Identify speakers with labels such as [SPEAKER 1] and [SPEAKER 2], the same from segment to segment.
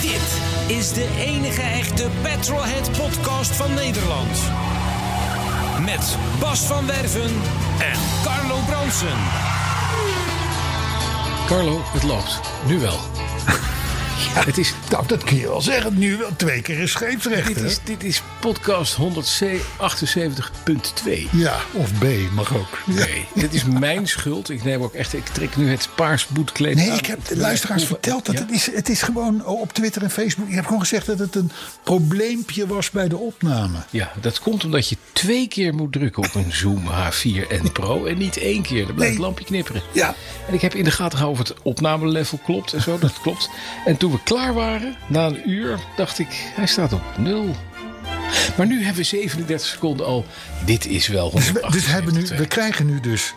[SPEAKER 1] Dit is de enige echte Petrolhead podcast van Nederland. Met Bas van Werven en Carlo Bronsen.
[SPEAKER 2] Carlo, het loopt. Nu wel. het is,
[SPEAKER 3] Nou, dat kun je wel zeggen. Nu wel twee keer is scheepsrecht,
[SPEAKER 2] dit,
[SPEAKER 3] hè?
[SPEAKER 2] is, dit is podcast 178.2.
[SPEAKER 3] Ja, of B mag ook. Ja.
[SPEAKER 2] Nee, dit is mijn schuld. Ik neem ook echt, ik trek nu het paars boetkleed
[SPEAKER 3] Nee,
[SPEAKER 2] aan.
[SPEAKER 3] ik heb de luisteraars verteld dat
[SPEAKER 2] Ja?
[SPEAKER 3] het is. Het is gewoon oh, op Twitter en Facebook. Ik heb gewoon gezegd dat het een probleempje was bij de opname.
[SPEAKER 2] Ja, dat komt omdat je twee keer moet drukken op een Zoom H4n Pro en niet één keer. Dan blijft het
[SPEAKER 3] Nee.
[SPEAKER 2] lampje knipperen.
[SPEAKER 3] Ja.
[SPEAKER 2] En ik heb in de gaten gehouden of het opnamelevel klopt en zo. Dat klopt. En toen we klaar waren, na een uur, dacht ik, hij staat op nul. Maar nu hebben we 37 seconden al. Dit is wel
[SPEAKER 3] Dus, we,
[SPEAKER 2] 180.
[SPEAKER 3] dus hebben nu, we krijgen nu dus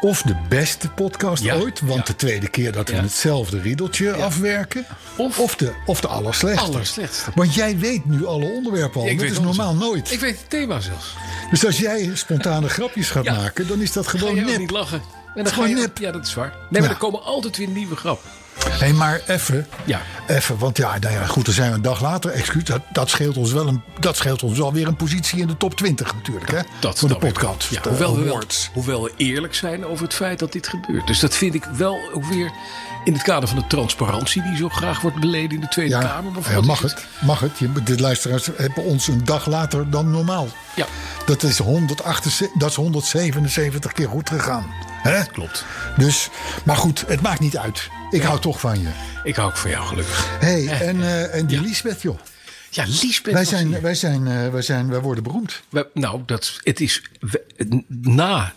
[SPEAKER 3] of de beste podcast
[SPEAKER 2] Ja,
[SPEAKER 3] ooit. Want
[SPEAKER 2] ja.
[SPEAKER 3] de tweede keer dat we
[SPEAKER 2] Ja.
[SPEAKER 3] hetzelfde riedeltje afwerken.
[SPEAKER 2] Of-
[SPEAKER 3] Of, de, of de allerslechtste.
[SPEAKER 2] Allerslechtste.
[SPEAKER 3] Want jij weet nu alle onderwerpen al.
[SPEAKER 2] Ik
[SPEAKER 3] dat
[SPEAKER 2] weet
[SPEAKER 3] is
[SPEAKER 2] alles.
[SPEAKER 3] normaal nooit.
[SPEAKER 2] Ik weet het thema zelfs.
[SPEAKER 3] Dus als jij spontane grapjes gaat
[SPEAKER 2] Ja.
[SPEAKER 3] maken, dan is dat
[SPEAKER 2] Gewoon
[SPEAKER 3] gewoon
[SPEAKER 2] je ook
[SPEAKER 3] nep.
[SPEAKER 2] niet lachen. En
[SPEAKER 3] is
[SPEAKER 2] dan ga
[SPEAKER 3] gewoon
[SPEAKER 2] je ook-
[SPEAKER 3] nep.
[SPEAKER 2] Ja, dat is waar. Nee, maar
[SPEAKER 3] Ja.
[SPEAKER 2] er komen altijd weer nieuwe grappen.
[SPEAKER 3] Hé, hey, maar even.
[SPEAKER 2] Ja.
[SPEAKER 3] Even, want ja, nou ja, goed, dan zijn we een dag later. Excuus, dat, dat scheelt ons wel een, dat scheelt ons wel weer een positie in de top 20 natuurlijk, hè?
[SPEAKER 2] Dat
[SPEAKER 3] Voor de
[SPEAKER 2] dan weer.
[SPEAKER 3] podcast.
[SPEAKER 2] Ja,
[SPEAKER 3] de
[SPEAKER 2] hoewel, we wel,
[SPEAKER 3] awards.
[SPEAKER 2] hoewel we eerlijk zijn over het feit dat dit gebeurt. Dus dat vind ik wel ook weer in het kader van de transparantie die zo graag wordt beleden in de Tweede
[SPEAKER 3] Ja,
[SPEAKER 2] Kamer.
[SPEAKER 3] ja,
[SPEAKER 2] bijvoorbeeld.
[SPEAKER 3] mag
[SPEAKER 2] Is
[SPEAKER 3] het? Mag het? Je, de luisteraars hebben ons een dag later dan normaal.
[SPEAKER 2] Ja.
[SPEAKER 3] Dat is, 178, dat is 177 keer goed gegaan. Hè?
[SPEAKER 2] Klopt.
[SPEAKER 3] Dus, maar goed, het maakt niet uit. Ik hou toch van je.
[SPEAKER 2] Ik hou ook van jou, gelukkig.
[SPEAKER 3] Hé, hey, en, eh, en die Liesbeth, joh.
[SPEAKER 2] Ja, Liesbeth.
[SPEAKER 3] Wij,
[SPEAKER 2] was
[SPEAKER 3] zijn,
[SPEAKER 2] hier.
[SPEAKER 3] wij, zijn, eh, wij, zijn, wij worden beroemd.
[SPEAKER 2] We- nou, dat, het is we- na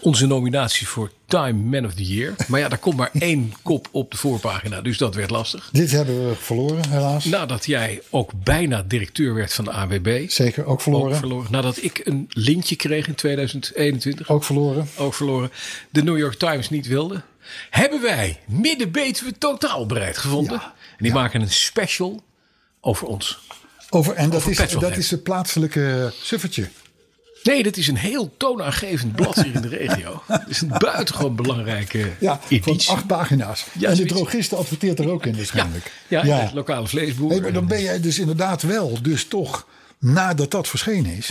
[SPEAKER 2] onze nominatie voor Time Man of the Year. Maar ja, daar komt maar één kop op de voorpagina. Dus dat werd lastig.
[SPEAKER 3] Dit hebben we verloren, helaas.
[SPEAKER 2] Nadat jij ook bijna directeur werd van de AWB.
[SPEAKER 3] Zeker, ook
[SPEAKER 2] Ook
[SPEAKER 3] verloren.
[SPEAKER 2] verloren. Nadat ik een lintje kreeg in 2021.
[SPEAKER 3] Ook verloren.
[SPEAKER 2] Ook verloren. De New York Times niet wilde. Hebben wij midden Betuwe totaal bereid gevonden.
[SPEAKER 3] Ja,
[SPEAKER 2] En die maken een special over ons.
[SPEAKER 3] Over, en dat
[SPEAKER 2] Over
[SPEAKER 3] is,
[SPEAKER 2] petrolhead.
[SPEAKER 3] dat is het plaatselijke suffertje.
[SPEAKER 2] Nee, dat is een heel toonaangevend blad hier in de regio. Dat is een buitengewoon belangrijke
[SPEAKER 3] Ja, van
[SPEAKER 2] editie.
[SPEAKER 3] acht pagina's.
[SPEAKER 2] Ja,
[SPEAKER 3] en de
[SPEAKER 2] zoiets.
[SPEAKER 3] drogiste adverteert er ook in
[SPEAKER 2] ja,
[SPEAKER 3] waarschijnlijk.
[SPEAKER 2] ja, het lokale vleesboer.
[SPEAKER 3] Hey, maar dan ben jij dus inderdaad wel, dus toch, nadat dat verschenen is...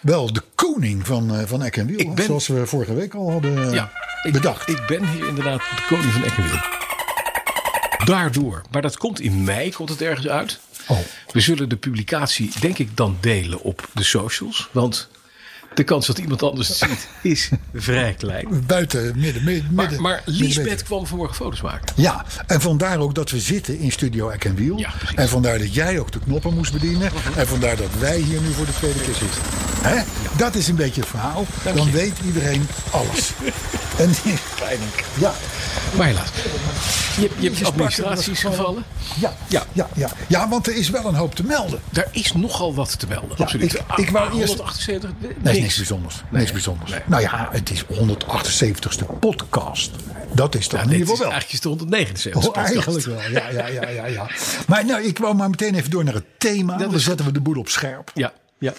[SPEAKER 3] wel de koning van, eh, van Eck en Wiel.
[SPEAKER 2] Mhm. Ik ben-
[SPEAKER 3] Zoals we vorige week al hadden eh,
[SPEAKER 2] ja, ik,
[SPEAKER 3] bedacht.
[SPEAKER 2] Ik ben hier inderdaad de koning van Eckenwiel. Daardoor. Maar dat komt in mei, komt het ergens uit.
[SPEAKER 3] Oh.
[SPEAKER 2] We zullen de publicatie denk ik dan delen op de socials. Want de kans dat iemand anders het ziet is vrij klein.
[SPEAKER 3] Buiten, midden, midden.
[SPEAKER 2] Maar,
[SPEAKER 3] midden-
[SPEAKER 2] maar Liesbeth
[SPEAKER 3] middenweg.
[SPEAKER 2] kwam vanmorgen foto's maken.
[SPEAKER 3] Ja, en vandaar ook dat we zitten in Studio Eck en Wiel.
[SPEAKER 2] Ja, precies. Mhm.
[SPEAKER 3] en vandaar dat jij ook de knoppen moest bedienen. En vandaar dat wij hier nu voor de tweede keer zitten. Hè? Dat is een beetje het verhaal. Dan
[SPEAKER 2] je.
[SPEAKER 3] weet iedereen alles. en, ja,
[SPEAKER 2] Maar helaas. Je, je hebt
[SPEAKER 3] sprak
[SPEAKER 2] administraties
[SPEAKER 3] er-
[SPEAKER 2] gevallen.
[SPEAKER 3] ja,
[SPEAKER 2] Ja.
[SPEAKER 3] ja. Ja, ja. want er is wel een hoop te melden.
[SPEAKER 2] Daar is nogal wat te melden.
[SPEAKER 3] Ja,
[SPEAKER 2] absoluut.
[SPEAKER 3] ik- ik wou eerst-
[SPEAKER 2] 178. Nee,
[SPEAKER 3] Nee, niks, niks bijzonders. niks bijzonders.
[SPEAKER 2] nee.
[SPEAKER 3] Nou ja, het is 178ste podcast. Dat is toch
[SPEAKER 2] Ja,
[SPEAKER 3] in
[SPEAKER 2] nee,
[SPEAKER 3] ieder
[SPEAKER 2] het is
[SPEAKER 3] geval wel.
[SPEAKER 2] eigenlijk is de 179.
[SPEAKER 3] Oh, eigenlijk wel. Ja, ja, ja, ja, ja. Maar nou, ik wou maar meteen even door naar het thema.
[SPEAKER 2] is
[SPEAKER 3] Dan zetten we de boel op scherp.
[SPEAKER 2] Ja, ja.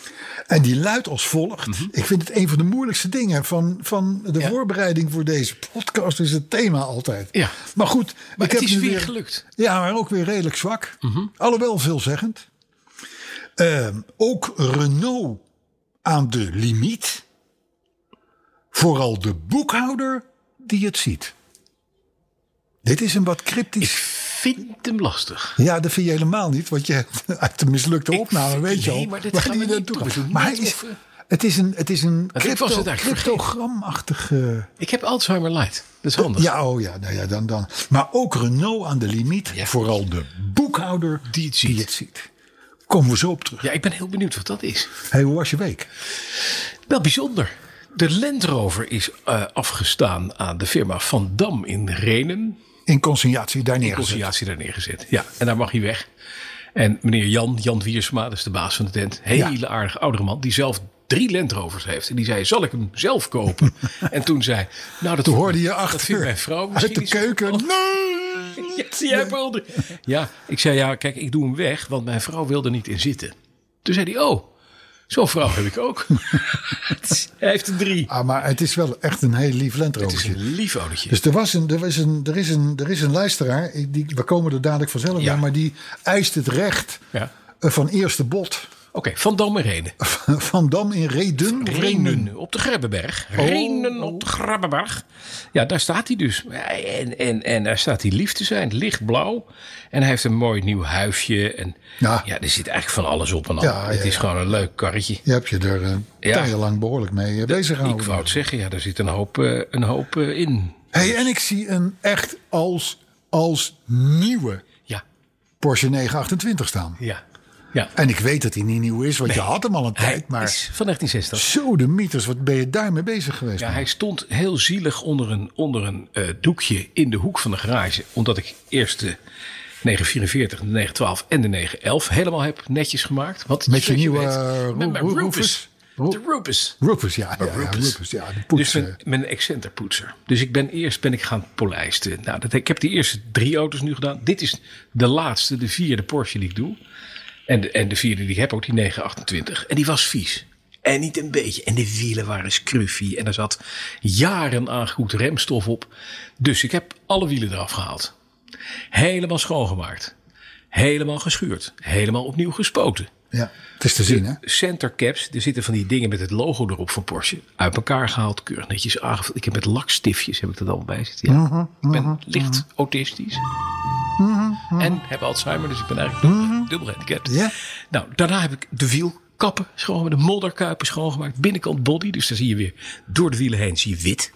[SPEAKER 3] En die luidt als volgt. Ik vind het een van de moeilijkste dingen van, van de
[SPEAKER 2] Mhm. Ja.
[SPEAKER 3] voorbereiding voor deze podcast. Is het thema altijd.
[SPEAKER 2] Ja.
[SPEAKER 3] Maar goed.
[SPEAKER 2] Maar
[SPEAKER 3] ik
[SPEAKER 2] het
[SPEAKER 3] heb
[SPEAKER 2] is
[SPEAKER 3] nu
[SPEAKER 2] weer gelukt. Mhm.
[SPEAKER 3] Ja, maar ook weer redelijk zwak. Alhoewel veelzeggend. Ehm, ook Renault aan de limiet. Vooral de boekhouder die het ziet. Dit is een wat
[SPEAKER 2] Ik
[SPEAKER 3] cryptisch.
[SPEAKER 2] vind hem lastig.
[SPEAKER 3] Ja, dat vind je helemaal niet, want je hebt uit de mislukte
[SPEAKER 2] Ik
[SPEAKER 3] opname,
[SPEAKER 2] vind-
[SPEAKER 3] weet je
[SPEAKER 2] nee,
[SPEAKER 3] al.
[SPEAKER 2] maar dit
[SPEAKER 3] waar
[SPEAKER 2] gaan
[SPEAKER 3] die
[SPEAKER 2] we niet
[SPEAKER 3] naartoe
[SPEAKER 2] doen.
[SPEAKER 3] gaat.
[SPEAKER 2] We doen
[SPEAKER 3] Maar hij
[SPEAKER 2] niet
[SPEAKER 3] is,
[SPEAKER 2] of, eh,
[SPEAKER 3] Het is een, het is een
[SPEAKER 2] ik was
[SPEAKER 3] crypto,
[SPEAKER 2] het eigenlijk
[SPEAKER 3] cryptogramachtige...
[SPEAKER 2] Ik heb Alzheimer light. Dat is handig.
[SPEAKER 3] Ja, oh ja, nou ja, dan, dan. Maar ook Renault aan de limiet.
[SPEAKER 2] Ja.
[SPEAKER 3] Vooral de boekhouder
[SPEAKER 2] Die het ziet.
[SPEAKER 3] Komen we zo op terug.
[SPEAKER 2] Ja, ik ben heel benieuwd wat dat is.
[SPEAKER 3] Hey, hoe was je week?
[SPEAKER 2] Wel bijzonder. De Land Rover is eh, afgestaan aan de firma Van Dam in Renen.
[SPEAKER 3] In consignatie daar neergezet.
[SPEAKER 2] Conciliatie daar neergezet. Ja, en daar mag hij weg. En meneer Jan, Jan Wiersma, dat is de baas van de tent. Hele aardige oudere man, die zelf drie Land Rovers heeft. En die zei, zal ik hem zelf kopen? en toen zei, nou dat
[SPEAKER 3] Toen hoorde je
[SPEAKER 2] Dat vindt
[SPEAKER 3] achter
[SPEAKER 2] mijn vrouw misschien
[SPEAKER 3] uit de
[SPEAKER 2] niet zo
[SPEAKER 3] keuken.
[SPEAKER 2] goed.
[SPEAKER 3] Nee!
[SPEAKER 2] Ja, zie jij wel de- Ja, ik zei ja, kijk, ik doe hem weg, want mijn vrouw wil er niet in zitten. Toen zei hij, oh, zo'n vrouw heb ik ook. hij heeft er drie.
[SPEAKER 3] Ah, maar het is wel echt een heel lief
[SPEAKER 2] Het is
[SPEAKER 3] lentrovertje.
[SPEAKER 2] een lief oudertje.
[SPEAKER 3] Dus er, was een, er, is een, er, is een, er is een luisteraar, ik- die, we komen er dadelijk vanzelf
[SPEAKER 2] Ja.
[SPEAKER 3] bij, maar die eist het recht
[SPEAKER 2] Ja.
[SPEAKER 3] eh, van eerste bot
[SPEAKER 2] Oké, Van Dam en Renen.
[SPEAKER 3] van Dam in Reden. of Renen.
[SPEAKER 2] Renen op de Grebbeberg. Renen op de Grebbeberg. Ja, daar staat hij dus. En, en, en daar staat hij lief te zijn, lichtblauw. En hij heeft een mooi nieuw huisje. En ja,
[SPEAKER 3] Ja.
[SPEAKER 2] er zit eigenlijk van alles op en af.
[SPEAKER 3] Ja, ja,
[SPEAKER 2] het is
[SPEAKER 3] ja.
[SPEAKER 2] gewoon een leuk karretje.
[SPEAKER 3] Je hebt je er eh
[SPEAKER 2] Ja.
[SPEAKER 3] tijdenlang behoorlijk mee eh, bezig
[SPEAKER 2] Ik
[SPEAKER 3] gehouden.
[SPEAKER 2] wou het zeggen, ja, daar zit een hoop, eh, een hoop eh, in.
[SPEAKER 3] Hey, en ik zie een echt als, als nieuwe
[SPEAKER 2] Ja,
[SPEAKER 3] Porsche 928 staan.
[SPEAKER 2] ja, ja.
[SPEAKER 3] En ik weet dat hij niet nieuw is, want je had hem al een
[SPEAKER 2] Hij
[SPEAKER 3] tijd. Maar
[SPEAKER 2] is van 1960.
[SPEAKER 3] zo de mythes, wat ben je daarmee bezig geweest?
[SPEAKER 2] Ja, hij stond heel zielig onder een, onder een eh, doekje in de hoek van de garage. Omdat ik eerst de 944, de 912 en de 911 helemaal heb netjes gemaakt. Wat
[SPEAKER 3] Met je
[SPEAKER 2] zoals
[SPEAKER 3] nieuwe,
[SPEAKER 2] weet,
[SPEAKER 3] eh, Ru-
[SPEAKER 2] met mijn
[SPEAKER 3] Ru-
[SPEAKER 2] Rufus.
[SPEAKER 3] Rufus.
[SPEAKER 2] De Rufus.
[SPEAKER 3] Rufus, ja. ja, ja,
[SPEAKER 2] Rufus.
[SPEAKER 3] Rufus, ja, de
[SPEAKER 2] Dus
[SPEAKER 3] poets. eh,
[SPEAKER 2] mijn, mijn excenterpoetser. Dus ik ben eerst ben ik gaan polijsten. Nou, dat, ik heb die eerste drie auto's nu gedaan. Dit is de laatste, de vierde Porsche die ik doe. En de, en de vierde die ik heb, ook die 928. En die was vies. En niet een beetje. En de wielen waren scruffy. En er zat jaren aan goed remstof op. Dus ik heb alle wielen eraf gehaald. Helemaal schoongemaakt. Helemaal geschuurd. Helemaal opnieuw gespoten
[SPEAKER 3] ja, het is te zien, hè?
[SPEAKER 2] centercaps, er zitten van die dingen met het logo erop van Porsche. Uit elkaar gehaald, keurig netjes aangevuld. Ik heb met lakstiftjes, heb ik dat allemaal bij zitten. Ja.
[SPEAKER 3] Mhm,
[SPEAKER 2] ik ben licht autistisch. En heb Alzheimer, dus ik ben eigenlijk dubbel, dubbel gehandicapt.
[SPEAKER 3] mhm. Ja.
[SPEAKER 2] Nou, daarna heb ik de wielkappen schoongemaakt, de modderkuipen schoongemaakt. Binnenkant body, dus daar zie je weer door de wielen heen zie je wit.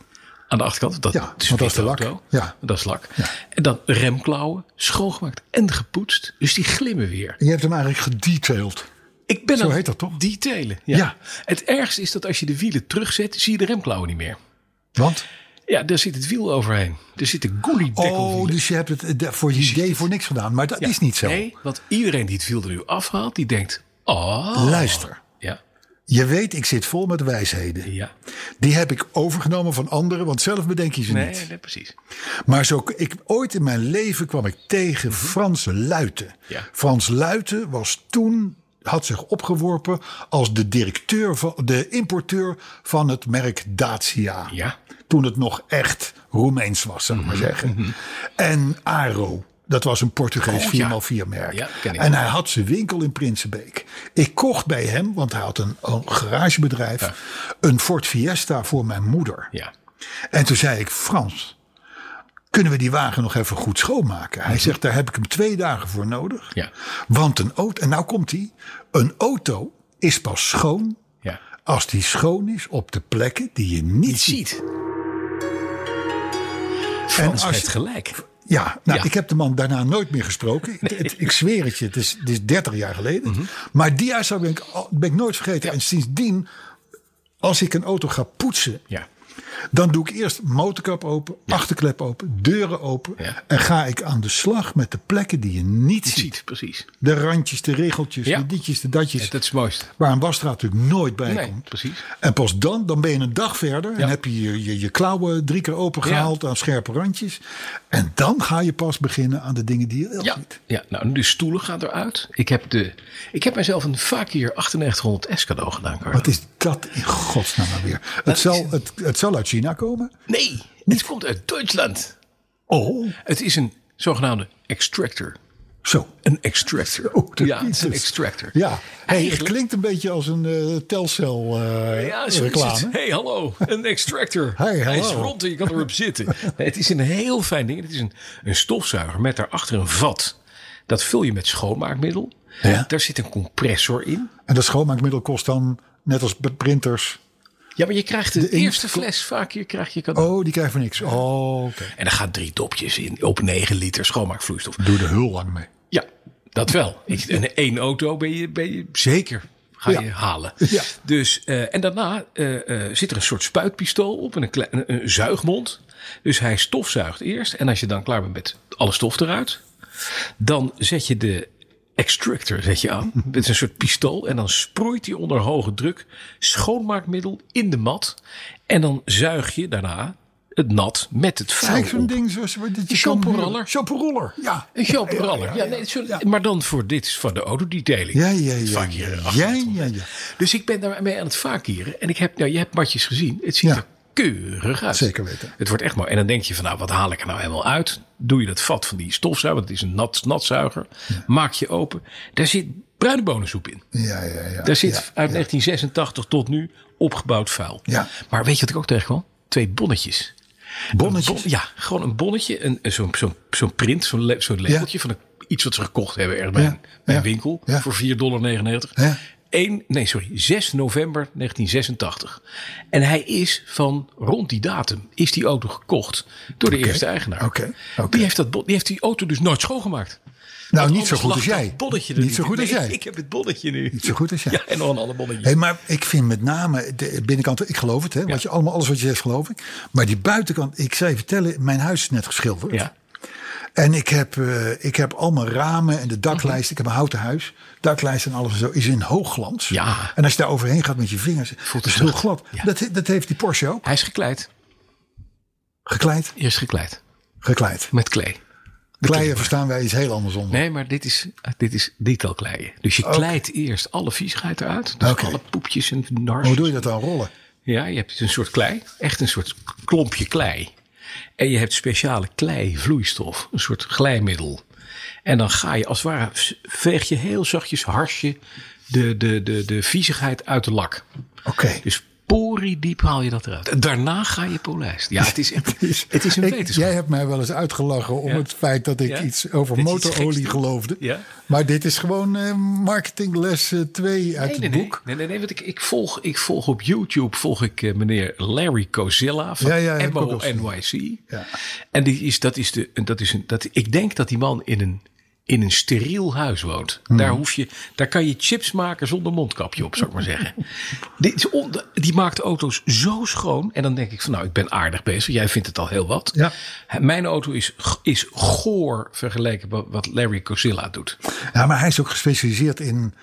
[SPEAKER 2] Aan de achterkant, dat,
[SPEAKER 3] Ja,
[SPEAKER 2] is
[SPEAKER 3] want dat
[SPEAKER 2] witte
[SPEAKER 3] is de lak.
[SPEAKER 2] auto.
[SPEAKER 3] Ja.
[SPEAKER 2] Dat is lak. En dan remklauwen, schoongemaakt en gepoetst. Dus die glimmen weer.
[SPEAKER 3] Je hebt hem eigenlijk gedetailed.
[SPEAKER 2] Ik ben
[SPEAKER 3] Zo
[SPEAKER 2] aan
[SPEAKER 3] heet dat toch?
[SPEAKER 2] Detailen. Ja.
[SPEAKER 3] Ja.
[SPEAKER 2] Het ergste is dat als je de wielen terugzet, zie je de remklauwen niet meer.
[SPEAKER 3] Want?
[SPEAKER 2] Ja, daar zit het wiel overheen. Er zit de goeliedekkel.
[SPEAKER 3] Oh, dus je hebt het eh, de- voor je idee voor niks gedaan. Maar dat is niet zo.
[SPEAKER 2] Nee, want iedereen die het wiel er nu afhaalt, die denkt, oh.
[SPEAKER 3] Luister.
[SPEAKER 2] Ja,
[SPEAKER 3] Je weet, ik zit vol met wijsheden.
[SPEAKER 2] ja.
[SPEAKER 3] Die heb ik overgenomen van anderen, want zelf bedenk je ze
[SPEAKER 2] Nee,
[SPEAKER 3] niet.
[SPEAKER 2] nee, precies.
[SPEAKER 3] Maar zo, ik, ooit in mijn leven kwam ik tegen Frans Luiten.
[SPEAKER 2] Mhm. Ja.
[SPEAKER 3] Frans Luiten was toen, had zich opgeworpen als de directeur van de importeur van het merk Dacia.
[SPEAKER 2] Ja. Mhm.
[SPEAKER 3] Toen het nog echt Roemeens was, zou ik maar zeggen. En Aro. Dat was een Portugees
[SPEAKER 2] Oh, ja.
[SPEAKER 3] 4x4 merk.
[SPEAKER 2] Ja, ken ik.
[SPEAKER 3] en hij had zijn winkel in Prinsenbeek. Ik kocht bij hem, want hij had een, een garagebedrijf, een Ford Fiesta voor mijn moeder.
[SPEAKER 2] Ja.
[SPEAKER 3] En toen zei ik, Frans, kunnen we die wagen nog even goed schoonmaken? Hij zegt, daar heb ik hem twee dagen voor nodig.
[SPEAKER 2] Ja.
[SPEAKER 3] Want een auto, en nou komt hij, een auto is pas schoon
[SPEAKER 2] Ja.
[SPEAKER 3] als die schoon is op de plekken die je niet,
[SPEAKER 2] Niet
[SPEAKER 3] ziet.
[SPEAKER 2] ziet. Frans
[SPEAKER 3] als
[SPEAKER 2] heeft
[SPEAKER 3] je-
[SPEAKER 2] gelijk.
[SPEAKER 3] Ja, nou,
[SPEAKER 2] Ja.
[SPEAKER 3] ik heb de man daarna nooit meer gesproken. Het- het- ik zweer het je, het is, het is 30 jaar geleden.
[SPEAKER 2] Mhm.
[SPEAKER 3] Maar die uitspraak ben ik, al- ben ik nooit vergeten. En sindsdien, als ik een auto ga poetsen,
[SPEAKER 2] Ja.
[SPEAKER 3] Dan doe ik eerst motorkap open, achterklep open, deuren open.
[SPEAKER 2] Ja.
[SPEAKER 3] En ga ik aan de slag met de plekken die je niet
[SPEAKER 2] Niet
[SPEAKER 3] ziet.
[SPEAKER 2] ziet, precies.
[SPEAKER 3] De randjes, de regeltjes,
[SPEAKER 2] Ja.
[SPEAKER 3] de ditjes, de datjes.
[SPEAKER 2] Ja, dat is het mooiste.
[SPEAKER 3] Waar een wasstraat natuurlijk nooit bij
[SPEAKER 2] Nee,
[SPEAKER 3] komt.
[SPEAKER 2] precies.
[SPEAKER 3] En pas dan, dan ben je een dag verder.
[SPEAKER 2] Ja.
[SPEAKER 3] En heb je je, je je klauwen drie keer opengehaald aan scherpe randjes. En dan ga je pas beginnen aan de dingen die je wel
[SPEAKER 2] Ja,
[SPEAKER 3] ziet.
[SPEAKER 2] ja, nou, de stoelen gaan eruit. Ik heb, de, ik heb mezelf een Fakir 9800 S cadeau gedaan, Carlo.
[SPEAKER 3] Wat is dat in godsnaam nou weer? Het
[SPEAKER 2] is-
[SPEAKER 3] zal, het, het zal uit China komen.
[SPEAKER 2] Nee, het komt uit Duitsland.
[SPEAKER 3] Oh,
[SPEAKER 2] Het is een zogenaamde extractor.
[SPEAKER 3] zo.
[SPEAKER 2] Een extractor.
[SPEAKER 3] Ook de
[SPEAKER 2] ja, het is een
[SPEAKER 3] Beatles.
[SPEAKER 2] extractor.
[SPEAKER 3] Ja, hey, het
[SPEAKER 2] Eigenlijk-
[SPEAKER 3] klinkt een beetje als een eh, telcel eh,
[SPEAKER 2] Ja, zo is het.
[SPEAKER 3] reclame.
[SPEAKER 2] Hey, hallo. Een extractor.
[SPEAKER 3] Hey,
[SPEAKER 2] Hij is
[SPEAKER 3] hallo.
[SPEAKER 2] rond en je kan erop zitten. Nee, het is een heel fijn ding. Het is een, een stofzuiger met daarachter een vat. Dat vul je met schoonmaakmiddel.
[SPEAKER 3] Ja.
[SPEAKER 2] Daar zit een compressor in.
[SPEAKER 3] En dat schoonmaakmiddel kost dan Net als bij printers.
[SPEAKER 2] Ja, maar je krijgt de,
[SPEAKER 3] De inkt-
[SPEAKER 2] eerste fles vaak. Je krijgt je cadeau.
[SPEAKER 3] Oh, die krijgen we niks. Oh, oké.
[SPEAKER 2] En daar gaan drie dopjes in op 9 liter schoonmaakvloeistof.
[SPEAKER 3] Doe de hul lang mee.
[SPEAKER 2] Ja, dat wel. Ik, en één auto ben je, ben je zeker ga je
[SPEAKER 3] Ja.
[SPEAKER 2] halen.
[SPEAKER 3] Ja.
[SPEAKER 2] Dus, eh, en daarna eh, eh, zit er een soort spuitpistool op en een, klein, een, een zuigmond. Dus hij stofzuigt eerst. En als je dan klaar bent met alle stof eruit, dan zet je de extractor zet je aan. Het is een soort pistool. En dan sproeit hij onder hoge druk schoonmaakmiddel in de mat. En dan zuig je daarna het nat met het vuil
[SPEAKER 3] Kijk zo'n
[SPEAKER 2] Nou, op.
[SPEAKER 3] ding zoals we dit
[SPEAKER 2] shampoo-roller.
[SPEAKER 3] Shampoo-roller, ja.
[SPEAKER 2] Een sjaalproller. Ja, nee, zo- Maar dan voor dit van de autodeteling.
[SPEAKER 3] Ja, ja, ja.
[SPEAKER 2] Vaak hier achter.
[SPEAKER 3] ja, ja, ja.
[SPEAKER 2] Dus ik ben daarmee aan het vakieren. En ik heb, nou, je hebt matjes gezien. Het ziet
[SPEAKER 3] Ja.
[SPEAKER 2] er keurig uit.
[SPEAKER 3] Zeker weten.
[SPEAKER 2] Het wordt echt mooi. En dan denk je van, nou, wat haal ik er nou helemaal uit? Doe je dat vat van die stofzuiger, want het is een nat, natzuiger. Maak je open. Daar zit bruine bonensoep in.
[SPEAKER 3] Ja, ja, ja.
[SPEAKER 2] Daar zit
[SPEAKER 3] Ja.
[SPEAKER 2] uit 1986 tot nu opgebouwd vuil.
[SPEAKER 3] Ja.
[SPEAKER 2] Maar weet je wat ik ook tegenkwam? Twee bonnetjes.
[SPEAKER 3] Bonnetjes.
[SPEAKER 2] Bon- ja, gewoon een bonnetje, een, een- zo'n zo'n zo'n print, zo'n le- zo'n labeltje van een, iets wat ze gekocht hebben ergens bij,
[SPEAKER 3] Ja,
[SPEAKER 2] een, bij een
[SPEAKER 3] ja,
[SPEAKER 2] winkel
[SPEAKER 3] ja.
[SPEAKER 2] voor 4,99 dollar.
[SPEAKER 3] Ja.
[SPEAKER 2] 1, nee, sorry, 6 november 1986. En hij is van rond die datum, is die auto gekocht door de eerste eigenaar.
[SPEAKER 3] oké, oké.
[SPEAKER 2] Die, heeft dat, bon- die heeft die auto dus nooit schoongemaakt.
[SPEAKER 3] Nou,
[SPEAKER 2] Want
[SPEAKER 3] niet zo
[SPEAKER 2] anders
[SPEAKER 3] goed
[SPEAKER 2] lag
[SPEAKER 3] als
[SPEAKER 2] dat
[SPEAKER 3] jij.
[SPEAKER 2] Bonnetje er
[SPEAKER 3] Niet zo
[SPEAKER 2] in.
[SPEAKER 3] goed als
[SPEAKER 2] Nee,
[SPEAKER 3] jij.
[SPEAKER 2] Ik heb het bonnetje nu.
[SPEAKER 3] Niet zo goed als jij.
[SPEAKER 2] Ja, en nog een ander bonnetje.
[SPEAKER 3] Hey, maar ik vind met name de binnenkant, ik geloof het, hè, wat je allemaal, alles wat je zegt, geloof ik. Maar die buitenkant, ik zou je vertellen, mijn huis is net geschilderd.
[SPEAKER 2] Ja.
[SPEAKER 3] En ik heb, eh, ik heb al mijn ramen en de
[SPEAKER 2] Mhm.
[SPEAKER 3] daklijst. Ik heb een houten huis. Daklijst en alles en zo is in hoogglans.
[SPEAKER 2] Ja.
[SPEAKER 3] En als je daar overheen gaat met je vingers, voelt het
[SPEAKER 2] het
[SPEAKER 3] heel
[SPEAKER 2] zacht.
[SPEAKER 3] glad.
[SPEAKER 2] Ja.
[SPEAKER 3] Dat, he- dat heeft die Porsche ook.
[SPEAKER 2] Hij is gekleid.
[SPEAKER 3] Gekleid,
[SPEAKER 2] Eerst gekleid.
[SPEAKER 3] gekleid.
[SPEAKER 2] Met klei.
[SPEAKER 3] Kleien verstaan wij iets heel anders onder.
[SPEAKER 2] Nee, maar dit is, dit is kleien. Dus je kleidt eerst alle viezigheid eruit. Dus
[SPEAKER 3] Oké.
[SPEAKER 2] alle poepjes en
[SPEAKER 3] Hoe
[SPEAKER 2] narsjes.
[SPEAKER 3] doe je dat dan rollen?
[SPEAKER 2] Ja, je hebt een soort klei. Echt een soort klompje klei. En je hebt speciale kleivloeistof. Een soort glijmiddel. En dan ga je als het ware, v- veeg je heel zachtjes, hars je de, de, de, de viezigheid uit de lak.
[SPEAKER 3] Oké.
[SPEAKER 2] Dus poriediep haal je dat eruit. En daarna ga je polijsten. Ja, het is, echt, het is een
[SPEAKER 3] Ik-
[SPEAKER 2] wetenschap.
[SPEAKER 3] jij hebt mij wel eens uitgelachen om
[SPEAKER 2] Ja.
[SPEAKER 3] het feit dat ik
[SPEAKER 2] Ja.
[SPEAKER 3] iets over
[SPEAKER 2] Dat je iets geks
[SPEAKER 3] motorolie
[SPEAKER 2] doet.
[SPEAKER 3] geloofde.
[SPEAKER 2] Ja.
[SPEAKER 3] Maar dit is gewoon eh, marketingles 2 uit
[SPEAKER 2] Nee,
[SPEAKER 3] het
[SPEAKER 2] nee,
[SPEAKER 3] boek.
[SPEAKER 2] Nee, nee, nee, want ik, ik, volg, ik volg op YouTube volg ik eh, meneer Larry Cozilla van
[SPEAKER 3] Ja, ja, heb ik ook
[SPEAKER 2] MO
[SPEAKER 3] al gezien.
[SPEAKER 2] NYC.
[SPEAKER 3] Ja.
[SPEAKER 2] En die is, dat is de, dat is een, dat, ik denk dat die man in een, in een steriel huis woont.
[SPEAKER 3] Hmm.
[SPEAKER 2] Daar, hoef je, daar kan je chips maken zonder mondkapje op, zou ik maar zeggen. Dit is on- die maakt auto's zo schoon. En dan denk ik van nou, ik ben aardig bezig. Jij vindt het al heel wat.
[SPEAKER 3] Ja.
[SPEAKER 2] Mijn auto is, is goor vergeleken met wat Larry Cozilla doet.
[SPEAKER 3] Ja, maar hij is ook gespecialiseerd in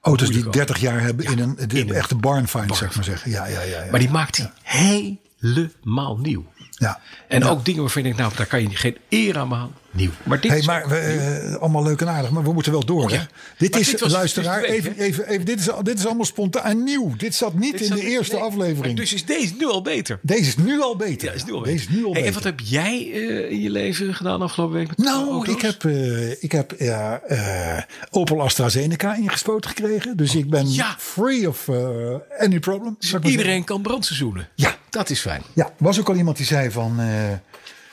[SPEAKER 3] auto's die
[SPEAKER 2] Moeilijk
[SPEAKER 3] 30 jaar hebben in een, de,
[SPEAKER 2] een
[SPEAKER 3] echte barn find, zeg maar zeggen. Ja, ja, ja. ja.
[SPEAKER 2] Maar die maakt hij helemaal nieuw.
[SPEAKER 3] ja.
[SPEAKER 2] En ook dingen waarvan je denkt, nou, daar kan je geen eer aan behalen. Nieuw. Maar dit
[SPEAKER 3] Hey,
[SPEAKER 2] is-
[SPEAKER 3] maar we, eh, allemaal leuk en aardig, maar we moeten wel door.
[SPEAKER 2] ja.
[SPEAKER 3] hè? Dit
[SPEAKER 2] Maar
[SPEAKER 3] is,
[SPEAKER 2] dit was-
[SPEAKER 3] luisteraar,
[SPEAKER 2] dit is de
[SPEAKER 3] even,
[SPEAKER 2] week,
[SPEAKER 3] even, even, dit, is, dit is allemaal spontaan en nieuw. Dit zat niet
[SPEAKER 2] dit
[SPEAKER 3] in
[SPEAKER 2] staat-
[SPEAKER 3] de eerste
[SPEAKER 2] nee,
[SPEAKER 3] aflevering.
[SPEAKER 2] maar Dus is deze nu al beter.
[SPEAKER 3] Deze is nu al beter.
[SPEAKER 2] Ja, is nu al beter.
[SPEAKER 3] Deze is nu al
[SPEAKER 2] Hey, en
[SPEAKER 3] beter.
[SPEAKER 2] wat heb jij eh, in je leven gedaan afgelopen week? Met
[SPEAKER 3] Nou,
[SPEAKER 2] auto's?
[SPEAKER 3] ik heb, eh, ik heb ja, eh, Opel AstraZeneca ingespoten gekregen. Dus ik ben
[SPEAKER 2] ja.
[SPEAKER 3] free of eh, any problem. zou ik maar
[SPEAKER 2] Iedereen kan brandseizoenen.
[SPEAKER 3] Ja.
[SPEAKER 2] Dat is fijn.
[SPEAKER 3] zeggen. Ja, er was ook al iemand die zei van... eh,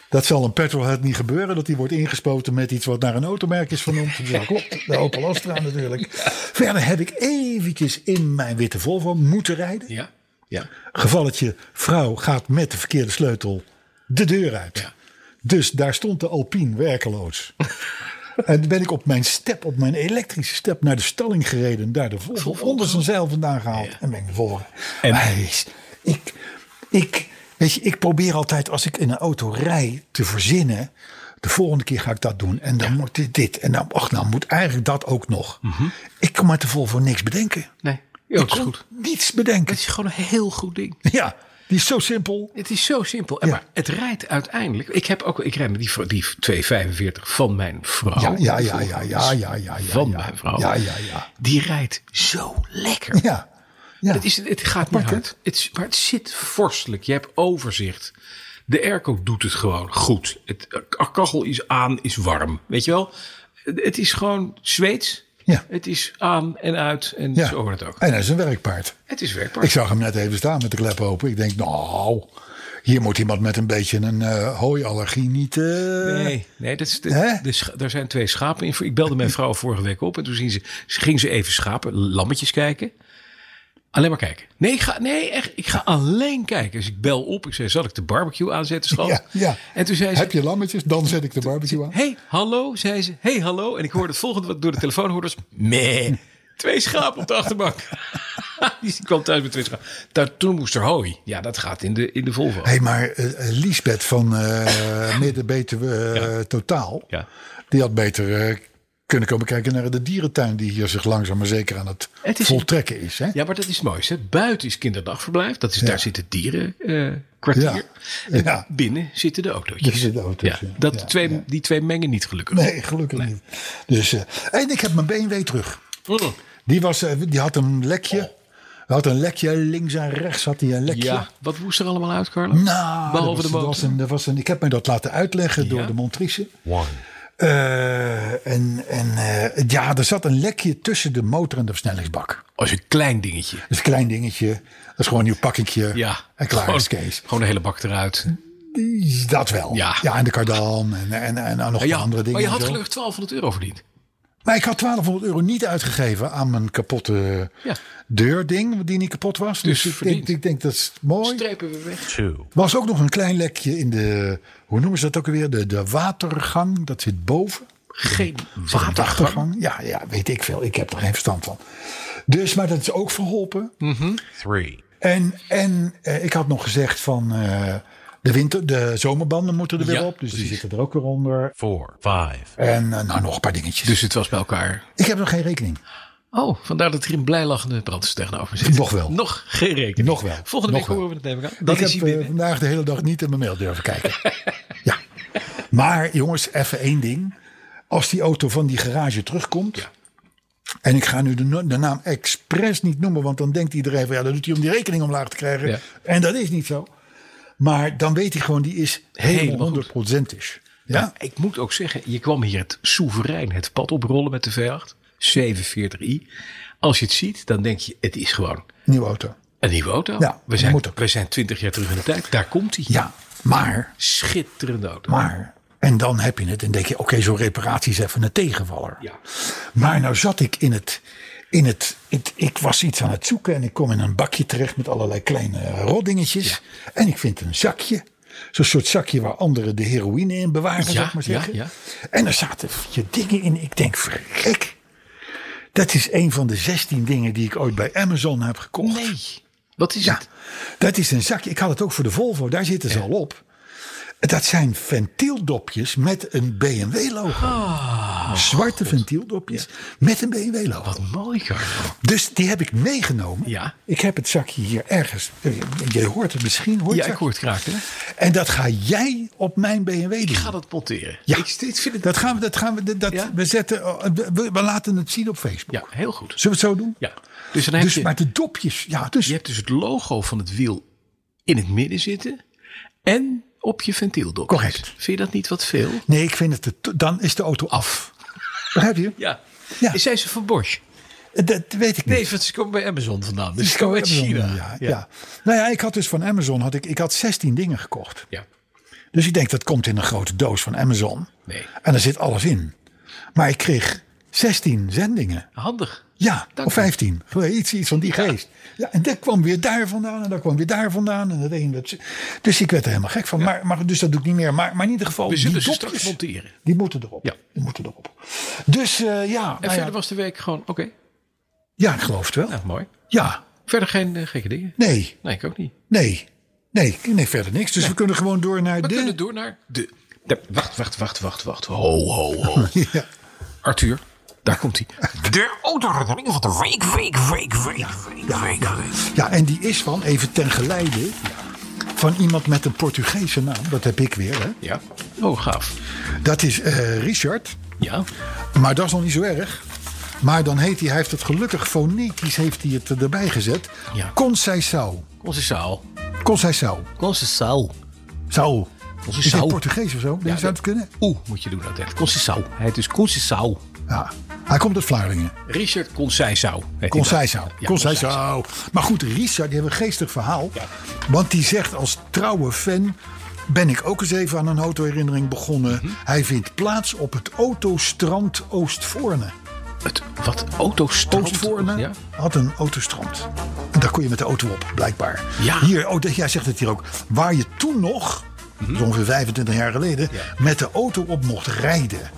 [SPEAKER 3] dat zal een petrolhead niet gebeuren. Dat die wordt ingespoten met iets wat naar een automerk is vernoemd. Dus dat klopt, de Opel Astra natuurlijk. Verder heb ik eventjes in mijn witte Volvo moeten rijden.
[SPEAKER 2] Ja. Ja.
[SPEAKER 3] Gevalletje, vrouw gaat met de verkeerde sleutel de deur uit.
[SPEAKER 2] Ja.
[SPEAKER 3] Dus daar stond de Alpine werkeloos. en toen ben ik op mijn step, op mijn elektrische step, naar de stalling gereden. Daar de Volvo onder zijn zeil vandaan gehaald. En ben ik naar voren.
[SPEAKER 2] En-
[SPEAKER 3] Maar hij is- ik, ik, weet je, ik probeer altijd als ik in een auto rij te verzinnen. De volgende keer ga ik dat doen. En dan moet dit, dit. En dan, ach, nou moet eigenlijk dat ook nog. Ik kan met de Volvo niks bedenken.
[SPEAKER 2] Nee. Ja, Mhm. dat
[SPEAKER 3] Ik
[SPEAKER 2] is
[SPEAKER 3] kon
[SPEAKER 2] goed.
[SPEAKER 3] Niets bedenken.
[SPEAKER 2] Het is gewoon een heel goed ding.
[SPEAKER 3] Ja, die is zo simpel.
[SPEAKER 2] Het is zo simpel. En
[SPEAKER 3] Ja.
[SPEAKER 2] Maar het rijdt uiteindelijk. Ik heb ook. Ik rijd met die, vr- die 245 van mijn vrouw.
[SPEAKER 3] Ja, ja, ja, ja, ja, ja, ja. ja,
[SPEAKER 2] Oh, Van
[SPEAKER 3] ja.
[SPEAKER 2] mijn vrouw.
[SPEAKER 3] Ja, ja, ja.
[SPEAKER 2] Die rijdt zo lekker.
[SPEAKER 3] Ja, ja.
[SPEAKER 2] Het, is, het gaat niet
[SPEAKER 3] Apart, hè?
[SPEAKER 2] hard. Het, is- maar het zit vorstelijk. Je hebt overzicht. De airco doet het gewoon goed. Het eh, kachel is aan, is warm. Weet je wel? Het, het is gewoon Zweeds.
[SPEAKER 3] Ja.
[SPEAKER 2] Het is aan en uit en
[SPEAKER 3] ja.
[SPEAKER 2] zo wordt het ook.
[SPEAKER 3] En hij is een werkpaard.
[SPEAKER 2] Het is werkbaar.
[SPEAKER 3] Ik zag hem net even staan met de klep open. Ik denk, nou, hier moet iemand met een beetje een eh hooiallergie niet... eh,
[SPEAKER 2] Nee, nee dat is de,
[SPEAKER 3] Hè?
[SPEAKER 2] de scha- daar zijn twee schapen in. Ik belde mijn vrouw vorige week op en toen zien ze, ze- ging ze even schapen, lammetjes kijken. Alleen maar kijken. Nee, ik ga, nee echt, ik ga alleen kijken. Dus ik bel op. Ik zei, zal ik de barbecue aanzetten, schat?
[SPEAKER 4] Ja, ja.
[SPEAKER 2] En toen zei ze,
[SPEAKER 4] Heb je lammetjes? Dan zet ik de barbecue aan.
[SPEAKER 2] hey, hallo, zei ze. Hey, hallo. En ik hoorde het volgende wat door de telefoon hoorde. was, Meh. Twee schapen op de achterbank. Die kwam thuis met twee schapen. Daar, toen moest er hooi. Ja, dat gaat in de, in de Volvo.
[SPEAKER 3] Hé, maar eh, eh, Liesbeth van eh Midden-Betuwe eh, Totaal...
[SPEAKER 2] Ja.
[SPEAKER 3] die had beter eh, kunnen komen kijken naar de dierentuin... die hier zich langzaam maar zeker aan het,
[SPEAKER 2] Het is-
[SPEAKER 3] voltrekken is. Hè?
[SPEAKER 2] Ja, maar dat is het mooiste. hè. Buiten is kinderdagverblijf. Dat is, Daar zit het dierenkwartier.
[SPEAKER 3] Ja.
[SPEAKER 2] En
[SPEAKER 3] Ja.
[SPEAKER 2] binnen zitten de autootjes.
[SPEAKER 3] Hier zitten auto's,
[SPEAKER 2] Ja,
[SPEAKER 3] ja.
[SPEAKER 2] dat
[SPEAKER 3] Ja,
[SPEAKER 2] twee, Die twee mengen niet gelukkig.
[SPEAKER 3] Nee, gelukkig niet. Dus, eh, en ik heb mijn BMW terug.
[SPEAKER 2] Mm.
[SPEAKER 3] Die, was, eh, die had een lekje. Hij had een lekje, links en rechts had hij een lekje.
[SPEAKER 2] Oh. Ja, wat moest er allemaal uit, Carlo?
[SPEAKER 3] Nou, dat
[SPEAKER 2] Behalve
[SPEAKER 3] was,
[SPEAKER 2] de
[SPEAKER 3] dat
[SPEAKER 2] motor.
[SPEAKER 3] was een, dat was een, ik heb me dat laten uitleggen door de Montrice. Eh, en en eh, ja, er zat een lekje tussen de motor en de versnellingsbak.
[SPEAKER 2] Als Oh, een klein dingetje.
[SPEAKER 3] Dat is een klein dingetje. Dat is gewoon een nieuw pakketje.
[SPEAKER 2] Ja.
[SPEAKER 3] En klaar
[SPEAKER 2] gewoon,
[SPEAKER 3] is Kees.
[SPEAKER 2] Gewoon de hele bak eruit.
[SPEAKER 3] Dat wel.
[SPEAKER 2] Ja.
[SPEAKER 3] en de kardan en, en, en, en nog
[SPEAKER 2] Ah, Ja,
[SPEAKER 3] andere dingen.
[SPEAKER 2] maar je
[SPEAKER 3] en
[SPEAKER 2] had
[SPEAKER 3] zo.
[SPEAKER 2] gelukkig 1200 euro verdiend.
[SPEAKER 3] Maar ik had 1200 euro niet uitgegeven aan mijn kapotte
[SPEAKER 2] Ja.
[SPEAKER 3] deurding, die niet kapot was.
[SPEAKER 2] Dus
[SPEAKER 3] Dus, ik,
[SPEAKER 2] verdiend.
[SPEAKER 3] denk, ik denk dat is mooi.
[SPEAKER 2] Strepen we weg.
[SPEAKER 3] was ook nog een klein lekje in de, hoe noemen ze dat ook weer? De, de watergang, dat zit boven.
[SPEAKER 2] Geen
[SPEAKER 3] Watergang?
[SPEAKER 2] watergang.
[SPEAKER 3] Ja, ja, weet ik veel. Ik heb er geen verstand van. Dus, maar dat is ook verholpen. En, en eh, ik had nog gezegd van eh, de, winter, de zomerbanden moeten er weer
[SPEAKER 2] Ja,
[SPEAKER 3] op. Dus die zitten er ook weer onder. En eh, nou, nog een paar dingetjes.
[SPEAKER 2] Dus het was bij elkaar.
[SPEAKER 3] ik heb nog geen rekening.
[SPEAKER 2] Oh, vandaar dat hier een blijlachende branders tegenover me zit.
[SPEAKER 3] Nog wel.
[SPEAKER 2] Nog geen rekening.
[SPEAKER 3] Nog wel.
[SPEAKER 2] Volgende
[SPEAKER 3] Nog
[SPEAKER 2] week
[SPEAKER 3] wel.
[SPEAKER 2] horen we het neem ik aan. Dan
[SPEAKER 3] ik
[SPEAKER 2] is
[SPEAKER 3] heb
[SPEAKER 2] hij
[SPEAKER 3] eh,
[SPEAKER 2] binnen.
[SPEAKER 3] vandaag de hele dag niet in mijn mail durven kijken. ja. Maar jongens, even één ding. Als die auto van die garage terugkomt.
[SPEAKER 2] Ja.
[SPEAKER 3] En ik ga nu de, no- de naam expres niet noemen. Want dan denkt iedereen van ja, dat doet hij om die rekening omlaag te krijgen.
[SPEAKER 2] Ja.
[SPEAKER 3] En dat is niet zo. Maar dan weet hij gewoon, die is
[SPEAKER 2] Helemaal
[SPEAKER 3] helemaal
[SPEAKER 2] goed.
[SPEAKER 3] 100% is.
[SPEAKER 2] Ja.
[SPEAKER 3] Ja?
[SPEAKER 2] Ik moet ook zeggen, je kwam hier het soeverein het pad oprollen met de V8 47i. Als je het ziet, dan denk je, het is gewoon
[SPEAKER 3] Nieuwe auto.
[SPEAKER 2] een nieuwe auto.
[SPEAKER 3] Ja,
[SPEAKER 2] we, zijn,
[SPEAKER 3] moet ook.
[SPEAKER 2] we zijn 20 jaar terug in de tijd. Daar komt hij.
[SPEAKER 3] Ja, maar,
[SPEAKER 2] Schitterende auto.
[SPEAKER 3] maar. En dan heb je het en denk je, oké, zo'n reparatie is even een tegenvaller.
[SPEAKER 2] Ja.
[SPEAKER 3] Maar nou zat ik in het, in het, het- Ik was iets aan het zoeken en ik kom in een bakje terecht met allerlei kleine eh, roddingetjes. En ik vind een zakje. Zo'n soort zakje waar anderen de heroïne in bewaren,
[SPEAKER 2] Ja,
[SPEAKER 3] zou ik maar
[SPEAKER 2] ja,
[SPEAKER 3] zeggen.
[SPEAKER 2] ja.
[SPEAKER 3] En er zaten je dingen in. Ik denk, verrek. Dat is een van de 16 dingen die ik ooit bij Amazon heb gekocht.
[SPEAKER 2] Nee. Wat is
[SPEAKER 3] Ja,
[SPEAKER 2] het?
[SPEAKER 3] dat is een zakje. Ik had het ook voor de Volvo, daar zitten ze al op. Dat zijn ventieldopjes met een BMW-logo. Zwarte ventieldopjes met een BMW-logo.
[SPEAKER 2] Ah. Wat mooi, Carlo.
[SPEAKER 3] Dus die heb ik meegenomen.
[SPEAKER 2] Ja.
[SPEAKER 3] Ik heb het zakje hier ergens. Je hoort het misschien. Hoor je
[SPEAKER 2] Ja,
[SPEAKER 3] het
[SPEAKER 2] ik hoor het graag. Hè?
[SPEAKER 3] zakje? En dat ga jij op mijn BMW doen.
[SPEAKER 2] Ik ga dat monteren.
[SPEAKER 3] Ja.
[SPEAKER 2] Ik steeds vind het...
[SPEAKER 3] Dat gaan we, dat gaan we, dat- dat,
[SPEAKER 2] Ja?
[SPEAKER 3] we zetten, eh, we, we laten het zien op Facebook.
[SPEAKER 2] Ja, heel goed.
[SPEAKER 3] Zullen we het zo doen?
[SPEAKER 2] Ja. Dus dan heb
[SPEAKER 3] Dus,
[SPEAKER 2] je...
[SPEAKER 3] maar de dopjes, ja, dus
[SPEAKER 2] Je hebt dus het logo van het wiel in het midden zitten en op je ventieldop.
[SPEAKER 3] Correct.
[SPEAKER 2] Vind je dat niet wat veel?
[SPEAKER 3] Nee, ik vind het. te to- dan is de auto af. Begrijp je?
[SPEAKER 2] Ja.
[SPEAKER 3] Ja.
[SPEAKER 2] Zijn ze van Bosch?
[SPEAKER 3] Dat weet ik niet.
[SPEAKER 2] Nee, want ze komen bij Amazon vandaan. Dus ze
[SPEAKER 3] Ik kan
[SPEAKER 2] komen uit
[SPEAKER 3] Amazon,
[SPEAKER 2] China.
[SPEAKER 3] Ja, ja. Nou ja, ik had dus van Amazon had ik, ik had 16 dingen gekocht.
[SPEAKER 2] Ja.
[SPEAKER 3] Dus ik denk dat komt in een grote doos van Amazon.
[SPEAKER 2] Nee.
[SPEAKER 3] En daar zit alles in. Maar ik kreeg 16 zendingen.
[SPEAKER 2] Handig.
[SPEAKER 3] Ja,
[SPEAKER 2] Dank
[SPEAKER 3] of
[SPEAKER 2] u.
[SPEAKER 3] 15. Iets, iets van die geest. Ja, en dat kwam weer daar vandaan en dat kwam weer daar vandaan. En dat een, dat, dus ik werd er helemaal gek van. Maar, maar, dus dat doe ik niet meer. Maar, maar in ieder geval,
[SPEAKER 2] We zullen
[SPEAKER 3] die
[SPEAKER 2] ze
[SPEAKER 3] dopjes,
[SPEAKER 2] straks monteren.
[SPEAKER 3] die moeten erop.
[SPEAKER 2] Ja.
[SPEAKER 3] Die moeten erop. Dus eh, ja, nou
[SPEAKER 2] En
[SPEAKER 3] ja,
[SPEAKER 2] verder was de week gewoon oké.
[SPEAKER 3] ja, ik geloof het wel.
[SPEAKER 2] Nou, mooi.
[SPEAKER 3] Ja,
[SPEAKER 2] Verder geen eh, gekke dingen.
[SPEAKER 3] nee.
[SPEAKER 2] Nee, ik ook niet.
[SPEAKER 3] Nee, nee, nee verder niks. Dus we kunnen gewoon door naar
[SPEAKER 2] We
[SPEAKER 3] de...
[SPEAKER 2] kunnen door naar de... de- Wacht, wacht, wacht, wacht, wacht. Ho, ho, ho.
[SPEAKER 3] Ja.
[SPEAKER 2] Arthur, daar komt hij.
[SPEAKER 1] De autoherinnering van de week, week, week, week, week, week, week.
[SPEAKER 3] ja, en die is van, even ten geleide, van iemand met een Portugese naam. Dat heb ik weer, hè.
[SPEAKER 2] Ja. Oh, gaaf.
[SPEAKER 3] Dat is eh, Richard,
[SPEAKER 2] Ja.
[SPEAKER 3] maar dat is nog niet zo erg. Maar dan heet hij, hij heeft het gelukkig fonetisch heeft hij het erbij gezet.
[SPEAKER 2] Ja.
[SPEAKER 3] Conceição.
[SPEAKER 2] Onze zaal.
[SPEAKER 3] Conceição.
[SPEAKER 2] Onze zaal.
[SPEAKER 3] Zou.
[SPEAKER 2] Onze
[SPEAKER 3] Is dit
[SPEAKER 2] zaal.
[SPEAKER 3] Portugees of zo? Nee, zou het
[SPEAKER 2] dat-
[SPEAKER 3] kunnen?
[SPEAKER 2] Oeh, moet je doen dat echt. Concessau. Hij dus is Concessau.
[SPEAKER 3] Ja. Hij komt uit Vlaardingen.
[SPEAKER 2] Richard Concessau.
[SPEAKER 3] Conceição.
[SPEAKER 2] Ja,
[SPEAKER 3] Conceição. Maar goed, Richard, die hebben een geestig verhaal. Want die zegt als trouwe fan... ben ik ook eens even aan een autoherinnering begonnen. Hij vindt plaats op het autostrand Oostvoorne.
[SPEAKER 2] het wat autostrand
[SPEAKER 3] Oostvoorne
[SPEAKER 2] Ja?
[SPEAKER 3] had een autostrand. En daar kon je met de auto op, blijkbaar.
[SPEAKER 2] Ja.
[SPEAKER 3] Hier, oh, dat- jij zegt het hier ook. Waar je toen nog,
[SPEAKER 2] Mhm.
[SPEAKER 3] zo ongeveer 25 jaar geleden, met de auto op mocht rijden.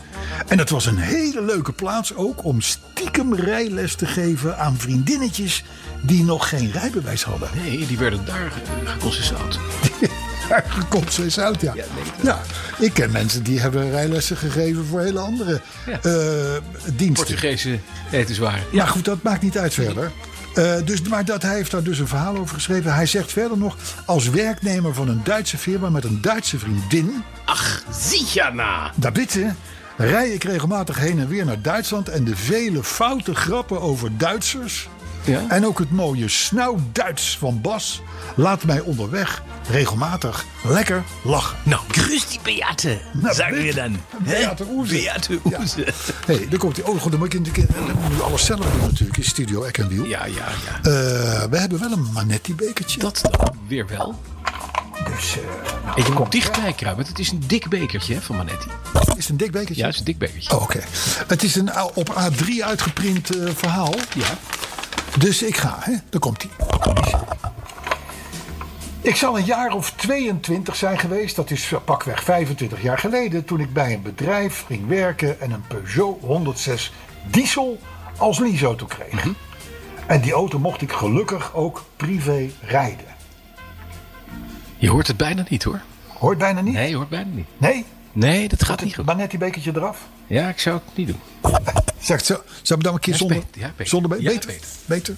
[SPEAKER 3] En dat was een hele leuke plaats ook om stiekem rijles te geven aan vriendinnetjes die nog geen rijbewijs hadden.
[SPEAKER 2] Nee, die werden daar eh, geconcenseerd.
[SPEAKER 3] Kop zo is uit, ja. Ja, ik ken mensen die hebben rijlessen gegeven voor hele andere
[SPEAKER 2] Ja.
[SPEAKER 3] eh, diensten.
[SPEAKER 2] Portugese etenswaren.
[SPEAKER 3] Maar goed, dat maakt niet uit verder. Eh, dus, maar dat, hij heeft daar dus een verhaal over geschreven. Hij zegt verder nog, als werknemer van een Duitse firma met een Duitse vriendin,
[SPEAKER 2] Ach, zie je na.
[SPEAKER 3] daar bitte, rij ik regelmatig heen en weer naar Duitsland en de vele foute grappen over Duitsers
[SPEAKER 2] Ja.
[SPEAKER 3] en ook het mooie snauw-Duits van Bas laat mij onderweg regelmatig lekker lachen.
[SPEAKER 5] Nou, grüß die Beate,
[SPEAKER 3] Nou,
[SPEAKER 5] sagen wir dann.
[SPEAKER 3] Beate Oeze.
[SPEAKER 5] Beate Use.
[SPEAKER 3] Hé, hey, daar komt hij. Oh, goed, dan moet ik natuurlijk- dan moet ik alles zelf doen natuurlijk in Studio Eck en Wiel.
[SPEAKER 2] Ja, ja, ja.
[SPEAKER 3] Eh, we hebben wel een Manetti-bekertje.
[SPEAKER 2] Dat dan weer wel.
[SPEAKER 3] Dus, eh,
[SPEAKER 2] En je moet dichtbij kruipen. Het is een dik bekertje hè, van Manetti.
[SPEAKER 3] Is het een dik bekertje?
[SPEAKER 2] Ja, het is een dik bekertje.
[SPEAKER 3] Oh, Oké. Het is een A- op A3 uitgeprint eh, verhaal.
[SPEAKER 2] Ja.
[SPEAKER 3] Dus ik ga, hè. Daar komt hij. Ik zal een jaar of 22 zijn geweest, dat is pakweg 25 jaar geleden, toen ik bij een bedrijf ging werken en een Peugeot 106 diesel als leaseauto kreeg.
[SPEAKER 2] Mhm.
[SPEAKER 3] En die auto mocht ik gelukkig ook privé rijden.
[SPEAKER 2] Je hoort het bijna niet hoor.
[SPEAKER 3] Hoort bijna niet?
[SPEAKER 2] Nee, je hoort bijna niet.
[SPEAKER 3] Nee?
[SPEAKER 2] Nee, dat gaat niet goed.
[SPEAKER 3] Maar net die bekertje eraf.
[SPEAKER 2] Ja, ik zou het niet doen.
[SPEAKER 3] Zegt ze, zou ik dan een keer
[SPEAKER 2] Ja,
[SPEAKER 3] zonder,
[SPEAKER 2] beter. Ja, beter.
[SPEAKER 3] zonder
[SPEAKER 2] Ja,
[SPEAKER 3] beter,
[SPEAKER 2] beter.
[SPEAKER 3] beter?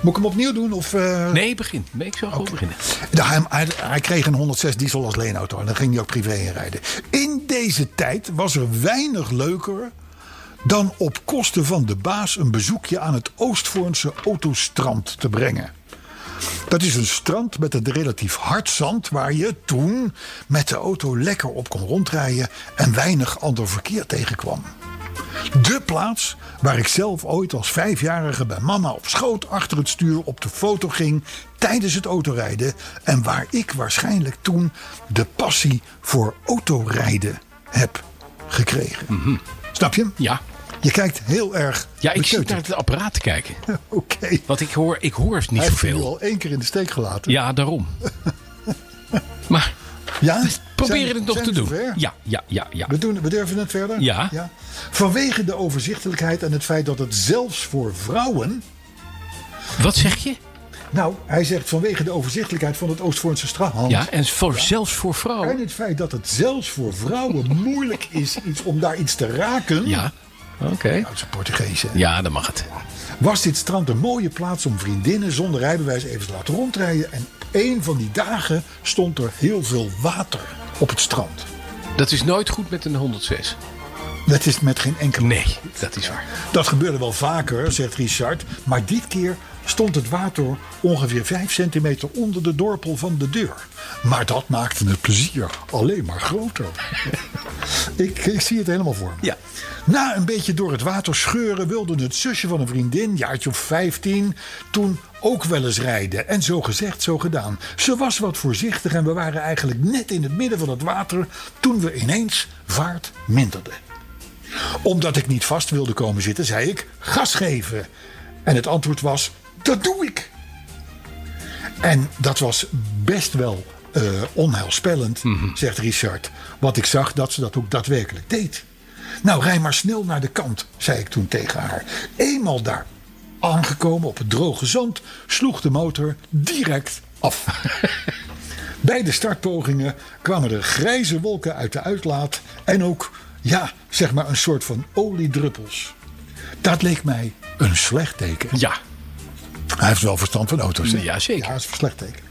[SPEAKER 3] Moet ik hem opnieuw doen? Of, eh,
[SPEAKER 2] Nee, begin. Nee, ik zou gewoon beginnen.
[SPEAKER 3] de- hij, hij- hij kreeg een 106 diesel als leenauto en dan ging hij ook privé in rijden. In deze tijd was er weinig leuker dan op kosten van de baas een bezoekje aan het Oostvoornse autostrand te brengen. Dat is een strand met het relatief hard zand waar je toen met de auto lekker op kon rondrijden en weinig ander verkeer tegenkwam. De plaats waar ik zelf ooit als vijfjarige bij mama op schoot achter het stuur op de foto ging tijdens het autorijden. En waar ik waarschijnlijk toen de passie voor autorijden heb gekregen. Snap je? hem?
[SPEAKER 2] Mhm. Ja.
[SPEAKER 3] Je kijkt heel erg.
[SPEAKER 2] Ja, ik zit
[SPEAKER 3] beteuterd.
[SPEAKER 2] naar het apparaat te kijken.
[SPEAKER 3] Oké.
[SPEAKER 2] Want ik hoor, ik hoor niet
[SPEAKER 3] Hij heeft je nu
[SPEAKER 2] zoveel.
[SPEAKER 3] al één keer in de steek gelaten.
[SPEAKER 2] Ja, daarom. Maar
[SPEAKER 3] Ja? Zijn-
[SPEAKER 2] proberen het nog
[SPEAKER 3] zijn
[SPEAKER 2] te
[SPEAKER 3] we
[SPEAKER 2] doen.
[SPEAKER 3] zover?
[SPEAKER 2] Ja, ja, ja, ja.
[SPEAKER 3] We, doen, we durven het verder?
[SPEAKER 2] Ja.
[SPEAKER 3] Vanwege de overzichtelijkheid en het feit dat het zelfs voor vrouwen
[SPEAKER 2] Wat zeg je?
[SPEAKER 3] Nou, hij zegt vanwege de overzichtelijkheid van het Oostvoornse strand.
[SPEAKER 2] Ja, en voor, zelfs voor vrouwen.
[SPEAKER 3] En het feit dat het zelfs voor vrouwen moeilijk is iets, om daar iets te raken.
[SPEAKER 2] Ja, oké.
[SPEAKER 3] Uit zijn Portugees, hè?
[SPEAKER 2] Ja, dan mag het.
[SPEAKER 3] Was dit strand een mooie plaats om vriendinnen zonder rijbewijs even te laten rondrijden. En op een van die dagen stond er heel veel water op het strand.
[SPEAKER 2] Dat is nooit goed met een 106.
[SPEAKER 3] Dat is met geen enkele.
[SPEAKER 2] Nee, dat is waar.
[SPEAKER 3] Dat gebeurde wel vaker, zegt Richard. Maar dit keer stond het water ongeveer 5 centimeter onder de dorpel van de deur. Maar dat maakte het plezier alleen maar groter. ik, ik zie het helemaal voor me.
[SPEAKER 2] Ja.
[SPEAKER 3] Na een beetje door het water scheuren wilde het zusje van een vriendin, jaartje of 15, toen ook wel eens rijden. En zo gezegd, zo gedaan. Ze was wat voorzichtig en we waren eigenlijk net in het midden van het water toen we ineens vaart minderden. Omdat ik niet vast wilde komen zitten, zei ik gas geven. En het antwoord was: dat doe ik. En dat was best wel eh, onheilspellend, zegt Richard. Want ik zag dat ze dat ook daadwerkelijk deed. Nou, rij maar snel naar de kant, zei ik toen tegen haar. Eenmaal daar aangekomen op het droge zand, sloeg de motor direct af. Bij de startpogingen kwamen er grijze wolken uit de uitlaat en ook, ja, zeg maar een soort van oliedruppels. Dat leek mij een slecht teken.
[SPEAKER 2] Ja,
[SPEAKER 3] Hij heeft wel verstand van auto's. hè?
[SPEAKER 2] Ja, zeker.
[SPEAKER 3] Ja, dat is een slecht teken.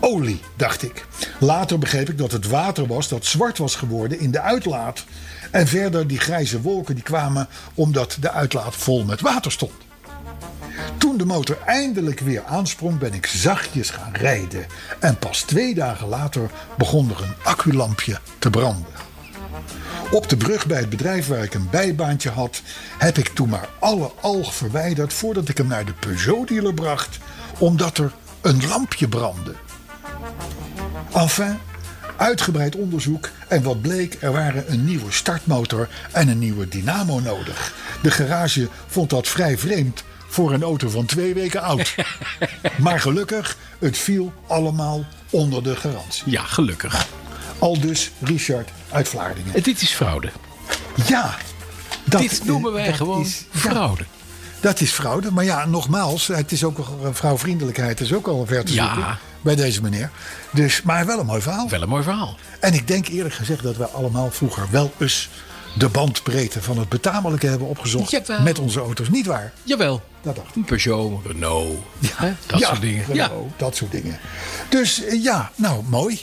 [SPEAKER 3] Olie, dacht ik. Later begreep ik dat het water was dat zwart was geworden in de uitlaat. En verder die grijze wolken die kwamen omdat de uitlaat vol met water stond. Toen de motor eindelijk weer aansprong, ben ik zachtjes gaan rijden. En pas twee dagen later begon er een acculampje te branden. Op de brug bij het bedrijf waar ik een bijbaantje had, heb ik toen maar alle alg verwijderd voordat ik hem naar de Peugeot-dealer bracht, omdat er een lampje brandde. Enfin, Uitgebreid onderzoek. En wat bleek, er waren een nieuwe startmotor en een nieuwe dynamo nodig. De garage vond dat vrij vreemd voor een auto van twee weken oud. maar gelukkig, het viel allemaal onder de garantie.
[SPEAKER 2] Ja, gelukkig.
[SPEAKER 3] Al dus Richard uit Vlaardingen.
[SPEAKER 2] En dit is fraude.
[SPEAKER 3] Ja, dat, eh,
[SPEAKER 2] dit noemen wij
[SPEAKER 3] dat
[SPEAKER 2] gewoon
[SPEAKER 3] is- ja,
[SPEAKER 2] fraude.
[SPEAKER 3] dat is fraude. Maar ja, nogmaals, het is ook al- vrouwvriendelijkheid is ook al ver te
[SPEAKER 2] Ja.
[SPEAKER 3] zoeken bij deze meneer. Dus, maar wel een mooi verhaal.
[SPEAKER 2] Wel een mooi verhaal.
[SPEAKER 3] En ik denk eerlijk gezegd dat wij allemaal vroeger wel eens de bandbreedte van het betamelijke hebben opgezocht
[SPEAKER 2] Jawel.
[SPEAKER 3] met onze auto's. Niet waar?
[SPEAKER 2] Jawel.
[SPEAKER 3] Dat dacht ik.
[SPEAKER 2] Een Peugeot, Renault, hè, dat
[SPEAKER 3] Ja,
[SPEAKER 2] soort dingen. Ja.
[SPEAKER 3] Renault, Dat soort dingen. Dus eh, ja, nou mooi.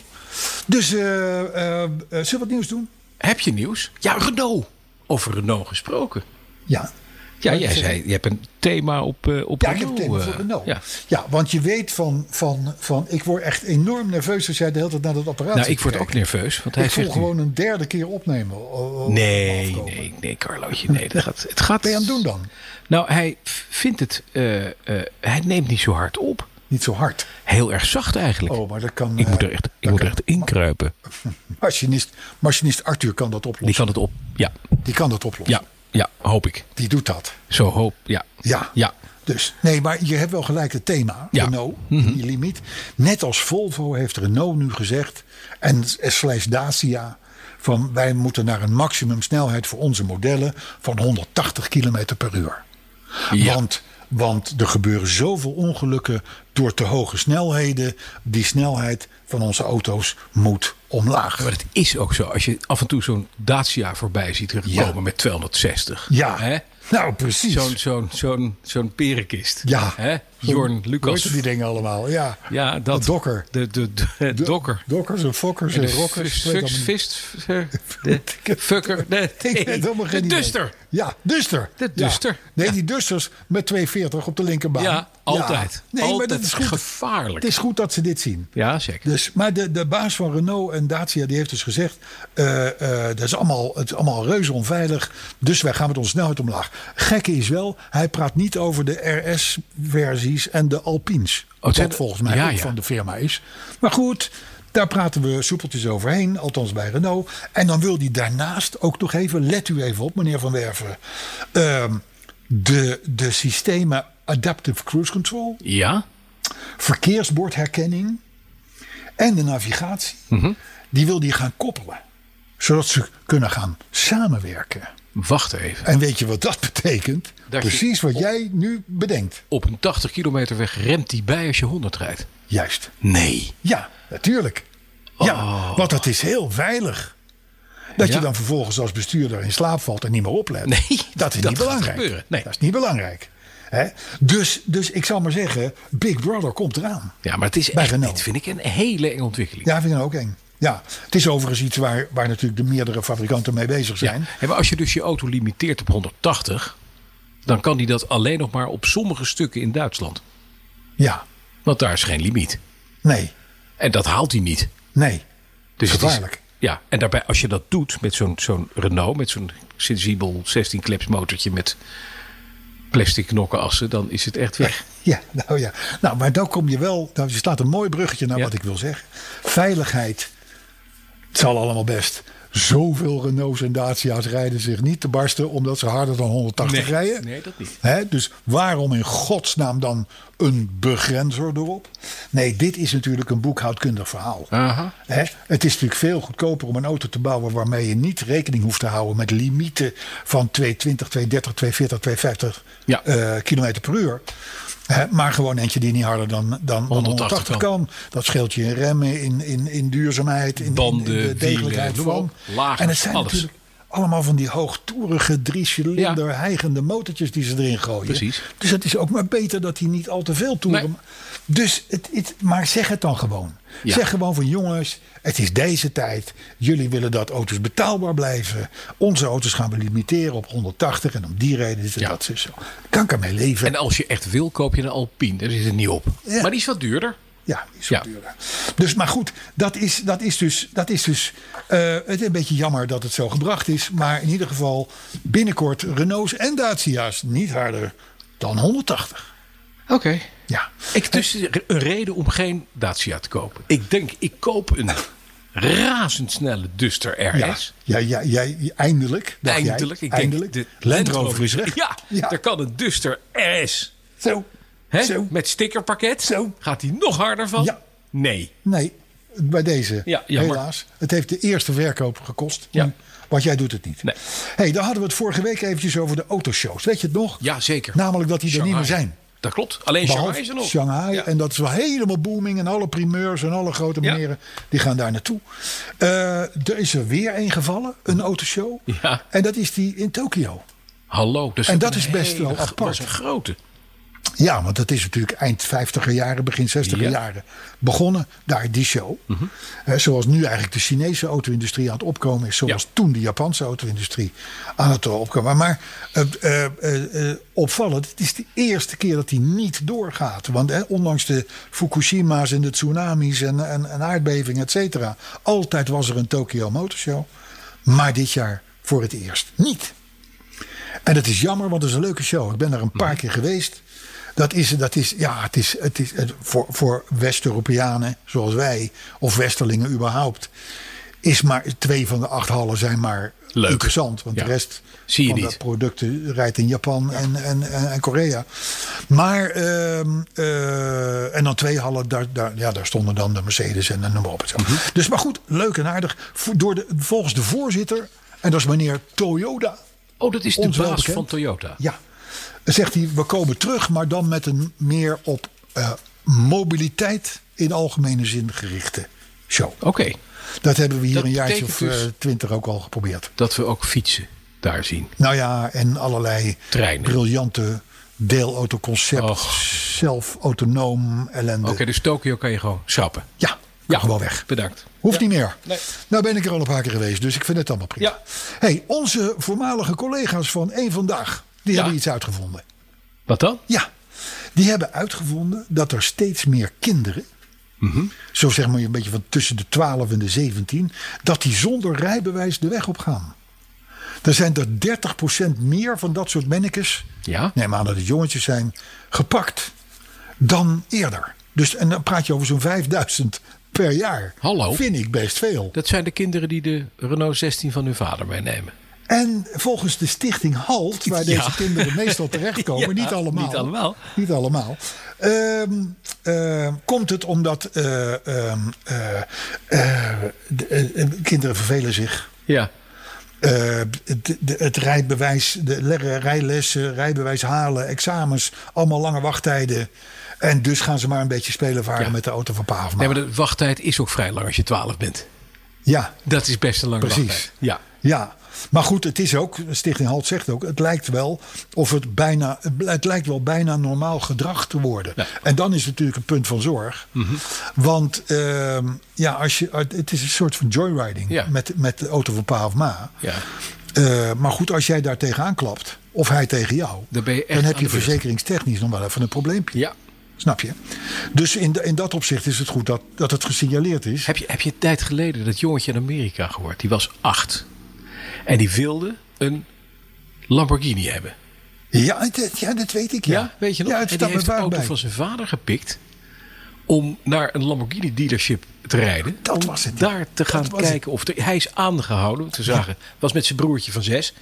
[SPEAKER 3] Dus eh, eh, eh, zullen we wat nieuws doen?
[SPEAKER 2] Heb je nieuws? Ja, Renault. Over Renault gesproken.
[SPEAKER 3] Ja.
[SPEAKER 2] Ja, jij zei, je hebt een thema op, eh, op
[SPEAKER 3] Ja, ik heb
[SPEAKER 2] Renault.
[SPEAKER 3] het thema
[SPEAKER 2] eh,
[SPEAKER 3] voor Renault.
[SPEAKER 2] ja.
[SPEAKER 3] Ja. want je weet van, van, van... Ik word echt enorm nerveus als jij de hele tijd naar dat apparaat
[SPEAKER 2] Nou,
[SPEAKER 3] zit
[SPEAKER 2] ik word
[SPEAKER 3] te
[SPEAKER 2] ook
[SPEAKER 3] kijken.
[SPEAKER 2] nerveus, want hij
[SPEAKER 3] Ik voel
[SPEAKER 2] zegt nu-
[SPEAKER 3] gewoon een derde keer opnemen. eh, o- o-
[SPEAKER 2] Nee,
[SPEAKER 3] afkomen.
[SPEAKER 2] nee, nee, Carlootje, nee. Dat gaat, het gaat...
[SPEAKER 3] Wat ben je aan het doen dan?
[SPEAKER 2] Nou, hij v- vindt het... eh, eh, hij neemt niet zo hard op.
[SPEAKER 3] Niet zo hard.
[SPEAKER 2] Heel erg zacht eigenlijk.
[SPEAKER 3] Oh, maar dat kan...
[SPEAKER 2] ik
[SPEAKER 3] eh,
[SPEAKER 2] moet er echt, ik
[SPEAKER 3] dat
[SPEAKER 2] moet er
[SPEAKER 3] kan-
[SPEAKER 2] echt inkruipen.
[SPEAKER 3] machinist, machinist Arthur kan dat oplossen.
[SPEAKER 2] Die kan het op... Ja,
[SPEAKER 3] Die kan dat oplossen.
[SPEAKER 2] ja, ja, hoop ik.
[SPEAKER 3] Die doet dat.
[SPEAKER 2] Zo hoop, ja.
[SPEAKER 3] Ja.
[SPEAKER 2] Ja,
[SPEAKER 3] Dus, nee, maar je hebt wel gelijk het thema.
[SPEAKER 2] Ja. Mhm.
[SPEAKER 3] Renault, die limiet. Net als Volvo heeft Renault nu gezegd. En slash Dacia. Van wij moeten naar een maximum snelheid voor onze modellen van 180 km per uur.
[SPEAKER 2] Ja.
[SPEAKER 3] Want, want er gebeuren zoveel ongelukken door te hoge snelheden. Die snelheid van onze auto's moet omlaag.
[SPEAKER 2] Maar het is ook zo. Als je af en toe zo'n Dacia voorbij ziet komen
[SPEAKER 3] Ja.
[SPEAKER 2] met 260.
[SPEAKER 3] Ja,
[SPEAKER 2] Hè?
[SPEAKER 3] nou precies.
[SPEAKER 2] Zo'n zo'n zo'n zo'n perenkist.
[SPEAKER 3] ja.
[SPEAKER 2] Hè?
[SPEAKER 3] Zo'n-
[SPEAKER 2] Jorn
[SPEAKER 3] hoe heet
[SPEAKER 2] Lucas.
[SPEAKER 3] die dingen allemaal. Ja,
[SPEAKER 2] Ja, dat.
[SPEAKER 3] De dokker.
[SPEAKER 2] De, de, de, de dokker.
[SPEAKER 3] Dokkers en fokkers
[SPEAKER 2] En
[SPEAKER 3] en
[SPEAKER 2] de
[SPEAKER 3] rockers.
[SPEAKER 2] fus-
[SPEAKER 3] weet allemaal
[SPEAKER 2] fus-
[SPEAKER 3] niet.
[SPEAKER 2] vist. ver- de Fucker. Nee,
[SPEAKER 3] Ik weet helemaal geen
[SPEAKER 2] de
[SPEAKER 3] idee.
[SPEAKER 2] duster.
[SPEAKER 3] Ja, duster.
[SPEAKER 2] De
[SPEAKER 3] Ja.
[SPEAKER 2] duster.
[SPEAKER 3] Nee, die dusters met 240 op de linkerbaan.
[SPEAKER 2] Ja, altijd.
[SPEAKER 3] Nee,
[SPEAKER 2] Altijd
[SPEAKER 3] maar dat is goed.
[SPEAKER 2] gevaarlijk.
[SPEAKER 3] Het is goed dat ze dit zien.
[SPEAKER 2] Ja, zeker.
[SPEAKER 3] Dus, maar de, de baas van Renault en Dacia die heeft dus gezegd... eh, eh, dat is allemaal, het is allemaal reuze onveilig, dus wij gaan met onze snelheid omlaag. Gekke is wel, hij praat niet over de RS-versies en de Alpines.
[SPEAKER 2] Oh, het zijn
[SPEAKER 3] dat
[SPEAKER 2] de-
[SPEAKER 3] volgens mij
[SPEAKER 2] ja,
[SPEAKER 3] ook
[SPEAKER 2] ja.
[SPEAKER 3] van de firma is. Maar goed, daar praten we soepeltjes overheen, althans bij Renault. En dan wil hij daarnaast ook nog even, let u even op meneer Van Werven... ehm, de, de systemen Adaptive Cruise Control
[SPEAKER 2] Ja?
[SPEAKER 3] verkeersbordherkenning en de navigatie,
[SPEAKER 2] Mhm.
[SPEAKER 3] die wil die gaan koppelen. Zodat ze kunnen gaan samenwerken.
[SPEAKER 2] Wacht even.
[SPEAKER 3] En weet je wat dat betekent?
[SPEAKER 2] Dat je-
[SPEAKER 3] Precies wat jij nu bedenkt.
[SPEAKER 2] Op een 80 kilometer weg remt die bij als je 100 rijdt.
[SPEAKER 3] Juist.
[SPEAKER 2] Nee.
[SPEAKER 3] Ja, natuurlijk. Ja, want dat is heel veilig. Dat
[SPEAKER 2] Oh. Ja.
[SPEAKER 3] je dan vervolgens als bestuurder in slaap valt en niet meer oplet.
[SPEAKER 2] Nee, dat
[SPEAKER 3] dat is niet
[SPEAKER 2] gaat
[SPEAKER 3] belangrijk.
[SPEAKER 2] gebeuren. Nee.
[SPEAKER 3] Dat is niet belangrijk. Hè? Dus, dus ik zal maar zeggen, Big Brother komt eraan.
[SPEAKER 2] Ja, maar het is
[SPEAKER 3] Bij
[SPEAKER 2] echt,
[SPEAKER 3] Renault.
[SPEAKER 2] dit vind ik een hele enge ontwikkeling.
[SPEAKER 3] Ja, vind ik dan ook eng. Ja, het is overigens iets waar, waar natuurlijk de meerdere fabrikanten mee bezig zijn.
[SPEAKER 2] Ja. En maar als je dus je auto limiteert op 180, dan kan die dat alleen nog maar op sommige stukken in Duitsland.
[SPEAKER 3] Ja.
[SPEAKER 2] Want daar is geen limiet.
[SPEAKER 3] Nee.
[SPEAKER 2] En dat haalt hij niet.
[SPEAKER 3] Nee.
[SPEAKER 2] Dus het is-
[SPEAKER 3] Gevaarlijk.
[SPEAKER 2] ja, en daarbij als je dat doet met zo'n zo'n Renault, met zo'n sensibel 16 kleps motortje met plastic knokkenassen, dan is het echt weg.
[SPEAKER 3] Ja, nou ja. Nou, maar dan kom je wel. Nou, je slaat een mooi bruggetje naar
[SPEAKER 2] Ja.
[SPEAKER 3] wat ik wil zeggen. Veiligheid. Het zal allemaal best. Zoveel Renaults en Dacia's rijden zich niet te barsten omdat ze harder dan 180
[SPEAKER 2] Nee,
[SPEAKER 3] rijden.
[SPEAKER 2] nee, dat niet.
[SPEAKER 3] Hè, dus waarom in godsnaam dan een begrenzer erop? Nee, dit is natuurlijk een boekhoudkundig verhaal.
[SPEAKER 2] Aha.
[SPEAKER 3] Hè? Het is natuurlijk veel goedkoper om een auto te bouwen waarmee je niet rekening hoeft te houden met limieten van 220, 230, 240, 250
[SPEAKER 2] Ja.
[SPEAKER 3] eh, kilometer per uur. Hè, maar gewoon eentje die niet harder dan, dan, dan
[SPEAKER 2] 180
[SPEAKER 3] 180 kan. Dat scheelt je in remmen, in, in, in duurzaamheid, in, in-
[SPEAKER 2] Banden,
[SPEAKER 3] in de
[SPEAKER 2] wielen,
[SPEAKER 3] degelijkheid
[SPEAKER 2] noem maar
[SPEAKER 3] van.
[SPEAKER 2] op. Lagers,
[SPEAKER 3] en het zijn
[SPEAKER 2] alles.
[SPEAKER 3] natuurlijk allemaal van die hoogtoerige drie cilinder hijgende motortjes die ze erin gooien.
[SPEAKER 2] Precies.
[SPEAKER 3] Dus het is ook maar beter dat hij niet al te veel toeren. Dus het, het, maar zeg het dan gewoon.
[SPEAKER 2] Ja.
[SPEAKER 3] Zeg gewoon van jongens, het is deze tijd. Jullie willen dat auto's betaalbaar blijven. Onze auto's gaan we limiteren op 180 en om die reden is het
[SPEAKER 2] Ja.
[SPEAKER 3] dat zo. zo. Kan ik ermee leven.
[SPEAKER 2] En als je echt wil, koop je een Alpine. Daar zit het niet op.
[SPEAKER 3] Ja.
[SPEAKER 2] Maar die is wat duurder.
[SPEAKER 3] Ja, is
[SPEAKER 2] Ja.
[SPEAKER 3] wat duurder. Dus, maar goed, dat is, dat is dus, dat is dus eh, het is een beetje jammer dat het zo gebracht is. Maar in ieder geval binnenkort Renaults en Dacia's niet harder dan 180.
[SPEAKER 2] Oké.
[SPEAKER 3] Ja,
[SPEAKER 2] Ik dus een reden om geen Dacia te kopen. Ik denk, ik koop een razendsnelle Duster
[SPEAKER 3] Ja,
[SPEAKER 2] RS.
[SPEAKER 3] ja, ja, ja, eindelijk. dacht jij.
[SPEAKER 2] Eindelijk. Ik
[SPEAKER 3] eindelijk.
[SPEAKER 2] Denk,
[SPEAKER 3] de Land Rover is weg.
[SPEAKER 2] Ja,
[SPEAKER 3] Ja.
[SPEAKER 2] daar kan een Duster RS.
[SPEAKER 3] Zo.
[SPEAKER 2] Hè?
[SPEAKER 3] Zo.
[SPEAKER 2] Met stickerpakket.
[SPEAKER 3] Zo.
[SPEAKER 2] Gaat hij nog harder van?
[SPEAKER 3] Ja.
[SPEAKER 2] Nee.
[SPEAKER 3] Nee, bij deze.
[SPEAKER 2] Ja, jammer.
[SPEAKER 3] helaas. Het heeft de eerste verkoop gekost.
[SPEAKER 2] Ja.
[SPEAKER 3] Want jij doet het niet.
[SPEAKER 2] Nee.
[SPEAKER 3] hey, daar hadden we het vorige week eventjes over de autoshows. Weet je het nog?
[SPEAKER 2] Ja, zeker.
[SPEAKER 3] Namelijk dat die er
[SPEAKER 2] Shanghai.
[SPEAKER 3] niet meer zijn.
[SPEAKER 2] Dat klopt. Alleen Shanghai is er nog.
[SPEAKER 3] Shanghai.
[SPEAKER 2] Ja.
[SPEAKER 3] En dat is wel helemaal booming. En alle primeurs en alle grote
[SPEAKER 2] Ja.
[SPEAKER 3] meneren die gaan daar naartoe. Eh, er is er weer een gevallen, een autoshow.
[SPEAKER 2] Ja.
[SPEAKER 3] En dat is die in Tokio.
[SPEAKER 2] Hallo. Dus
[SPEAKER 3] En dat
[SPEAKER 2] een
[SPEAKER 3] is best
[SPEAKER 2] hele
[SPEAKER 3] wel
[SPEAKER 2] gro-
[SPEAKER 3] apart.
[SPEAKER 2] Dat is een grote.
[SPEAKER 3] Ja, want dat is natuurlijk eind 50er jaren, begin 60er
[SPEAKER 2] Ja. Mhm.
[SPEAKER 3] jaren begonnen. Daar die show. Eh, zoals nu eigenlijk de Chinese auto-industrie aan het opkomen is. Zoals
[SPEAKER 2] Ja.
[SPEAKER 3] toen de Japanse auto-industrie aan het opkomen. Maar eh, eh, eh, eh, opvallend, het is de eerste keer dat die niet doorgaat. Want eh, ondanks de Fukushima's en de tsunamis en, en, en aardbevingen, et cetera. Altijd was er een Tokyo Motorshow. Maar dit jaar voor het eerst niet. En dat is jammer, want het is een leuke show. Ik ben daar een
[SPEAKER 2] Mhm.
[SPEAKER 3] paar keer geweest. Dat is, dat is, ja, het is, het is het- voor, voor West-Europeanen zoals wij, of Westerlingen überhaupt, is maar twee van de acht hallen zijn maar
[SPEAKER 2] Leuk.
[SPEAKER 3] interessant. Want
[SPEAKER 2] Ja.
[SPEAKER 3] de rest
[SPEAKER 2] Zie je
[SPEAKER 3] van
[SPEAKER 2] niet.
[SPEAKER 3] de producten rijdt in Japan en, en, en, en Korea. Maar, ehm, eh, en dan twee hallen, daar, daar, ja, daar stonden dan de Mercedes en de noem maar op. En zo.
[SPEAKER 2] Mhm.
[SPEAKER 3] Dus maar goed, leuk en aardig. Vo- Door de, volgens de voorzitter, en dat is meneer Toyoda.
[SPEAKER 2] Oh, dat is de
[SPEAKER 3] Ons wel
[SPEAKER 2] baas
[SPEAKER 3] bekend.
[SPEAKER 2] van Toyota.
[SPEAKER 3] Ja. Zegt hij, we komen terug, maar dan met een meer op eh, mobiliteit in algemene zin gerichte show.
[SPEAKER 2] Oké.
[SPEAKER 3] Dat hebben we hier
[SPEAKER 2] Dat
[SPEAKER 3] een jaartje of eh,
[SPEAKER 2] betekent dus-
[SPEAKER 3] twintig ook al geprobeerd.
[SPEAKER 2] Dat we ook fietsen daar zien.
[SPEAKER 3] Nou ja, en allerlei
[SPEAKER 2] Treinen.
[SPEAKER 3] briljante deelautoconcepten.
[SPEAKER 2] Och.
[SPEAKER 3] Zelf autonoom ellende.
[SPEAKER 2] Oké, dus Tokio kan je gewoon schrappen.
[SPEAKER 3] Ja,
[SPEAKER 2] Ja,
[SPEAKER 3] gewoon weg.
[SPEAKER 2] Bedankt.
[SPEAKER 3] Hoeft niet meer.
[SPEAKER 2] Nee.
[SPEAKER 3] Nou ben ik er al een paar keer geweest, dus ik vind het allemaal prima.
[SPEAKER 2] Ja.
[SPEAKER 3] Hey, onze voormalige collega's van Eén Vandaag, die
[SPEAKER 2] Ja.
[SPEAKER 3] hebben iets uitgevonden.
[SPEAKER 2] Wat dan?
[SPEAKER 3] Ja, die hebben uitgevonden dat er steeds meer kinderen,
[SPEAKER 2] Mhm.
[SPEAKER 3] zo zeg maar een beetje van tussen de 12 en de 17, dat die zonder rijbewijs de weg op gaan. Er zijn er 30% meer van dat soort mannekes,
[SPEAKER 2] Ja.
[SPEAKER 3] neem aan dat het jongetjes zijn, gepakt dan eerder. Dus, en dan praat je over zo'n 5000 per jaar.
[SPEAKER 2] Hallo.
[SPEAKER 3] Vind ik best veel.
[SPEAKER 2] Dat zijn de kinderen die de Renault 16 van hun vader meenemen.
[SPEAKER 3] En volgens de stichting HALT,
[SPEAKER 2] Ja.
[SPEAKER 3] waar deze kinderen meestal terechtkomen,
[SPEAKER 2] Ja,
[SPEAKER 3] niet allemaal.
[SPEAKER 2] niet allemaal.
[SPEAKER 3] Niet allemaal. ehm, ehm, komt het omdat eh, ehm, eh, eh, de- eh, eh, kinderen vervelen zich.
[SPEAKER 2] Ja.
[SPEAKER 3] Eh, het, de- het rijbewijs, de le- rijlessen, rijbewijs halen, examens, allemaal lange wachttijden. En dus gaan ze maar een beetje spelen varen
[SPEAKER 2] Ja.
[SPEAKER 3] met de auto van Paaf.
[SPEAKER 2] Nee, maar de wachttijd is ook vrij lang als je 12 bent.
[SPEAKER 3] Ja,
[SPEAKER 2] Dat is best een lange
[SPEAKER 3] Precies.
[SPEAKER 2] wachttijd. Ja.
[SPEAKER 3] Ja, maar goed, het is ook, Stichting Halt zegt ook, het lijkt wel of het bijna, het lijkt wel bijna normaal gedrag te worden.
[SPEAKER 2] Ja. Mhm.
[SPEAKER 3] En dan is het natuurlijk een punt van zorg. Want ehm, ja, als je, het is een soort van joyriding
[SPEAKER 2] Ja.
[SPEAKER 3] met, met de auto van pa of ma.
[SPEAKER 2] Ja.
[SPEAKER 3] Eh, maar goed, als jij daar tegenaan klapt, of hij tegen jou,
[SPEAKER 2] Dan ben je echt
[SPEAKER 3] heb
[SPEAKER 2] aan
[SPEAKER 3] je
[SPEAKER 2] de beurt.
[SPEAKER 3] verzekeringstechnisch nog wel even een probleempje.
[SPEAKER 2] Ja.
[SPEAKER 3] Snap je? Dus in, de- in dat opzicht is het goed dat, dat het gesignaleerd is.
[SPEAKER 2] Heb je, heb je een tijd geleden dat jongetje in Amerika gehoord? Die was acht. En die wilde een Lamborghini hebben.
[SPEAKER 3] Ja, dat, ja, dat weet ik. Ja,
[SPEAKER 2] weet je nog?
[SPEAKER 3] Ja, het
[SPEAKER 2] en die
[SPEAKER 3] staat me
[SPEAKER 2] heeft de
[SPEAKER 3] vaak
[SPEAKER 2] auto
[SPEAKER 3] bij.
[SPEAKER 2] van zijn vader gepikt om naar een Lamborghini dealership te rijden.
[SPEAKER 3] Dat
[SPEAKER 2] om
[SPEAKER 3] was het, ja.
[SPEAKER 2] Daar te
[SPEAKER 3] Dat
[SPEAKER 2] gaan
[SPEAKER 3] was het.
[SPEAKER 2] kijken of er- hij is aangehouden. Te zagen, was met zijn broertje van zes.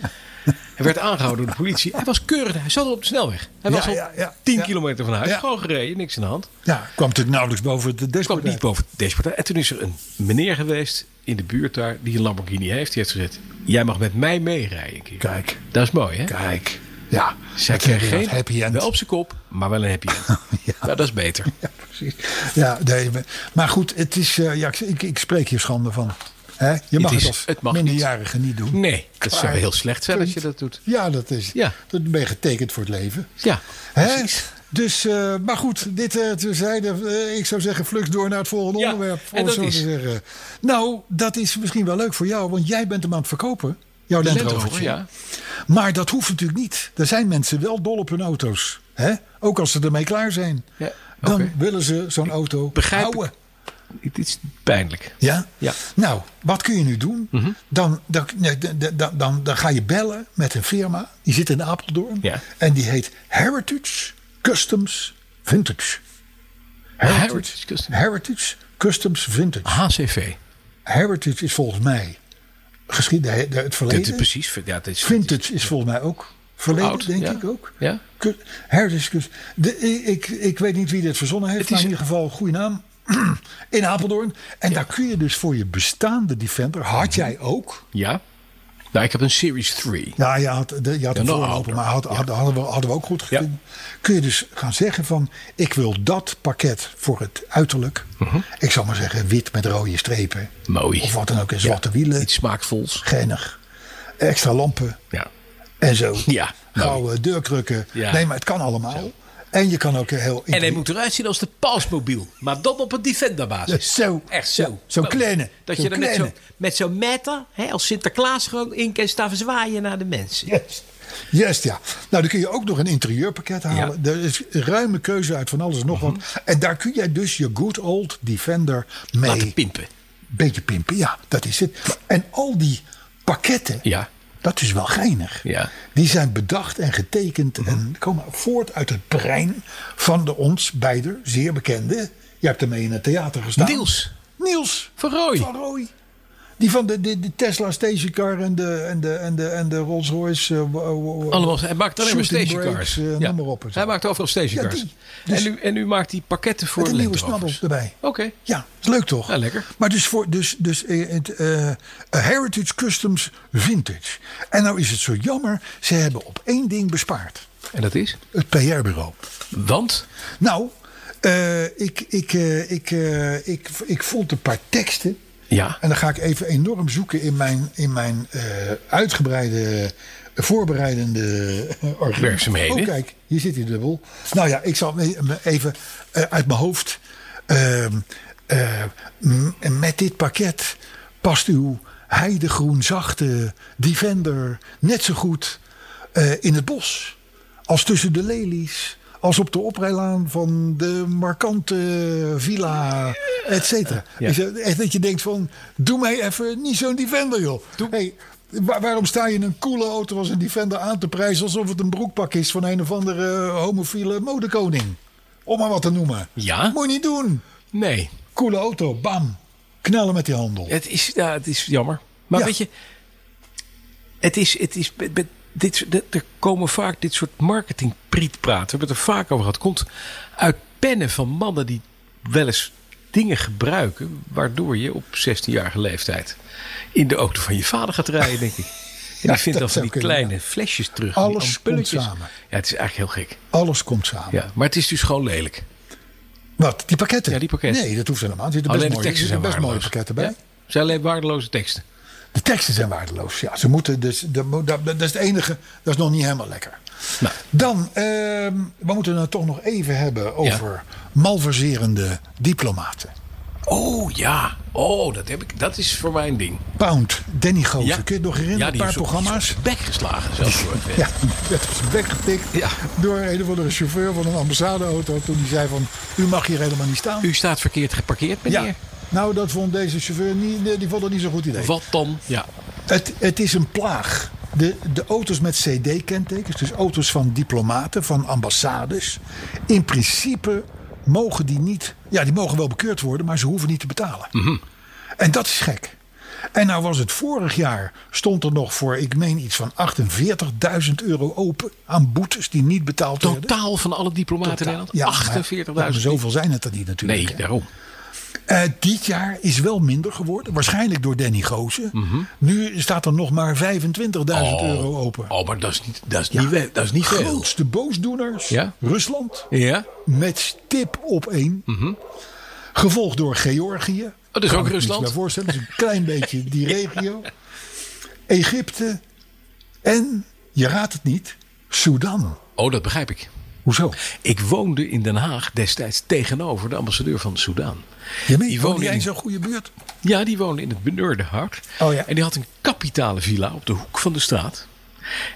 [SPEAKER 2] Hij werd aangehouden door de politie. Hij was keurig. Hij zat al op de snelweg. Hij
[SPEAKER 3] Ja,
[SPEAKER 2] was al
[SPEAKER 3] ja, ja,
[SPEAKER 2] 10
[SPEAKER 3] ja.
[SPEAKER 2] kilometer van huis.
[SPEAKER 3] Ja.
[SPEAKER 2] Gewoon gereden, niks aan de hand.
[SPEAKER 3] Ja, kwam natuurlijk nauwelijks boven de
[SPEAKER 2] Ik kwam
[SPEAKER 3] dashboard.
[SPEAKER 2] niet boven deze partij. En toen is er een meneer geweest in de buurt daar die een Lamborghini heeft. Die heeft gezegd: Jij mag met mij meerijden. een keer."
[SPEAKER 3] Kijk.
[SPEAKER 2] Dat is mooi, hè?
[SPEAKER 3] Kijk. Ja,
[SPEAKER 2] Zij
[SPEAKER 3] dan krijg
[SPEAKER 2] kreeg
[SPEAKER 3] je
[SPEAKER 2] geen
[SPEAKER 3] dat happy end.
[SPEAKER 2] Wel op zijn kop, maar wel een happy end.
[SPEAKER 3] Ja.
[SPEAKER 2] Nou, dat is beter.
[SPEAKER 3] Ja, precies. Ja, nee, maar- maar goed, het is, eh, ja, ik, ik, ik spreek hier schande van. Hè? Je mag
[SPEAKER 2] Het
[SPEAKER 3] het,
[SPEAKER 2] is-
[SPEAKER 3] als
[SPEAKER 2] het mag niet.
[SPEAKER 3] minderjarige niet, doen.
[SPEAKER 2] Nee, dat zou
[SPEAKER 3] Klaar.
[SPEAKER 2] heel slecht zijn als je dat doet.
[SPEAKER 3] Ja, dat is.
[SPEAKER 2] Ja.
[SPEAKER 3] Dan ben je getekend voor het leven.
[SPEAKER 2] Ja,
[SPEAKER 3] Hè?
[SPEAKER 2] precies.
[SPEAKER 3] Dus, eh, maar goed, dit eh terzijde. Eh, ik zou zeggen, flux door naar het volgende
[SPEAKER 2] Ja,
[SPEAKER 3] onderwerp.
[SPEAKER 2] en
[SPEAKER 3] om het
[SPEAKER 2] dat
[SPEAKER 3] zo
[SPEAKER 2] is?
[SPEAKER 3] te zeggen. Nou, dat is misschien wel leuk voor jou, want jij bent hem aan het verkopen. Jouw
[SPEAKER 2] De
[SPEAKER 3] Land
[SPEAKER 2] Land
[SPEAKER 3] Rovertje.
[SPEAKER 2] Rover, ja.
[SPEAKER 3] Maar dat hoeft natuurlijk niet. Er zijn mensen wel dol op hun auto's. Hè? Ook als ze ermee klaar zijn.
[SPEAKER 2] Ja,
[SPEAKER 3] Dan
[SPEAKER 2] oké.
[SPEAKER 3] willen ze zo'n auto
[SPEAKER 2] begrijp het.
[SPEAKER 3] houden.
[SPEAKER 2] Het is pijnlijk.
[SPEAKER 3] Ja?
[SPEAKER 2] Ja. Mhm.
[SPEAKER 3] Nou, wat kun je nu doen? dan, dan, nee, dan, dan, dan, dan ga je bellen met een firma. Die zit in Apeldoorn.
[SPEAKER 2] Ja.
[SPEAKER 3] En die heet Heritage Customs Vintage.
[SPEAKER 2] Heritage Customs.
[SPEAKER 3] Heritage Customs Vintage.
[SPEAKER 2] HCV.
[SPEAKER 3] Heritage is volgens mij geschiedenis, het
[SPEAKER 2] Dit is
[SPEAKER 3] verleden.
[SPEAKER 2] precies. Ja, dit is,
[SPEAKER 3] Vintage is volgens mij ook verleden,
[SPEAKER 2] Oud,
[SPEAKER 3] denk
[SPEAKER 2] ja.
[SPEAKER 3] ik ook.
[SPEAKER 2] Ja.
[SPEAKER 3] Ku- Heritage Kunst. De, ik, ik, ik weet niet wie dit verzonnen heeft,
[SPEAKER 2] is
[SPEAKER 3] maar in ieder geval een goede naam. In Apeldoorn. En daar kun je dus voor je bestaande Defender,
[SPEAKER 2] Mhm.
[SPEAKER 3] had jij ook.
[SPEAKER 2] Ja. Nou, ik heb een Series 3.
[SPEAKER 3] Ja, je had, de, je had een
[SPEAKER 2] nog
[SPEAKER 3] voorloper,
[SPEAKER 2] ouder.
[SPEAKER 3] maar had, had- hadden, we, hadden we ook goed
[SPEAKER 2] nou, Ja.
[SPEAKER 3] gekund. Kun je dus gaan zeggen van, ik wil dat pakket voor het uiterlijk. Ik zal maar zeggen, wit met rode strepen.
[SPEAKER 2] Mhm. Mooi.
[SPEAKER 3] Of wat dan ook, en zwarte wielen.
[SPEAKER 2] Iets smaakvols.
[SPEAKER 3] Geinig. Extra lampen
[SPEAKER 2] Ja.
[SPEAKER 3] en zo.
[SPEAKER 2] Ja, mooi.
[SPEAKER 3] Gouden deurkrukken.
[SPEAKER 2] Ja.
[SPEAKER 3] Nee, maar het kan allemaal. En je kan ook eh, heel...
[SPEAKER 5] En hij moet eruit zien als de pausmobiel. Maar dan op een Defender-basis.
[SPEAKER 3] Zo.
[SPEAKER 5] Echt zo.
[SPEAKER 3] Ja,
[SPEAKER 2] Oh,
[SPEAKER 3] zo'n
[SPEAKER 5] Mooi.
[SPEAKER 3] kleine.
[SPEAKER 5] Dat
[SPEAKER 3] Zo'n
[SPEAKER 5] je er met
[SPEAKER 3] kleine.
[SPEAKER 5] zo'n met zo'n meter, hè, als Sinterklaas, gewoon in kan staan zwaaien naar de mensen.
[SPEAKER 3] Yes. Yes, ja. Nou, dan kun je ook nog een interieurpakket halen. Er is ruime keuze uit van alles en nog
[SPEAKER 2] Mhm.
[SPEAKER 3] wat. En daar kun jij dus je good old Defender
[SPEAKER 5] Laten
[SPEAKER 3] mee
[SPEAKER 5] pimpen.
[SPEAKER 3] beetje pimpen. Ja, dat is het. En al die pakketten,
[SPEAKER 2] Ja.
[SPEAKER 3] dat is wel geinig.
[SPEAKER 2] Ja. Mhm.
[SPEAKER 3] Die zijn bedacht en getekend en komen voort uit het brein van de ons beide zeer bekende. Je hebt ermee in het theater gestaan.
[SPEAKER 2] Niels.
[SPEAKER 3] Niels
[SPEAKER 2] Van Rooij.
[SPEAKER 3] Van Rooij. Die van de, de, de Tesla stationcar en de, en de, en de, en de Rolls Royce. eh, wa- wa- wa-
[SPEAKER 2] Allemaal, hij maakt alleen maar
[SPEAKER 3] shooting
[SPEAKER 2] stationcars.
[SPEAKER 3] brakes, eh,
[SPEAKER 2] Ja.
[SPEAKER 3] Noem maar op. en zo.
[SPEAKER 2] Hij maakt overal stationcars.
[SPEAKER 3] Ja, die. Dus-
[SPEAKER 2] en, nu, en nu maakt hij pakketten voor
[SPEAKER 3] Met een nieuwe
[SPEAKER 2] Land
[SPEAKER 3] snabbel
[SPEAKER 2] Rovers.
[SPEAKER 3] erbij.
[SPEAKER 2] Oké.
[SPEAKER 3] Ja, is leuk toch?
[SPEAKER 2] Ja, lekker.
[SPEAKER 3] Maar dus voor dus, dus, eh, het, eh, eh, Heritage Customs Vintage. En nou is het zo jammer, ze hebben op één ding bespaard.
[SPEAKER 2] En dat is?
[SPEAKER 3] Het PR-bureau.
[SPEAKER 2] Want?
[SPEAKER 3] Nou, eh, ik, ik, eh, ik, eh, ik, ik vond een paar teksten.
[SPEAKER 2] Ja.
[SPEAKER 3] En dan ga ik even enorm zoeken in mijn, in mijn eh, uitgebreide voorbereidende organisatie.
[SPEAKER 2] Werkzaamheden.
[SPEAKER 3] Oh, kijk, hier zit hij dubbel. Nou ja, ik zal me- even eh, uit mijn hoofd. ehm, eh, m- met dit pakket past uw heidegroen zachte Defender net zo goed eh, in het bos. Als tussen de lelies. Als op de oprijlaan van de markante villa, et cetera. Is het Echt dat je denkt van, doe mij even niet zo'n Defender, joh. Hey, wa- waarom sta je een coole auto als een Defender aan te prijzen... alsof het een broekpak is van een of andere eh, homofiele modekoning? Om maar wat te noemen.
[SPEAKER 2] Ja.
[SPEAKER 3] Moet je niet doen.
[SPEAKER 2] Nee.
[SPEAKER 3] Coole auto, bam. Knallen met die handel.
[SPEAKER 2] Het is, ja, het is jammer. Maar
[SPEAKER 3] Ja.
[SPEAKER 2] weet je, het is, het is, met- met dit, soort- dat- er komen vaak dit soort marketingprietpraten. We hebben het er vaak over gehad. Komt uit pennen van mannen die wel eens dingen gebruiken. Waardoor je op 16-jarige leeftijd in de auto van je vader gaat rijden, denk ik. En
[SPEAKER 3] Ja,
[SPEAKER 2] die vindt
[SPEAKER 3] dat
[SPEAKER 2] dan van
[SPEAKER 3] zou
[SPEAKER 2] die
[SPEAKER 3] kunnen,
[SPEAKER 2] kleine flesjes terug.
[SPEAKER 3] Alles
[SPEAKER 2] die
[SPEAKER 3] komt
[SPEAKER 2] ampulletjes.
[SPEAKER 3] samen.
[SPEAKER 2] Ja, het is eigenlijk heel gek.
[SPEAKER 3] Alles komt samen.
[SPEAKER 2] Ja, maar het is dus gewoon lelijk.
[SPEAKER 3] Wat, die pakketten?
[SPEAKER 2] Ja, die pakketten.
[SPEAKER 3] Nee, dat hoeft helemaal niet. Er zitten
[SPEAKER 2] Alleen
[SPEAKER 3] best,
[SPEAKER 2] de
[SPEAKER 3] mooie, er
[SPEAKER 2] teksten zijn
[SPEAKER 3] zitten best mooie
[SPEAKER 2] waardeloos.
[SPEAKER 3] pakketten bij.
[SPEAKER 2] Ja, het zijn alleen waardeloze teksten.
[SPEAKER 3] De teksten zijn waardeloos. Ja, ze moeten dus, de, mo- dat, dat is het enige, dat is nog niet helemaal lekker.
[SPEAKER 2] Nou.
[SPEAKER 3] Dan, ehm, we moeten het toch nog even hebben over malverserende diplomaten.
[SPEAKER 2] Oh ja, oh, dat, heb ik, dat is voor mij een ding.
[SPEAKER 3] Pound, Danny Gozer,
[SPEAKER 2] Ja.
[SPEAKER 3] Oh, kun je het nog herinneren?
[SPEAKER 2] die
[SPEAKER 3] een paar
[SPEAKER 2] is op-
[SPEAKER 3] programma's.
[SPEAKER 2] is op Bek geslagen zelfs. hoor.
[SPEAKER 3] Ja, dat is weggetikt
[SPEAKER 2] Ja.
[SPEAKER 3] door een of andere chauffeur van een ambassadeauto. Toen die zei van, u mag hier helemaal niet staan.
[SPEAKER 2] U staat verkeerd geparkeerd, meneer.
[SPEAKER 3] ja. Nou, dat vond deze chauffeur niet, die vond dat niet zo'n goed idee.
[SPEAKER 2] Wat dan? Ja.
[SPEAKER 3] Het, het is een plaag. De, de auto's met CD-kentekens, dus auto's van diplomaten, van ambassades. In principe mogen die niet. Ja, die mogen wel bekeurd worden, maar ze hoeven niet te betalen.
[SPEAKER 2] Mhm.
[SPEAKER 3] En dat is gek. En nou was het vorig jaar, stond er nog voor, ik meen iets van 48.000 euro open aan boetes die niet betaald werden.
[SPEAKER 2] Totaal van alle diplomaten in
[SPEAKER 3] Ja, maar-
[SPEAKER 2] Nederland?
[SPEAKER 3] ja, maar
[SPEAKER 2] 48.000.
[SPEAKER 3] Zoveel zijn het er niet natuurlijk.
[SPEAKER 2] Nee,
[SPEAKER 3] hè.
[SPEAKER 2] daarom.
[SPEAKER 3] Eh, dit jaar is wel minder geworden. Waarschijnlijk door Danny Gozen. Nu staat er nog maar 25.000 euro open.
[SPEAKER 2] Mhm. Oh, maar dat is niet, dat is niet, we- dat is niet veel.
[SPEAKER 3] Grootste boosdoeners.
[SPEAKER 2] Ja.
[SPEAKER 3] Rusland.
[SPEAKER 2] Ja?
[SPEAKER 3] Met stip op één. Gevolgd door Georgië.
[SPEAKER 2] Oh, Mhm. dat is ook
[SPEAKER 3] Moet je je
[SPEAKER 2] Rusland.
[SPEAKER 3] maar voorstellen. Dus een klein beetje die regio. Egypte. En, je raadt het niet, Sudan.
[SPEAKER 2] Oh, dat begrijp ik.
[SPEAKER 3] Hoezo?
[SPEAKER 2] Ik woonde in Den Haag destijds tegenover de ambassadeur van Soudaan.
[SPEAKER 3] Je meent,
[SPEAKER 2] Die
[SPEAKER 3] woon
[SPEAKER 2] wonen
[SPEAKER 3] jij in
[SPEAKER 2] in-
[SPEAKER 3] zo'n goede buurt?
[SPEAKER 2] Ja, die woonde in het benurde hart.
[SPEAKER 3] Oh ja.
[SPEAKER 2] En die had een kapitale villa op de hoek van de straat.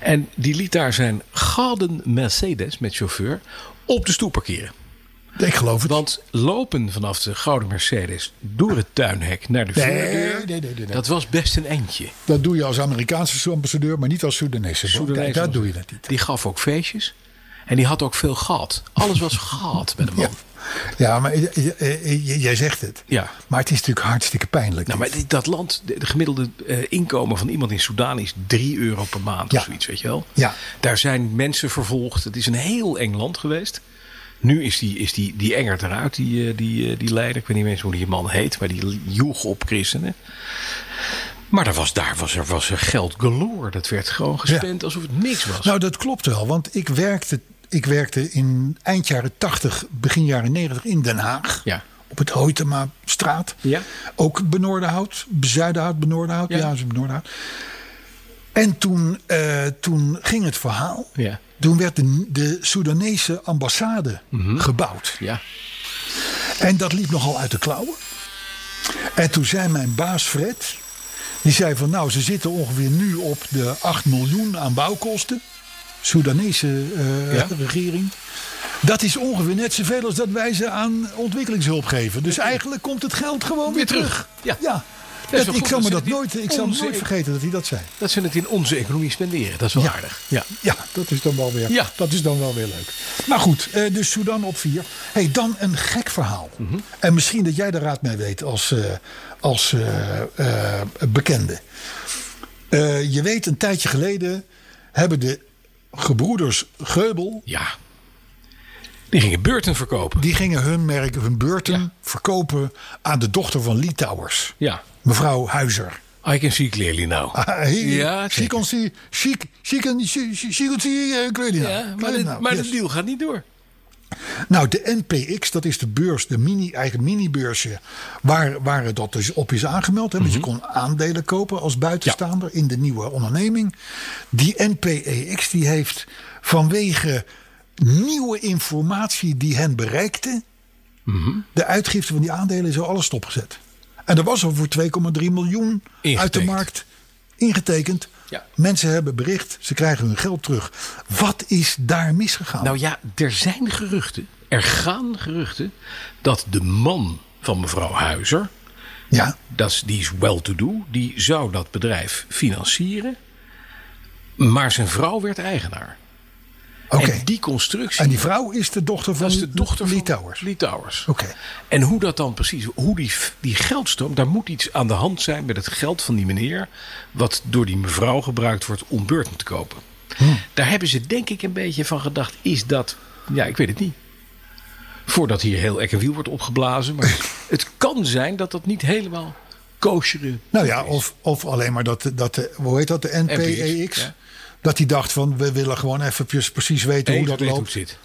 [SPEAKER 2] En die liet daar zijn gouden Mercedes met chauffeur op de stoep parkeren.
[SPEAKER 3] Ik geloof het.
[SPEAKER 2] Want lopen vanaf de gouden Mercedes door het tuinhek naar de
[SPEAKER 3] Nee,
[SPEAKER 2] voordeur,
[SPEAKER 3] nee, nee, nee, nee.
[SPEAKER 2] dat was best een eindje.
[SPEAKER 3] Dat doe je als Amerikaanse ambassadeur, maar niet als Soedanese.
[SPEAKER 2] Soedanese
[SPEAKER 3] Daar
[SPEAKER 2] was-
[SPEAKER 3] doe je dat niet.
[SPEAKER 2] Die gaf ook feestjes. En die had ook veel gehad. Alles was gehad bij de man.
[SPEAKER 3] Ja, maar eh, j- j- j- jij zegt het.
[SPEAKER 2] Ja.
[SPEAKER 3] Maar het is natuurlijk hartstikke pijnlijk.
[SPEAKER 2] Nou, maar dit- dat land, de, de gemiddelde eh, inkomen van iemand in Soedan is 3 euro per maand
[SPEAKER 3] Ja.
[SPEAKER 2] of zoiets, weet je wel.
[SPEAKER 3] Ja.
[SPEAKER 2] Daar zijn mensen vervolgd. Het is een heel eng land geweest. Nu is die, is die, die engert eruit, die, eh, die, eh, die leider. Ik weet niet eens hoe die man heet, maar die joeg op christenen. Maar daar was, daar was, er, was er geld galore. Dat werd gewoon gespend alsof het niks was.
[SPEAKER 3] Nou, dat klopt wel, want ik werkte, ik werkte in eind jaren 80, begin jaren 90 in Den Haag.
[SPEAKER 2] Ja.
[SPEAKER 3] Op het Hoytema straat.
[SPEAKER 2] Ja.
[SPEAKER 3] Ook Benoordenhout, Zuidenhout, Benoordenhout.
[SPEAKER 2] Ja.
[SPEAKER 3] Ja, is Benoordenhout. En toen, eh, toen ging het verhaal.
[SPEAKER 2] Ja.
[SPEAKER 3] Toen werd de, de Soedanese ambassade
[SPEAKER 2] Mhm.
[SPEAKER 3] gebouwd.
[SPEAKER 2] ja.
[SPEAKER 3] En dat liep nogal uit de klauwen. En toen zei mijn baas Fred, die zei van nou, ze zitten ongeveer nu op de 8 miljoen aan bouwkosten. Soedanese eh,
[SPEAKER 2] Ja.
[SPEAKER 3] regering. Dat is ongeveer net zoveel als dat wij ze aan ontwikkelingshulp geven. Dus eigenlijk komt het geld gewoon weer
[SPEAKER 2] terug.
[SPEAKER 3] terug.
[SPEAKER 2] Ja.
[SPEAKER 3] ja.
[SPEAKER 2] wel
[SPEAKER 3] Dat-
[SPEAKER 2] goed,
[SPEAKER 3] ik zal
[SPEAKER 2] dat
[SPEAKER 3] me
[SPEAKER 2] ze
[SPEAKER 3] dat
[SPEAKER 2] die
[SPEAKER 3] nooit, ik zal me
[SPEAKER 2] onze-
[SPEAKER 3] nooit vergeten dat hij dat zei.
[SPEAKER 2] Dat ze het in onze economie spenderen. Dat is wel
[SPEAKER 3] Ja.
[SPEAKER 2] aardig. Ja.
[SPEAKER 3] Ja,
[SPEAKER 4] Dat is dan wel weer,
[SPEAKER 2] Ja.
[SPEAKER 4] dat is dan wel weer leuk.
[SPEAKER 3] maar goed, eh, dus Sudan op vier. hey, dan een gek verhaal.
[SPEAKER 2] Mhm.
[SPEAKER 3] En misschien dat jij de raad mee weet als, eh, als eh, eh, bekende. Eh, je weet, een tijdje geleden hebben de gebroeders Geubel...
[SPEAKER 2] ja. Die gingen beurten verkopen.
[SPEAKER 3] die gingen hun merk, hun beurten verkopen aan de dochter van Litouwers.
[SPEAKER 2] Ja.
[SPEAKER 3] Mevrouw Huizer.
[SPEAKER 2] I can see clearly now.
[SPEAKER 3] ja,
[SPEAKER 2] Ja,
[SPEAKER 3] she can see, she, she can, she, she she can see, eh, ik weet niet nou.
[SPEAKER 2] Ja,
[SPEAKER 3] Ik
[SPEAKER 2] maar,
[SPEAKER 3] weet
[SPEAKER 2] dit-
[SPEAKER 3] nou,
[SPEAKER 2] maar
[SPEAKER 3] yes.
[SPEAKER 2] de deal gaat niet door.
[SPEAKER 3] Nou, de NPX, dat is de beurs, de mini, eigen mini-beursje, waar, waar het dat dus op is aangemeld. Hè,
[SPEAKER 2] Mhm.
[SPEAKER 3] Want je kon aandelen kopen als buitenstaander in de nieuwe onderneming. Die NPEX die heeft vanwege nieuwe informatie die hen bereikte,
[SPEAKER 2] Mhm.
[SPEAKER 3] de uitgifte van die aandelen is al alles stopgezet. En er was al voor 2,3 miljoen uit de
[SPEAKER 2] Ingetekend.
[SPEAKER 3] markt ingetekend.
[SPEAKER 2] Ja.
[SPEAKER 3] Mensen hebben bericht, ze krijgen hun geld terug. Wat is daar misgegaan?
[SPEAKER 2] Nou ja, er zijn geruchten. Er gaan geruchten dat de man van mevrouw Huizer,
[SPEAKER 3] ja.
[SPEAKER 2] dat is, die is well-to-do, die zou dat bedrijf financieren. Maar zijn vrouw werd eigenaar.
[SPEAKER 3] Oké.
[SPEAKER 2] En die constructie,
[SPEAKER 3] En die vrouw is de dochter van
[SPEAKER 2] dat is de dochter van
[SPEAKER 3] Litouwers.
[SPEAKER 2] Litouwers.
[SPEAKER 3] Oké.
[SPEAKER 2] En hoe dat dan precies, hoe die, die geldstroom, daar moet iets aan de hand zijn met het geld van die meneer, wat door die mevrouw gebruikt wordt om beurten te kopen. Daar hebben ze denk ik een beetje van gedacht, is dat, ja ik weet het niet. Voordat hier heel ek en wiel wordt opgeblazen, maar het kan zijn dat dat niet helemaal koosjere.
[SPEAKER 3] Nou ja, of, of alleen maar dat, de- dat de, hoe heet dat, de NPEX.
[SPEAKER 2] NPX, E ja.
[SPEAKER 3] Dat die dacht van, we willen gewoon eventjes precies weten hoe dat loopt.
[SPEAKER 2] zit.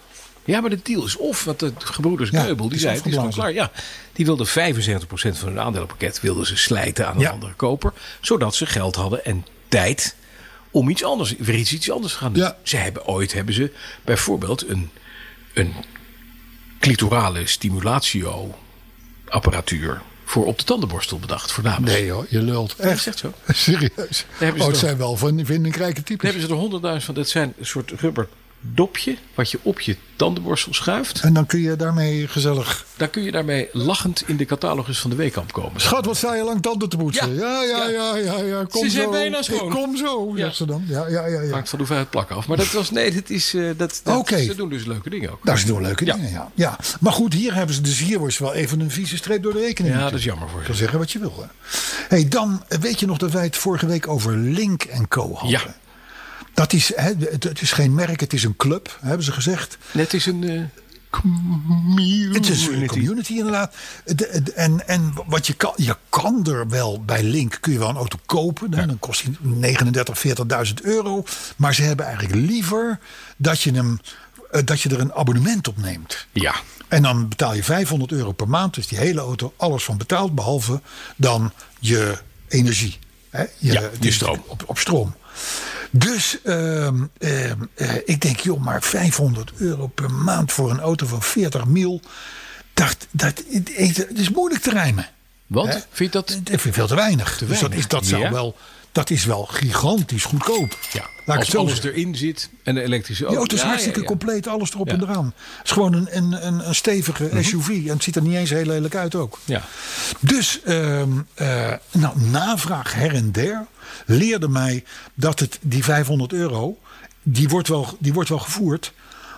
[SPEAKER 2] Ja, maar de deal is of, want de gebroeders
[SPEAKER 3] Ja,
[SPEAKER 2] Keubel, die
[SPEAKER 3] het is
[SPEAKER 2] zei het is gewoon klaar. Ja,
[SPEAKER 3] afgeblazen.
[SPEAKER 2] die wilden 75% van hun aandelenpakket wilden ze slijten aan een
[SPEAKER 3] Ja.
[SPEAKER 2] andere koper. Zodat ze geld hadden en tijd om iets anders, weer iets, iets anders te gaan doen.
[SPEAKER 3] Ja.
[SPEAKER 2] Ze hebben ooit, hebben ze bijvoorbeeld een, een clitorale stimulatio apparatuur voor op de tandenborstel bedacht voor dames.
[SPEAKER 3] Nee hoor, je lult.
[SPEAKER 2] dat
[SPEAKER 3] Echt?
[SPEAKER 2] is echt zo.
[SPEAKER 3] Serieus?
[SPEAKER 2] hebben ze
[SPEAKER 3] Oh, het
[SPEAKER 2] toch-
[SPEAKER 3] zijn wel van vindingrijke types.
[SPEAKER 2] Dan hebben ze er honderdduizend van. Dat zijn een soort rubber dopje wat je op je tandenborstel schuift.
[SPEAKER 3] En dan kun je daarmee gezellig...
[SPEAKER 2] Daar kun je daarmee lachend in de catalogus van de Weekamp komen.
[SPEAKER 3] Schat, wat sta je lang tanden te poetsen? Ja,
[SPEAKER 2] Ja,
[SPEAKER 3] ja, ja, ja, ja. Kom
[SPEAKER 2] Ze zijn
[SPEAKER 3] zo.
[SPEAKER 2] bijna schoon.
[SPEAKER 3] Ik kom zo,
[SPEAKER 2] Ja.
[SPEAKER 3] zegt ze dan. Ja, ja, ja. ja.
[SPEAKER 2] Hangt van de hoeveelheid plak af. Maar dat was, nee, dat is, eh, dat, dat,
[SPEAKER 3] Oké.
[SPEAKER 2] ze doen dus leuke dingen ook.
[SPEAKER 3] Dat is doen leuke
[SPEAKER 2] Ja.
[SPEAKER 3] dingen, ja. ja. Maar goed, hier hebben ze dus hier wordt wel even een vieze streep door de rekening.
[SPEAKER 2] Ja, dat is
[SPEAKER 3] natuurlijk.
[SPEAKER 2] jammer voor
[SPEAKER 3] kan
[SPEAKER 2] ze.
[SPEAKER 3] zeggen wat je wil. Hè. Hey, dan eh, weet je nog dat wij het vorige week over Link Co hadden.
[SPEAKER 2] Ja.
[SPEAKER 3] Dat is, hè, het, het is geen merk, het is een club, hebben ze gezegd.
[SPEAKER 2] Net is een eh, community.
[SPEAKER 3] Het is een community inderdaad. De- de- En, en wat je kan, je kan er wel bij Link, kun je wel een auto kopen. hè, Dan kost hij 39, 40.000 euro. Maar ze hebben eigenlijk liever dat je, hem, eh, dat je er een abonnement op neemt.
[SPEAKER 2] Ja.
[SPEAKER 3] En dan betaal je 500 euro per maand. Dus die hele auto, alles van betaald. Behalve dan je energie. Hè? Je,
[SPEAKER 2] Ja, je
[SPEAKER 3] dus
[SPEAKER 2] stroom.
[SPEAKER 3] Op, op stroom. Dus ehm, ehm, eh, ik denk, joh, maar 500 euro per maand voor een auto van 40 mil. Dat, dat, het, het is moeilijk te rijmen.
[SPEAKER 2] Want,
[SPEAKER 3] Hè?
[SPEAKER 2] vind je dat...
[SPEAKER 3] Ik vind ik veel te weinig. dus dat
[SPEAKER 2] weinig.
[SPEAKER 3] is, dat, zou
[SPEAKER 2] Ja.
[SPEAKER 3] wel, dat is wel gigantisch goedkoop.
[SPEAKER 2] Ja,
[SPEAKER 3] Laat ik
[SPEAKER 2] als
[SPEAKER 3] het zo
[SPEAKER 2] alles
[SPEAKER 3] zeggen.
[SPEAKER 2] erin zit en de elektrische auto.
[SPEAKER 3] Die auto is
[SPEAKER 2] Ja,
[SPEAKER 3] hartstikke
[SPEAKER 2] ja, ja.
[SPEAKER 3] compleet, alles erop
[SPEAKER 2] Ja. Mhm.
[SPEAKER 3] en eraan. Het is gewoon een, een, een, een stevige SUV. En het ziet er niet eens heel lelijk uit ook.
[SPEAKER 2] Ja.
[SPEAKER 3] Dus ehm, eh, nou, navraag her en der leerde mij dat het, die 500 euro, die wordt wel, die wordt wel gevoerd.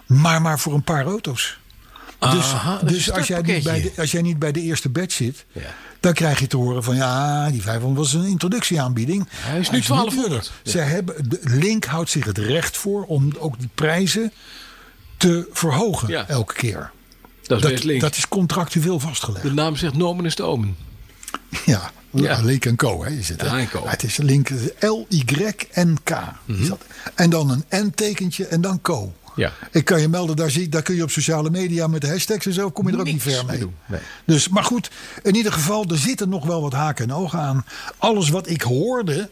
[SPEAKER 3] Maar maar voor een paar auto's. Dus,
[SPEAKER 2] Aha, dat is
[SPEAKER 3] dus
[SPEAKER 2] een
[SPEAKER 3] als, jij niet bij
[SPEAKER 2] startpakketje.
[SPEAKER 3] de, als jij niet bij de eerste batch zit,
[SPEAKER 2] Ja.
[SPEAKER 3] dan krijg je te horen van ja, die 500 was een introductieaanbieding.
[SPEAKER 2] Hij is nu 1200.
[SPEAKER 3] duurder. Ze hebben, de Link houdt zich het recht voor om ook die prijzen te verhogen
[SPEAKER 2] Ja.
[SPEAKER 3] elke keer.
[SPEAKER 2] Dat is best
[SPEAKER 3] Dat,
[SPEAKER 2] link.
[SPEAKER 3] dat is contractueel
[SPEAKER 2] De
[SPEAKER 3] vastgelegd.
[SPEAKER 2] naam zegt Nomen is de Omen.
[SPEAKER 3] Ja,
[SPEAKER 2] Ja.
[SPEAKER 3] Link en Co. Hè, is het, hè?
[SPEAKER 2] Ja, E en Co.
[SPEAKER 3] Maar het is Link L-Y-N-K. is dat. En dan een N-tekentje en dan Co.
[SPEAKER 2] Mhm. Ja.
[SPEAKER 3] Ik kan je melden, daar, zie, daar kun je op sociale media met de hashtags en zo kom je er ook
[SPEAKER 2] Niks
[SPEAKER 3] niet ver mee.
[SPEAKER 2] mee doen, nee.
[SPEAKER 3] Dus, maar goed, in ieder geval, er zitten nog wel wat haken en ogen aan. Alles wat ik hoorde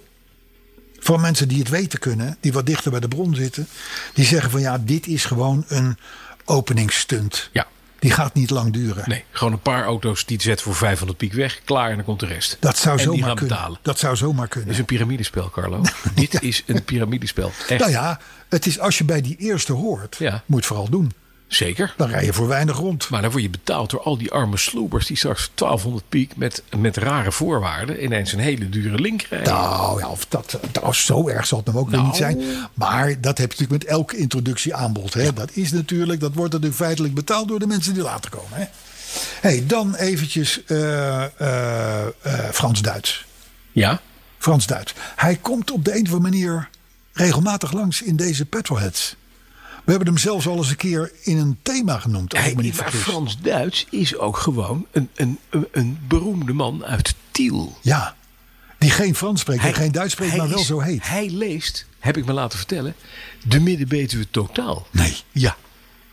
[SPEAKER 3] van mensen die het weten kunnen, die wat dichter bij de bron zitten, die zeggen van ja, dit is gewoon een openingsstunt.
[SPEAKER 2] Ja.
[SPEAKER 3] Die gaat niet lang duren.
[SPEAKER 2] Nee, gewoon een paar auto's die het zetten voor 500 piek weg. Klaar en dan komt de rest.
[SPEAKER 3] Dat zou
[SPEAKER 2] en die
[SPEAKER 3] zomaar
[SPEAKER 2] gaan
[SPEAKER 3] kunnen.
[SPEAKER 2] betalen.
[SPEAKER 3] Dat zou zomaar kunnen.
[SPEAKER 2] Dit is een piramidespel, Carlo. Dit is een piramidespel. Echt.
[SPEAKER 3] Nou ja, het is als je bij die eerste hoort,
[SPEAKER 2] Ja.
[SPEAKER 3] moet je het vooral doen.
[SPEAKER 2] Zeker.
[SPEAKER 3] Dan rij je voor weinig rond.
[SPEAKER 2] Maar dan word je betaald door al die arme sloebers die straks 1200 piek met, met rare voorwaarden ineens een hele dure link krijgen.
[SPEAKER 3] Nou ja, of dat, dat, zo erg zal het hem
[SPEAKER 2] Nou.
[SPEAKER 3] ook weer niet zijn. Maar dat heb je natuurlijk met elk introductieaanbod. Hè? Dat is natuurlijk, dat wordt natuurlijk feitelijk betaald door de mensen die later komen. Hè? Hey, dan eventjes eh, eh, eh, Frans-Duits.
[SPEAKER 2] Ja,
[SPEAKER 3] Frans-Duits. Hij komt op de een of andere manier regelmatig langs in deze petrolheads. We hebben hem zelfs al eens een keer in een thema genoemd. Als
[SPEAKER 2] Hij-
[SPEAKER 3] ik me niet
[SPEAKER 2] maar
[SPEAKER 3] vergis.
[SPEAKER 2] Frans-Duits is ook gewoon een, een, een, een beroemde man uit Tiel.
[SPEAKER 3] Ja, die geen Frans spreekt en
[SPEAKER 2] Hij-
[SPEAKER 3] geen Duits spreekt,
[SPEAKER 2] hij
[SPEAKER 3] maar wel
[SPEAKER 2] is-
[SPEAKER 3] zo heet.
[SPEAKER 2] Hij leest, heb ik me laten vertellen, de Midden-Betuwe totaal.
[SPEAKER 3] Nee,
[SPEAKER 2] Ja,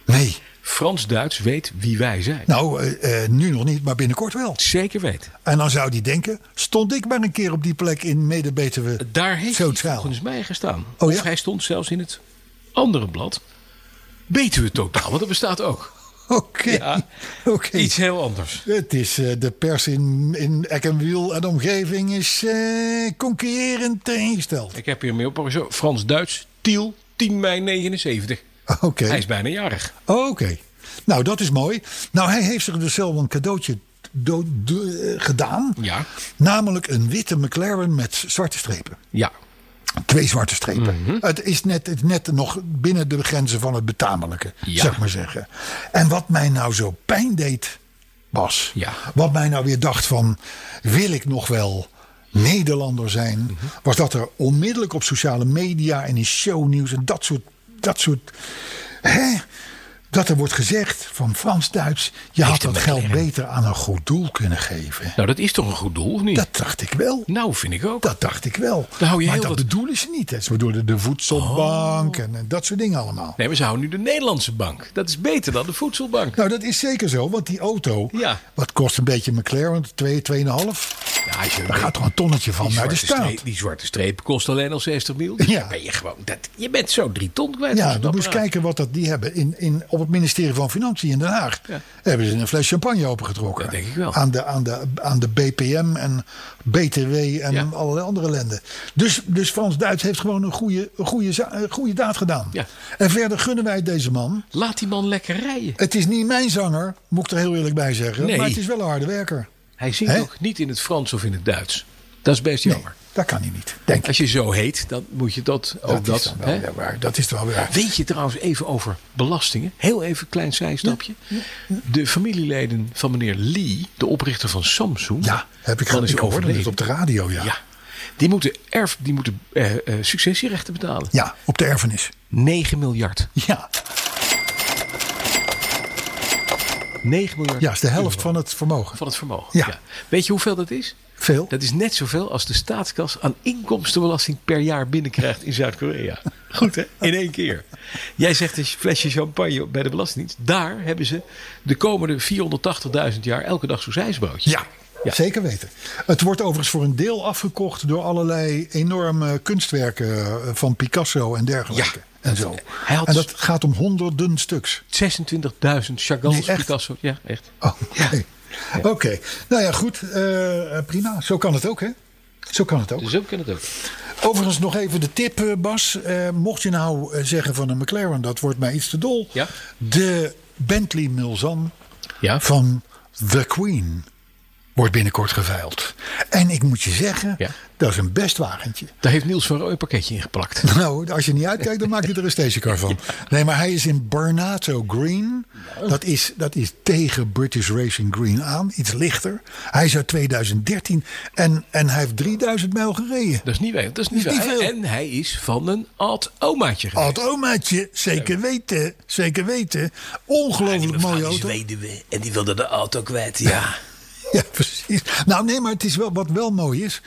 [SPEAKER 3] nee.
[SPEAKER 2] Frans-Duits weet wie wij zijn.
[SPEAKER 3] Nou, eh, eh, nu nog niet, maar binnenkort wel.
[SPEAKER 2] Zeker weten.
[SPEAKER 3] En dan zou die denken, stond ik maar een keer op die plek in Mede-Betuwe.
[SPEAKER 2] Daar heeft hij
[SPEAKER 3] Totaal.
[SPEAKER 2] volgens mij gestaan.
[SPEAKER 3] Oh ja?
[SPEAKER 2] Of hij stond zelfs in het andere blad. Betuwe totaal, want dat bestaat ook.
[SPEAKER 3] Oké,
[SPEAKER 2] Ja,
[SPEAKER 3] oké.
[SPEAKER 2] Iets heel anders.
[SPEAKER 3] Het is eh, de pers in, in Eck en Wiel en omgeving is eh concurrerend tegengesteld.
[SPEAKER 2] Ik heb hier mee op. zo, Frans-Duits, Tiel, 10 mei 79.
[SPEAKER 3] Oké,
[SPEAKER 2] Hij is bijna jarig.
[SPEAKER 3] oké. Nou, dat is mooi. Nou, hij heeft zich dus zelf een cadeautje do- do- eh, gedaan.
[SPEAKER 2] Ja.
[SPEAKER 3] Namelijk een witte McLaren met zwarte strepen.
[SPEAKER 2] Ja.
[SPEAKER 3] Twee zwarte strepen.
[SPEAKER 2] Mhm.
[SPEAKER 3] Het is net, het net nog binnen de grenzen van het betamelijke,
[SPEAKER 2] Ja.
[SPEAKER 3] zeg maar zeggen. En wat mij nou zo pijn deed, Bas.
[SPEAKER 2] Ja.
[SPEAKER 3] Wat mij nou weer dacht van, wil ik nog wel Nederlander zijn?
[SPEAKER 2] Mhm.
[SPEAKER 3] Was dat er onmiddellijk op sociale media en in shownieuws en dat soort... Dat soort hè? Dat er wordt gezegd van Frans-Duits... je had
[SPEAKER 2] een
[SPEAKER 3] dat geld
[SPEAKER 2] McLaren.
[SPEAKER 3] beter aan een goed doel kunnen geven.
[SPEAKER 2] Nou, dat is toch een goed doel, of niet?
[SPEAKER 3] Dat dacht ik wel.
[SPEAKER 2] Nou, vind ik ook.
[SPEAKER 3] Dat dacht ik wel.
[SPEAKER 2] Dan hou je
[SPEAKER 3] maar
[SPEAKER 2] heel
[SPEAKER 3] dat
[SPEAKER 2] wat- Oh.
[SPEAKER 3] bedoelen ze niet. Hè. Ze bedoelen de voedselbank en, en dat soort dingen allemaal.
[SPEAKER 2] Nee, maar ze houden nu de Nederlandse bank. Dat is beter dan de voedselbank.
[SPEAKER 3] Nou, dat is zeker zo, want die auto,
[SPEAKER 2] Ja.
[SPEAKER 3] wat kost een beetje McLaren, 2, 2,5?
[SPEAKER 2] Ja, als je
[SPEAKER 3] Daar gaat toch een tonnetje van
[SPEAKER 2] die
[SPEAKER 3] naar de
[SPEAKER 2] zwarte
[SPEAKER 3] staat.
[SPEAKER 2] streep- die zwarte streep kost alleen al 60 miljoen. Dus
[SPEAKER 3] Ja.
[SPEAKER 2] dan ben je gewoon... Dat, je bent zo drie ton kwijt. als
[SPEAKER 3] Ja,
[SPEAKER 2] het
[SPEAKER 3] dan moet je
[SPEAKER 2] apparaat.
[SPEAKER 3] kijken wat dat die hebben. In, in, op het ministerie van Financiën in Den Haag hebben ze een fles champagne opengetrokken.
[SPEAKER 2] Dat denk ik wel.
[SPEAKER 3] Aan de, aan de, aan de BPM en BTW en
[SPEAKER 2] Ja.
[SPEAKER 3] allerlei andere ellende. Dus, dus Frans-Duits heeft gewoon een goede, een goede, za- een goede daad gedaan.
[SPEAKER 2] Ja.
[SPEAKER 3] En verder gunnen wij het deze man.
[SPEAKER 2] Laat die man lekker rijden.
[SPEAKER 3] Het is niet mijn zanger, moet ik er heel eerlijk bij zeggen.
[SPEAKER 2] Nee.
[SPEAKER 3] Maar het is wel een harde werker.
[SPEAKER 2] Hij zingt
[SPEAKER 3] Hè?
[SPEAKER 2] ook niet in het Frans of in het Duits. Dat is best
[SPEAKER 3] Nee,
[SPEAKER 2] jammer.
[SPEAKER 3] dat kan hij niet, denk ik.
[SPEAKER 2] Als je zo heet, dan moet je dat ook
[SPEAKER 3] dat
[SPEAKER 2] dat...
[SPEAKER 3] is dan wel
[SPEAKER 2] hè?
[SPEAKER 3] weer waar. Dat is dan wel weer.
[SPEAKER 2] Weet je trouwens even over belastingen? Heel even een klein zijstapje. De familieleden van meneer Lee, de oprichter van Samsung.
[SPEAKER 3] Ja, heb ik
[SPEAKER 2] van
[SPEAKER 3] gewoon
[SPEAKER 2] is
[SPEAKER 3] Ik hoorde
[SPEAKER 2] overleden.
[SPEAKER 3] het op de radio, ja.
[SPEAKER 2] Ja. Die moeten, erf, die moeten eh, eh, successierechten betalen.
[SPEAKER 3] Ja, op de erfenis.
[SPEAKER 2] 9 miljard.
[SPEAKER 3] Ja,
[SPEAKER 2] 9 miljard
[SPEAKER 3] ja is de helft
[SPEAKER 2] euro
[SPEAKER 3] van het vermogen.
[SPEAKER 2] van het vermogen.
[SPEAKER 3] Ja.
[SPEAKER 2] Weet je hoeveel dat is?
[SPEAKER 3] Veel.
[SPEAKER 2] Dat is net zoveel als de staatskas aan inkomstenbelasting per jaar binnenkrijgt in Zuid-Korea. Goed hè? In één keer. Jij zegt een flesje champagne bij de Belastingdienst. Daar hebben ze de komende 480.000 jaar elke dag zo'n zijsbroodje.
[SPEAKER 3] Ja,
[SPEAKER 2] Ja.
[SPEAKER 3] zeker weten. Het wordt overigens voor een deel afgekocht door allerlei enorme kunstwerken eh, van Picasso en dergelijke.
[SPEAKER 2] Ja,
[SPEAKER 3] en zo.
[SPEAKER 2] hij had- dus
[SPEAKER 3] En dat gaat om honderden stuks.
[SPEAKER 2] 26.000 Chagall,
[SPEAKER 3] Nee, echt?
[SPEAKER 2] Picasso. Ja, echt.
[SPEAKER 3] Oh, oké. Oké. Nou ja, goed. eh, prima. Zo kan het ook, hè? Zo kan het ook.
[SPEAKER 2] Dus zo kan het ook.
[SPEAKER 3] Overigens nog even de tip, eh, Bas. Eh, mocht je nou eh, zeggen van een McLaren, dat wordt mij iets te dol.
[SPEAKER 2] Ja.
[SPEAKER 3] De Bentley Mulsanne
[SPEAKER 2] Ja.
[SPEAKER 3] van The Queen. wordt binnenkort geveild. En ik moet je zeggen,
[SPEAKER 2] Ja.
[SPEAKER 3] dat is een best wagentje.
[SPEAKER 2] Daar heeft Niels van Rooij een pakketje in geplakt.
[SPEAKER 3] Nou, als je niet uitkijkt, dan maak je er een stagecar van. Nee, maar hij is in Barnato Green. Dat is, dat is tegen British Racing Green aan. Iets lichter. Hij is uit 2013 en, en hij heeft 3000 mijl gereden.
[SPEAKER 2] Dat is niet wij. Dat is niet,
[SPEAKER 3] Dat is niet
[SPEAKER 2] wij.
[SPEAKER 3] veel.
[SPEAKER 2] En hij is van een oud omaatje geweest.
[SPEAKER 3] Oud omaatje, zeker weten, zeker weten. Ongelooflijk mooie auto.
[SPEAKER 5] weduwe en die wilde de auto kwijt, ja.
[SPEAKER 3] Ja, precies. Nou, nee, maar het is wel, wat wel mooi is.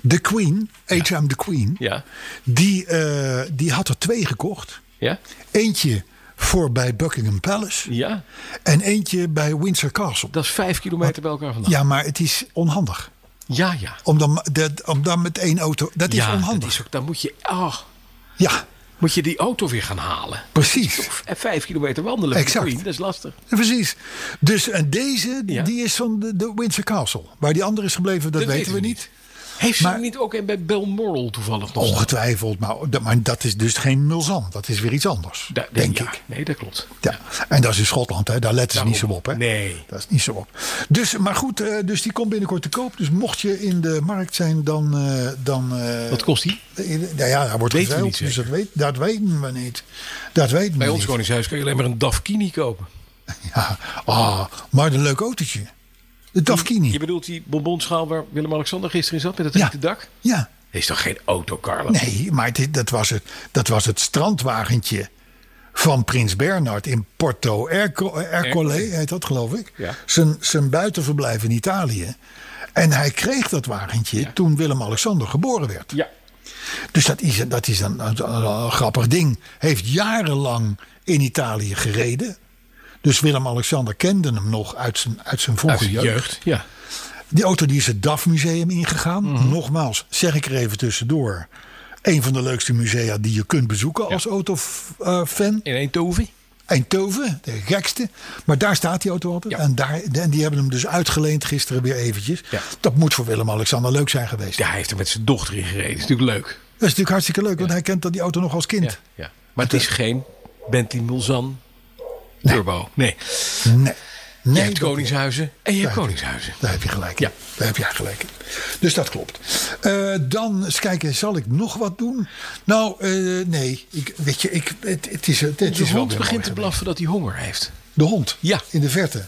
[SPEAKER 3] De Queen, H.M. de Queen,
[SPEAKER 2] Ja.
[SPEAKER 3] die, eh, die had er twee gekocht.
[SPEAKER 2] Ja?
[SPEAKER 3] Eentje voor bij Buckingham Palace
[SPEAKER 2] Ja?
[SPEAKER 3] en eentje bij Windsor Castle.
[SPEAKER 2] Dat is vijf kilometer bij elkaar vandaan.
[SPEAKER 3] Ja, maar het is onhandig.
[SPEAKER 2] Ja, ja.
[SPEAKER 3] Om dan, ma- dat, om dan met één auto. Dat is
[SPEAKER 2] ja,
[SPEAKER 3] onhandig.
[SPEAKER 2] dat is ook, dan moet je, ah,
[SPEAKER 3] Ja,
[SPEAKER 2] moet je die auto weer gaan halen.
[SPEAKER 3] precies.
[SPEAKER 2] En vijf kilometer wandelen. voor
[SPEAKER 3] Exact.
[SPEAKER 2] Queen, Dat is lastig.
[SPEAKER 3] Precies. Dus en deze, die-
[SPEAKER 2] Ja.
[SPEAKER 3] die is van de, de Windsor Castle. Waar die andere is gebleven, dat, weten we niet.
[SPEAKER 2] Heeft ze
[SPEAKER 3] Maar-
[SPEAKER 2] hem niet ook een bij Belmoral toevallig nog?
[SPEAKER 3] Ongetwijfeld. Maar dat, maar dat is dus geen Mulzan. Dat is weer iets anders.
[SPEAKER 2] Daar-
[SPEAKER 3] denk
[SPEAKER 2] ja,
[SPEAKER 3] ik.
[SPEAKER 2] Nee, dat klopt.
[SPEAKER 3] Ja. En dat is in Schotland, hè? daar letten ze niet zo op. Hè? Eh,
[SPEAKER 2] Nee.
[SPEAKER 3] Dat is niet zo op. Dus, maar goed, eh, dus die komt binnenkort te koop. Dus mocht je in de markt zijn, dan. eh, dan eh,
[SPEAKER 2] Wat kost die?
[SPEAKER 3] eh, nou ja, daar wordt
[SPEAKER 2] Weten we
[SPEAKER 3] geveild,
[SPEAKER 2] niet
[SPEAKER 3] dus dat, weet, dat weten we niet. Dat weten
[SPEAKER 2] Bij
[SPEAKER 3] we
[SPEAKER 2] ons
[SPEAKER 3] niet.
[SPEAKER 2] koningshuis kun je alleen maar een Dafkini kopen.
[SPEAKER 3] Ja. Ah, maar een leuk autootje. De Tafkini.
[SPEAKER 2] Je bedoelt die bonbonschaal waar Willem-Alexander gisteren in zat met het
[SPEAKER 3] Ja.
[SPEAKER 2] rieten dak?
[SPEAKER 3] Ja.
[SPEAKER 2] Is toch geen auto, Carlo?
[SPEAKER 3] Nee, maar dit- dat, was het, dat was het strandwagentje van Prins Bernhard in Porto Erco- Ercole, heet dat geloof ik.
[SPEAKER 2] Ja.
[SPEAKER 3] Zijn, zijn buitenverblijf in Italië. En hij kreeg dat wagentje toen Willem-Alexander geboren werd.
[SPEAKER 2] Ja.
[SPEAKER 3] Dus dat is, dat is een, een- een- een grappig ding. Heeft jarenlang in Italië gereden. Dus Willem-Alexander kende hem nog uit zijn, uit zijn
[SPEAKER 2] Uit
[SPEAKER 3] vroege
[SPEAKER 2] zijn
[SPEAKER 3] jeugd.
[SPEAKER 2] Nou, jeugd. Ja.
[SPEAKER 3] Die auto die is het DAF museum ingegaan.
[SPEAKER 2] Mhm.
[SPEAKER 3] Nogmaals, zeg ik er even tussendoor. Een van de leukste musea die je kunt bezoeken als autofan.
[SPEAKER 2] In Eindhoven.
[SPEAKER 3] Eindhoven, de gekste. Maar daar staat die auto altijd.
[SPEAKER 2] Ja.
[SPEAKER 3] En, daar, en die hebben hem dus uitgeleend gisteren weer eventjes.
[SPEAKER 2] Ja.
[SPEAKER 3] Dat moet voor Willem-Alexander leuk zijn geweest.
[SPEAKER 2] Ja, hij heeft er met zijn dochter in gereden. is natuurlijk leuk.
[SPEAKER 3] Dat is natuurlijk hartstikke leuk, want hij kent dat die auto nog als kind.
[SPEAKER 2] Ja. ja. Maar het is geen Bentley Mulzan Turbo. Nee.
[SPEAKER 3] Nee. nee
[SPEAKER 2] Je hebt
[SPEAKER 3] dat-
[SPEAKER 2] Koningshuizen en je hebt
[SPEAKER 3] Ja.
[SPEAKER 2] Koningshuizen.
[SPEAKER 3] Daar heb je gelijk in.
[SPEAKER 2] Ja.
[SPEAKER 3] Daar heb je gelijk in. Dus dat klopt. Eh, dan eens kijken, zal ik nog wat doen? Nou, eh, nee. Ik, weet je, ik, het, het is, het, het
[SPEAKER 2] De
[SPEAKER 3] is wel
[SPEAKER 2] hond
[SPEAKER 3] weer
[SPEAKER 2] begint
[SPEAKER 3] mooi
[SPEAKER 2] te
[SPEAKER 3] geweest.
[SPEAKER 2] blaffen dat hij honger heeft.
[SPEAKER 3] De hond?
[SPEAKER 2] Ja. Mhm.
[SPEAKER 3] In de verte?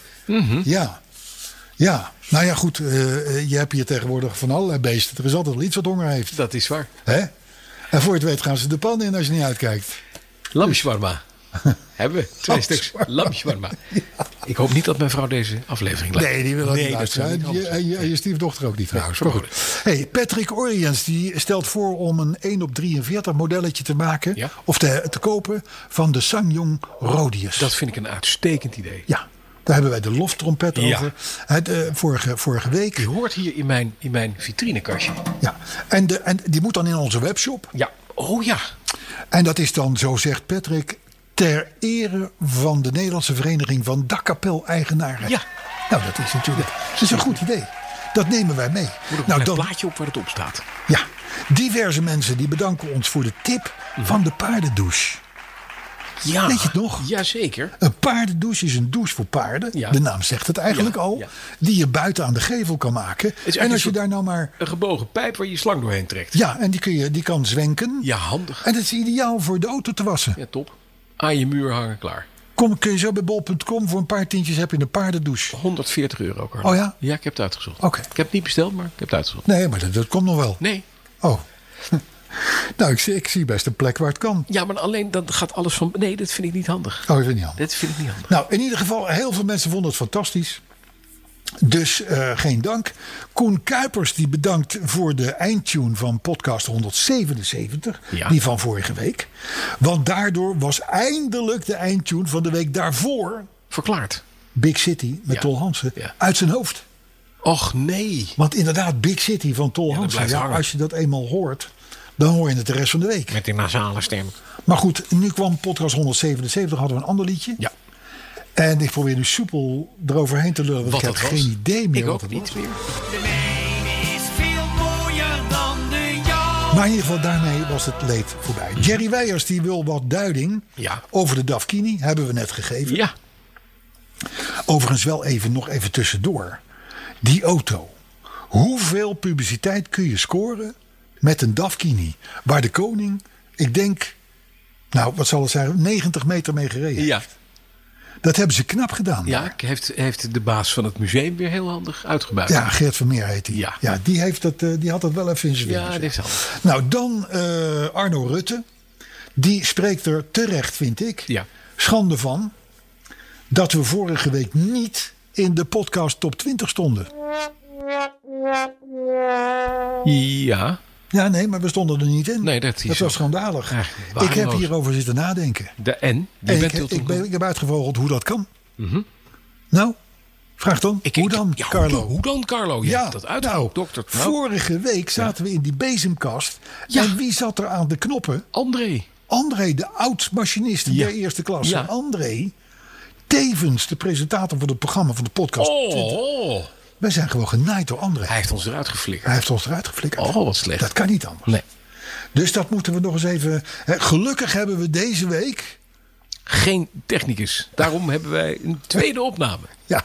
[SPEAKER 3] Ja. Ja. Nou ja, goed. eh, eh, je hebt hier tegenwoordig van allerlei beesten. Er is altijd wel iets wat honger heeft.
[SPEAKER 2] Dat is waar.
[SPEAKER 3] Hè? En voor je het weet gaan ze de pan in als je niet uitkijkt.
[SPEAKER 2] Lamswarma. Hebben we. Twee
[SPEAKER 3] Lamshawarma.
[SPEAKER 2] stuks. Lamswarma. Ik hoop niet dat mijn vrouw deze aflevering luistert.
[SPEAKER 3] Nee, die wil ook
[SPEAKER 2] Nee,
[SPEAKER 3] niet
[SPEAKER 2] dat
[SPEAKER 3] luisteren.
[SPEAKER 2] zou niet
[SPEAKER 3] En je,
[SPEAKER 2] handig
[SPEAKER 3] en je, en je stiefdochter ook niet trouwens. Maar goed. Hey, Patrick Oriens die stelt voor om een 1 op 43 modelletje te maken.
[SPEAKER 2] Ja.
[SPEAKER 3] Of te, te kopen van de Sangyong Rhodius.
[SPEAKER 2] Dat vind ik een uitstekend idee.
[SPEAKER 3] Ja, daar hebben wij de loftrompet
[SPEAKER 2] Ja.
[SPEAKER 3] over. Het, eh, vorige, vorige week.
[SPEAKER 2] Die hoort hier in mijn, in mijn vitrinekastje.
[SPEAKER 3] Ja. En, de, en die moet dan in onze webshop.
[SPEAKER 2] Ja. Oh ja.
[SPEAKER 3] En dat is dan, zo zegt Patrick, ter ere van de Nederlandse Vereniging van Dakkapel-eigenaren.
[SPEAKER 2] Ja.
[SPEAKER 3] Nou, dat is natuurlijk dat is een goed idee. Dat nemen wij mee.
[SPEAKER 2] Moet ook
[SPEAKER 3] nou,
[SPEAKER 2] een
[SPEAKER 3] dan,
[SPEAKER 2] plaatje op waar het op staat.
[SPEAKER 3] Ja, diverse mensen die bedanken ons voor de tip van de paardendouche.
[SPEAKER 2] Ja.
[SPEAKER 3] Weet je het nog?
[SPEAKER 2] Jazeker.
[SPEAKER 3] Een paardendouche is een douche voor paarden.
[SPEAKER 2] Ja.
[SPEAKER 3] De naam zegt het eigenlijk
[SPEAKER 2] Ja,
[SPEAKER 3] al.
[SPEAKER 2] ja.
[SPEAKER 3] Die je buiten aan de gevel kan maken.
[SPEAKER 2] is
[SPEAKER 3] En
[SPEAKER 2] eigenlijk
[SPEAKER 3] als je
[SPEAKER 2] een
[SPEAKER 3] daar nou maar...
[SPEAKER 2] Een gebogen pijp waar je je slang doorheen trekt.
[SPEAKER 3] Ja, en die, kun je, die kan zwenken.
[SPEAKER 2] Ja, handig.
[SPEAKER 3] En dat is ideaal voor de auto te wassen.
[SPEAKER 2] Ja, top. Aan je muur hangen klaar.
[SPEAKER 3] Kom, kun je zo bij bol.com voor een paar tientjes heb je een paardendouche.
[SPEAKER 2] 140 euro. Carlo.
[SPEAKER 3] Oh ja?
[SPEAKER 2] Ja, ik heb het uitgezocht.
[SPEAKER 3] Oké.
[SPEAKER 2] Ik heb het niet besteld, maar ik heb het uitgezocht.
[SPEAKER 3] Nee, maar dat, dat komt nog wel.
[SPEAKER 2] Nee.
[SPEAKER 3] Oh. nou, ik, zie- ik zie best een plek waar het kan.
[SPEAKER 2] Ja, maar alleen dan gaat alles van... Nee, dat vind ik niet handig.
[SPEAKER 3] Oh, ik weet niet handig.
[SPEAKER 2] Dat vind ik niet handig.
[SPEAKER 3] Nou, in ieder geval, heel veel mensen vonden het fantastisch. Dus eh, geen dank. Koen Kuipers die bedankt voor de eindtune van podcast 177.
[SPEAKER 2] Ja.
[SPEAKER 3] Die van vorige week. Want daardoor was eindelijk de eindtune van de week daarvoor...
[SPEAKER 2] Verklaard.
[SPEAKER 3] Big City met
[SPEAKER 2] Ja.
[SPEAKER 3] Tol Hansen
[SPEAKER 2] Ja.
[SPEAKER 3] uit zijn hoofd.
[SPEAKER 2] Och, nee.
[SPEAKER 3] Want inderdaad, Big City van Tol
[SPEAKER 2] dat
[SPEAKER 3] Hansen.
[SPEAKER 2] blijft
[SPEAKER 3] Ja,
[SPEAKER 2] hangen.
[SPEAKER 3] als je dat eenmaal hoort, dan hoor je het de rest van de week.
[SPEAKER 5] Met die nasale stem.
[SPEAKER 3] Maar goed, nu kwam podcast 177, hadden we een ander liedje.
[SPEAKER 2] Ja.
[SPEAKER 3] En ik probeer nu soepel eroverheen te lullen. Want
[SPEAKER 2] Wat
[SPEAKER 3] ik heb
[SPEAKER 2] dat was?
[SPEAKER 3] geen idee meer
[SPEAKER 2] Ik
[SPEAKER 3] wat
[SPEAKER 2] ook
[SPEAKER 3] het
[SPEAKER 2] niet meer.
[SPEAKER 6] De mijne is veel mooier dan de jouwe.
[SPEAKER 3] was. Maar in ieder geval, daarmee was het leed voorbij. Jerry Weijers die wil wat duiding
[SPEAKER 2] Ja.
[SPEAKER 3] over de Dafkini. Hebben we net gegeven.
[SPEAKER 2] Ja.
[SPEAKER 3] Overigens wel even nog even tussendoor. Die auto. Hoeveel publiciteit kun je scoren met een Dafkini? Waar de koning, ik denk, nou wat zal het zijn, 90 meter mee gereden.
[SPEAKER 2] Ja,
[SPEAKER 3] Dat hebben ze knap gedaan.
[SPEAKER 2] ja heeft, heeft de baas van het museum weer heel handig uitgebuit.
[SPEAKER 3] Ja, Geert Vermeer heet hij.
[SPEAKER 2] Ja.
[SPEAKER 3] die, heeft dat, eh, die had dat wel even in zijn
[SPEAKER 2] ja
[SPEAKER 3] vingers.
[SPEAKER 2] dit is handig.
[SPEAKER 3] Nou, dan eh, Arno Rutte. Die spreekt er terecht, vind ik.
[SPEAKER 2] Ja.
[SPEAKER 3] Schande van dat we vorige week niet in de podcast top 20 stonden.
[SPEAKER 2] Ja,
[SPEAKER 3] Ja, nee, maar we stonden er niet in.
[SPEAKER 2] Nee, dat is zo.
[SPEAKER 3] was schandalig.
[SPEAKER 2] Eigenlijk
[SPEAKER 3] Ik heb
[SPEAKER 2] waardeloos.
[SPEAKER 3] hierover zitten nadenken.
[SPEAKER 2] de en. Je
[SPEAKER 3] En
[SPEAKER 2] bent
[SPEAKER 3] ik,
[SPEAKER 2] heel
[SPEAKER 3] heb- ik,
[SPEAKER 2] tot-
[SPEAKER 3] ben, ik heb uitgevogeld hoe dat kan. Nou, vraag dan.
[SPEAKER 2] Ik-
[SPEAKER 3] hoe
[SPEAKER 2] ik-
[SPEAKER 3] dan,
[SPEAKER 2] ja,
[SPEAKER 3] Carlo?
[SPEAKER 2] Hoe dan, Carlo? Je hebt dat uit,
[SPEAKER 3] nou,
[SPEAKER 2] dokter. Nou,
[SPEAKER 3] Vorige week zaten we in die bezemkast. En wie zat er aan de knoppen?
[SPEAKER 2] André.
[SPEAKER 3] André, de oud-machinist
[SPEAKER 2] Ja.
[SPEAKER 3] der eerste klasse.
[SPEAKER 2] Ja.
[SPEAKER 3] André, tevens de presentator van het programma van de podcast.
[SPEAKER 2] Oh,
[SPEAKER 3] Wij zijn gewoon genaaid door André.
[SPEAKER 2] hij heeft ons eruit geflikkerd.
[SPEAKER 3] Hij heeft ons eruit geflikkerd.
[SPEAKER 2] Oh, wat slecht.
[SPEAKER 3] Dat kan niet anders.
[SPEAKER 2] Nee.
[SPEAKER 3] Dus dat moeten we nog eens even... Hè, gelukkig hebben we deze week...
[SPEAKER 2] Geen technicus. Daarom hebben wij een tweede opname.
[SPEAKER 3] Ja,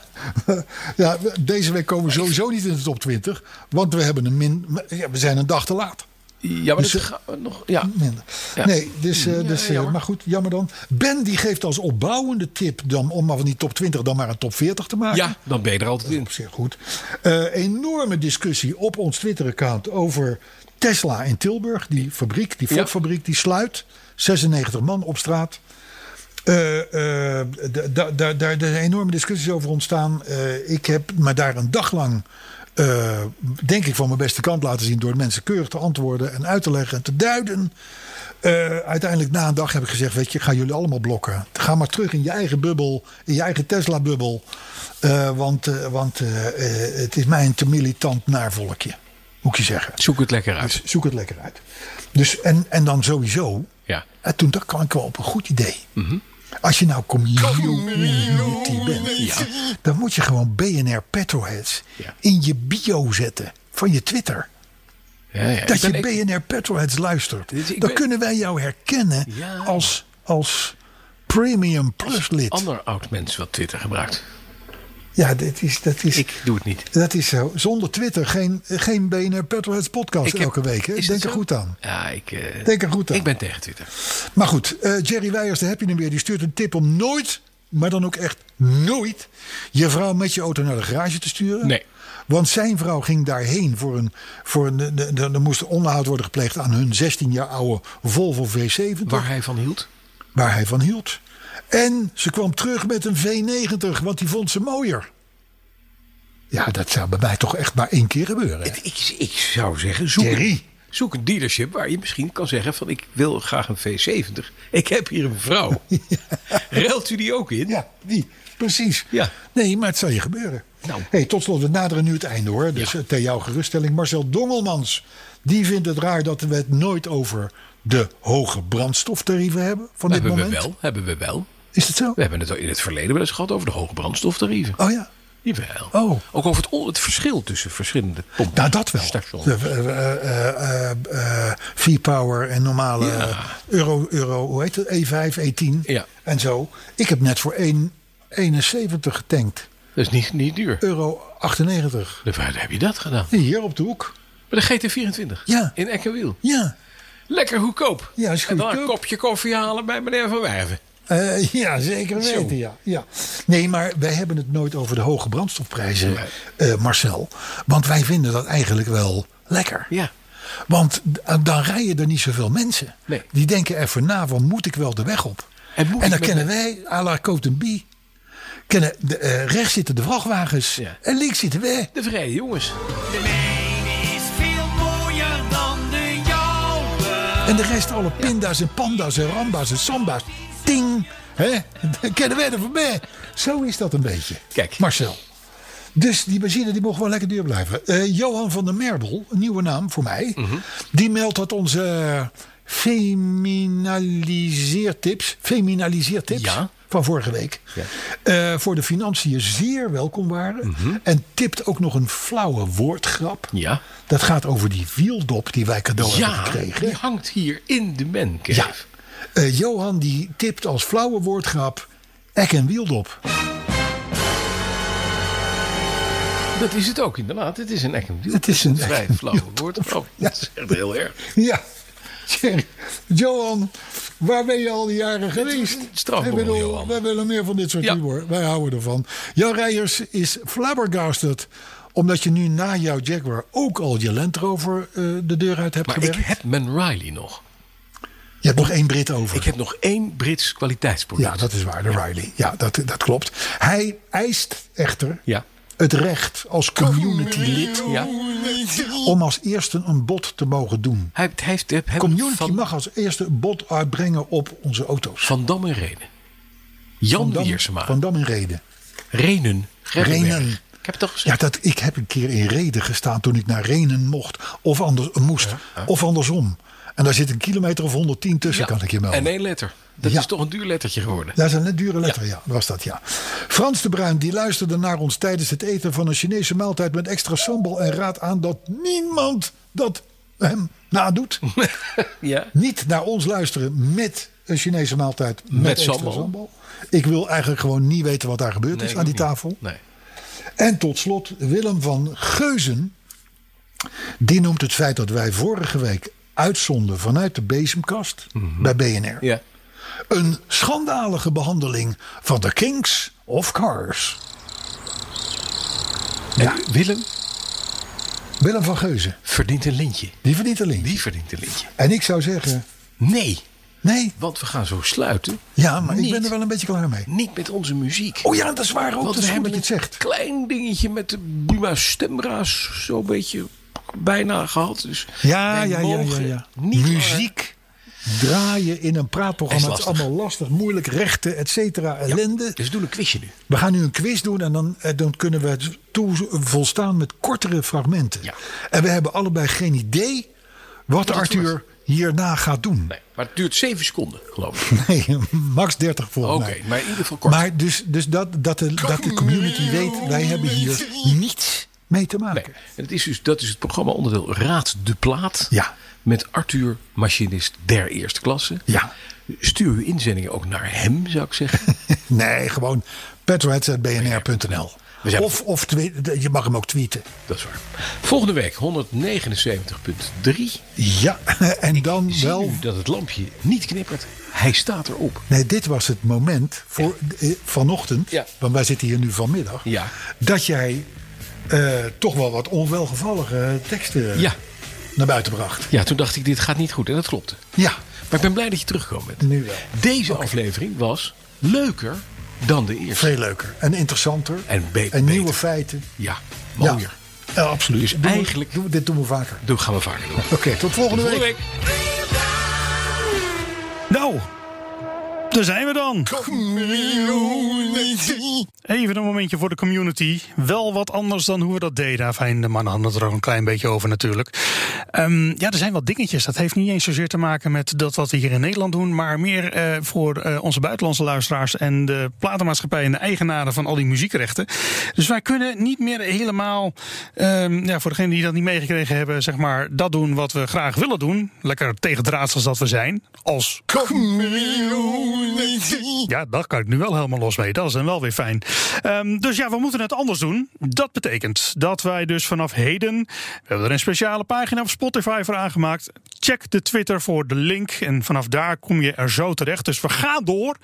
[SPEAKER 3] ja, we- deze week komen we sowieso niet in de top 20. Want we, hebben een min, ja, we zijn een dag te laat.
[SPEAKER 2] Ja, maar
[SPEAKER 3] Dus,
[SPEAKER 2] dat
[SPEAKER 3] eh,
[SPEAKER 2] gaan we nog. Ja.
[SPEAKER 3] Minder.
[SPEAKER 2] Ja.
[SPEAKER 3] Nee, dus, eh,
[SPEAKER 2] Ja,
[SPEAKER 3] dus, eh,
[SPEAKER 2] jammer.
[SPEAKER 3] maar goed, jammer dan. Ben die geeft als opbouwende tip dan, om maar van die top 20 dan maar een top 40 te maken.
[SPEAKER 2] ja, dan ben je er altijd in.
[SPEAKER 3] Op zich goed. Eh, enorme discussie op ons Twitter-account over Tesla in Tilburg. Die fabriek, die
[SPEAKER 2] Ja.
[SPEAKER 3] Ford-fabriek, die sluit. 96 man op straat. Eh, eh, da- da- da- Daar zijn enorme discussies over ontstaan. Eh, ik heb me daar een dag lang, eh, denk ik, van mijn beste kant laten zien. door mensen keurig te antwoorden en uit te leggen en te duiden. Eh, uiteindelijk na een dag heb ik gezegd: Weet je, ik ga jullie allemaal blokken. Ga maar terug in je eigen bubbel, in je eigen Tesla-bubbel. Eh, want eh, want eh, eh, het is mij een te militant naarvolkje, moet ik je zeggen.
[SPEAKER 2] Zoek het lekker uit.
[SPEAKER 3] Dus zoek het lekker uit. Dus, en, en dan sowieso.
[SPEAKER 2] Ja. Mhm.
[SPEAKER 3] En toen dacht, kwam ik wel op een goed idee. Als je nou community bent, dan moet je gewoon BNR Petrolheads
[SPEAKER 2] Ja.
[SPEAKER 3] in je bio zetten van je Twitter.
[SPEAKER 2] Ja, ja.
[SPEAKER 3] Dat
[SPEAKER 2] Ik ben
[SPEAKER 3] je
[SPEAKER 2] echt-
[SPEAKER 3] BNR Petrolheads luistert.
[SPEAKER 2] Dus ik
[SPEAKER 3] dan
[SPEAKER 2] ben-
[SPEAKER 3] kunnen wij jou herkennen
[SPEAKER 2] Ja.
[SPEAKER 3] als, als Premium Plus lid.
[SPEAKER 2] ander oud mens wat Twitter gebruikt.
[SPEAKER 3] Ja, dit is, dat, is,
[SPEAKER 2] Ik doe het niet.
[SPEAKER 3] dat is zo. Zonder Twitter geen, geen BNR Petrolheads podcast
[SPEAKER 2] Ik heb-
[SPEAKER 3] elke week. Hè?
[SPEAKER 2] Is
[SPEAKER 3] Denk
[SPEAKER 2] dat
[SPEAKER 3] er
[SPEAKER 2] zo?
[SPEAKER 3] goed aan.
[SPEAKER 2] Ja, ik, eh,
[SPEAKER 3] Denk er goed aan.
[SPEAKER 2] ik ben tegen Twitter.
[SPEAKER 3] Maar goed, eh, Jerry Weijers, daar heb je hem weer. Die stuurt een tip om nooit, maar dan ook echt nooit, je vrouw met je auto naar de garage te sturen.
[SPEAKER 2] Nee.
[SPEAKER 3] Want zijn vrouw ging daarheen voor een. Voor een de- de- de- er moest onderhoud worden gepleegd aan hun 16 jaar oude Volvo V70.
[SPEAKER 2] Waar hij van hield.
[SPEAKER 3] waar hij van hield. En ze kwam terug met een V90, want die vond ze mooier. Ja, dat zou bij mij toch echt maar één keer gebeuren. hè?
[SPEAKER 2] Ik, ik zou zeggen, zoek
[SPEAKER 3] Thierry.
[SPEAKER 2] een, zoek een dealership waar je misschien kan zeggen van ik wil graag een V70. Ik heb hier een vrouw. Ruilt u die ook in?
[SPEAKER 3] Ja, die. Precies.
[SPEAKER 2] Ja.
[SPEAKER 3] Nee, maar het zal je gebeuren.
[SPEAKER 2] Nou.
[SPEAKER 3] Hey, tot slot, we naderen nu het einde hoor. Dus
[SPEAKER 2] Ja.
[SPEAKER 3] eh, ter jouw geruststelling. Marcel Dongelmans, die vindt het raar dat we het nooit over de hoge brandstoftarieven hebben van dit
[SPEAKER 2] Nou, hebben
[SPEAKER 3] moment.
[SPEAKER 2] we wel, hebben we wel.
[SPEAKER 3] Is dat zo?
[SPEAKER 2] We hebben het al in het verleden wel eens gehad over de hoge brandstoftarieven.
[SPEAKER 3] Oh ja.
[SPEAKER 2] Jawel.
[SPEAKER 3] Oh.
[SPEAKER 2] Ook over het, on- het verschil tussen verschillende pompen.
[SPEAKER 3] Nou, dat wel.
[SPEAKER 2] Station.
[SPEAKER 3] De, eh, eh, eh, eh, eh, V-Power en normale eh, euro, euro, hoe heet het? E E5, E10
[SPEAKER 2] Ja.
[SPEAKER 3] en zo. Ik heb net voor 1,71 getankt.
[SPEAKER 2] Dat is niet, niet duur.
[SPEAKER 3] Euro 98.
[SPEAKER 2] De- Waar heb je dat gedaan?
[SPEAKER 3] Hier op de hoek.
[SPEAKER 2] Bij de GT24.
[SPEAKER 3] Ja.
[SPEAKER 2] In Eckenwiel.
[SPEAKER 3] Ja.
[SPEAKER 2] Lekker goedkoop.
[SPEAKER 3] Ja, is
[SPEAKER 2] En dan een
[SPEAKER 3] goedkoop.
[SPEAKER 2] kopje koffie halen bij meneer Van Werven.
[SPEAKER 3] Eh, ja, zeker weten, ja. ja. Nee, maar wij hebben het nooit over de hoge brandstofprijzen, eh, Marcel. Want wij vinden dat eigenlijk wel lekker.
[SPEAKER 2] Ja.
[SPEAKER 3] Want d- dan rijden er niet zoveel mensen.
[SPEAKER 2] Nee.
[SPEAKER 3] Die denken even na, van moet ik wel de weg op?
[SPEAKER 2] En moet
[SPEAKER 3] en dan
[SPEAKER 2] ik met
[SPEAKER 3] kennen wij, à la Cote Bie, kennen de, eh, rechts zitten de vrachtwagens
[SPEAKER 2] Ja.
[SPEAKER 3] en links zitten wij.
[SPEAKER 2] De vrije jongens.
[SPEAKER 6] De mijne is veel mooier dan de jouwe.
[SPEAKER 3] En de rest alle pinda's en panda's en ramba's en samba's. Ting! Hè? Dan kennen wij er voorbij. Zo is dat een beetje.
[SPEAKER 2] Kijk.
[SPEAKER 3] Marcel. Dus die benzine die mocht wel lekker duur blijven. Eh, Johan van der Merbel, een nieuwe naam voor mij.
[SPEAKER 2] Mhm.
[SPEAKER 3] Die meldt dat onze eh, feminaliseertips, feminaliseertips
[SPEAKER 2] Ja.
[SPEAKER 3] van vorige week... eh, voor de financiën zeer welkom waren. En tipt ook nog een flauwe woordgrap.
[SPEAKER 2] Mhm. Ja.
[SPEAKER 3] Dat gaat over die wieldop die wij cadeau hebben
[SPEAKER 2] Ja,
[SPEAKER 3] gekregen.
[SPEAKER 2] die hangt hier in de man cave.
[SPEAKER 3] Ja. Eh, Johan die tipt als flauwe woordgrap Ek en Wieldop.
[SPEAKER 2] Dat is het ook inderdaad. Het is een eck and
[SPEAKER 3] Het is een
[SPEAKER 2] vrij flauw woord. Oh, dat is echt heel erg.
[SPEAKER 3] Ja. Jerry, Johan, waar ben je al die jaren geweest?
[SPEAKER 2] strafbom,
[SPEAKER 3] Wij willen-
[SPEAKER 2] Johan.
[SPEAKER 3] Wij willen meer van dit soort
[SPEAKER 2] Ja.
[SPEAKER 3] humor. Wij houden ervan. Jan Rijers is flabbergasted. Omdat je nu na jouw Jaguar ook al je Land Rover eh, de deur uit hebt
[SPEAKER 2] Maar ik
[SPEAKER 3] gewerkt.
[SPEAKER 2] heb mijn Riley nog.
[SPEAKER 3] Je hebt nog één Brit over.
[SPEAKER 2] Ik heb nog één Brits kwaliteitsproduct.
[SPEAKER 3] Ja, dat is waar, de Riley. Ja, dat, dat klopt. Hij eist echter
[SPEAKER 2] Ja.
[SPEAKER 3] het recht als community-lid...
[SPEAKER 2] Ja.
[SPEAKER 3] om als eerste een bod te mogen doen.
[SPEAKER 2] Hij heeft, hij heeft, hij heeft
[SPEAKER 3] Community
[SPEAKER 2] van,
[SPEAKER 3] mag als eerste een bod uitbrengen op onze auto's.
[SPEAKER 2] Van Dam en Renen. Jan
[SPEAKER 3] Dam-
[SPEAKER 2] Wiersema.
[SPEAKER 3] Van Dam in Reden.
[SPEAKER 2] Renen. Gerberberg.
[SPEAKER 3] Renen.
[SPEAKER 2] Ik heb het al gezegd.
[SPEAKER 3] Ja, dat, ik heb een keer in Reden gestaan toen ik naar Renen mocht. Of anders, moest. Of andersom. En daar zit een kilometer of 110 tussen,
[SPEAKER 2] Ja.
[SPEAKER 3] kan ik je melden.
[SPEAKER 2] En één letter. Dat
[SPEAKER 3] Ja.
[SPEAKER 2] is toch een duur lettertje geworden.
[SPEAKER 3] Dat is een dure letter, ja. was dat, ja. Frans de Bruin die luisterde naar ons tijdens het eten van een Chinese maaltijd met extra sambal. En raadt aan dat niemand dat hem nadoet.
[SPEAKER 2] Ja.
[SPEAKER 3] Niet naar ons luisteren met een Chinese maaltijd met,
[SPEAKER 2] Met
[SPEAKER 3] extra
[SPEAKER 2] sambal.
[SPEAKER 3] sambal. Ik wil eigenlijk gewoon niet weten wat daar gebeurd
[SPEAKER 2] Nee,
[SPEAKER 3] is
[SPEAKER 2] ik
[SPEAKER 3] aan die
[SPEAKER 2] ook niet.
[SPEAKER 3] tafel.
[SPEAKER 2] Nee.
[SPEAKER 3] En tot slot Willem van Geuzen. Die noemt het feit dat wij vorige week uitzonden vanuit de bezemkast bij BNR.
[SPEAKER 2] Mhm. Ja.
[SPEAKER 3] Een schandalige behandeling van de Kings of Cars.
[SPEAKER 2] En Willem
[SPEAKER 3] Willem van Geuzen,
[SPEAKER 2] verdient een lintje.
[SPEAKER 3] die verdient een link.
[SPEAKER 2] Die verdient een lintje.
[SPEAKER 3] En ik zou zeggen,
[SPEAKER 2] Nee.
[SPEAKER 3] nee,
[SPEAKER 2] Want we gaan zo sluiten.
[SPEAKER 3] ja, maar ik
[SPEAKER 2] Niet.
[SPEAKER 3] ben er wel een beetje klaar mee.
[SPEAKER 2] Niet met onze muziek.
[SPEAKER 3] Oh ja, dat is waar ook,
[SPEAKER 2] Want
[SPEAKER 3] dat
[SPEAKER 2] we
[SPEAKER 3] is goed
[SPEAKER 2] hebben
[SPEAKER 3] dat je het
[SPEAKER 2] een
[SPEAKER 3] zegt.
[SPEAKER 2] klein dingetje met de Buma Stemra's zo'n beetje bijna gehad. Dus
[SPEAKER 3] Ja,
[SPEAKER 2] wij
[SPEAKER 3] ja, ja, ja,
[SPEAKER 2] mogen
[SPEAKER 3] ja.
[SPEAKER 2] Niet
[SPEAKER 3] Muziek draaien in een praatprogramma.
[SPEAKER 2] Is
[SPEAKER 3] Het is
[SPEAKER 2] lastig.
[SPEAKER 3] allemaal lastig, moeilijk, rechten, et cetera, ellende.
[SPEAKER 2] Dus we doen een quizje nu.
[SPEAKER 3] We gaan nu een quiz doen en dan, eh, dan kunnen we het toe volstaan met kortere fragmenten.
[SPEAKER 2] Ja.
[SPEAKER 3] En we hebben allebei geen idee wat Arthur hierna gaat doen.
[SPEAKER 2] Nee, maar het duurt zeven seconden, geloof ik.
[SPEAKER 3] Nee, max 30 volgens
[SPEAKER 2] Oké,
[SPEAKER 3] mij.
[SPEAKER 2] maar in ieder geval kort.
[SPEAKER 3] Maar dus, dus dat, dat, de, dat de community weet, wij hebben hier niets mee te
[SPEAKER 2] Nee.
[SPEAKER 3] maken.
[SPEAKER 2] En het is dus, dat is het programma onderdeel Raad de Plaat.
[SPEAKER 3] Ja.
[SPEAKER 2] Met Arthur, machinist der eerste klasse.
[SPEAKER 3] Ja.
[SPEAKER 2] Stuur uw inzendingen ook naar hem, zou ik zeggen.
[SPEAKER 3] Nee, gewoon petroheads.bnr.nl.
[SPEAKER 2] We zijn-
[SPEAKER 3] Of, of twi- je mag hem ook tweeten.
[SPEAKER 2] dat is waar. Volgende week 179.3.
[SPEAKER 3] Ja, en dan
[SPEAKER 2] Zie
[SPEAKER 3] wel
[SPEAKER 2] nu dat het lampje niet knippert. Hij staat erop.
[SPEAKER 3] Nee, dit was het moment voor eh, vanochtend,
[SPEAKER 2] Ja.
[SPEAKER 3] want wij zitten hier nu vanmiddag,
[SPEAKER 2] Ja.
[SPEAKER 3] dat jij eh, toch wel wat onwelgevallige teksten
[SPEAKER 2] Ja.
[SPEAKER 3] naar buiten bracht.
[SPEAKER 2] Ja, toen dacht ik, dit gaat niet goed. En dat klopte.
[SPEAKER 3] Ja,
[SPEAKER 2] Maar ik ben blij dat je teruggekomen bent.
[SPEAKER 3] Nu wel.
[SPEAKER 2] Deze aflevering was leuker dan de eerste.
[SPEAKER 3] veel leuker en interessanter.
[SPEAKER 2] En be-
[SPEAKER 3] En nieuwe
[SPEAKER 2] beter.
[SPEAKER 3] feiten.
[SPEAKER 2] Ja, mooier.
[SPEAKER 3] Ja, ja, absoluut.
[SPEAKER 2] Dus
[SPEAKER 3] Doen we-
[SPEAKER 2] eigenlijk-
[SPEAKER 3] doen we- dit doen we vaker.
[SPEAKER 2] Dat gaan we vaker doen.
[SPEAKER 3] Oké, tot volgende
[SPEAKER 2] Volgende
[SPEAKER 3] week.
[SPEAKER 2] week.
[SPEAKER 7] Nou, daar zijn we dan. Even een momentje voor de community. Wel wat anders dan hoe we dat deden. Fijn, de mannen hadden het er ook een klein beetje over natuurlijk. Ehm, ja, er zijn wat dingetjes. Dat heeft niet eens zozeer te maken met dat wat we hier in Nederland doen. Maar meer eh, voor eh, onze buitenlandse luisteraars en de platenmaatschappij en de eigenaren van al die muziekrechten. Dus wij kunnen niet meer helemaal, ehm, ja, voor degenen die dat niet meegekregen hebben, zeg maar, dat doen wat we graag willen doen. Lekker tegendraads als dat we zijn. Als ja, dat kan ik nu wel helemaal los mee. Dat is dan wel weer fijn. Ehm, dus ja, we moeten het anders doen. Dat betekent dat wij dus vanaf heden... We hebben er een speciale pagina op Spotify voor aangemaakt. Check de Twitter voor de link. En vanaf daar kom je er zo terecht. Dus we gaan door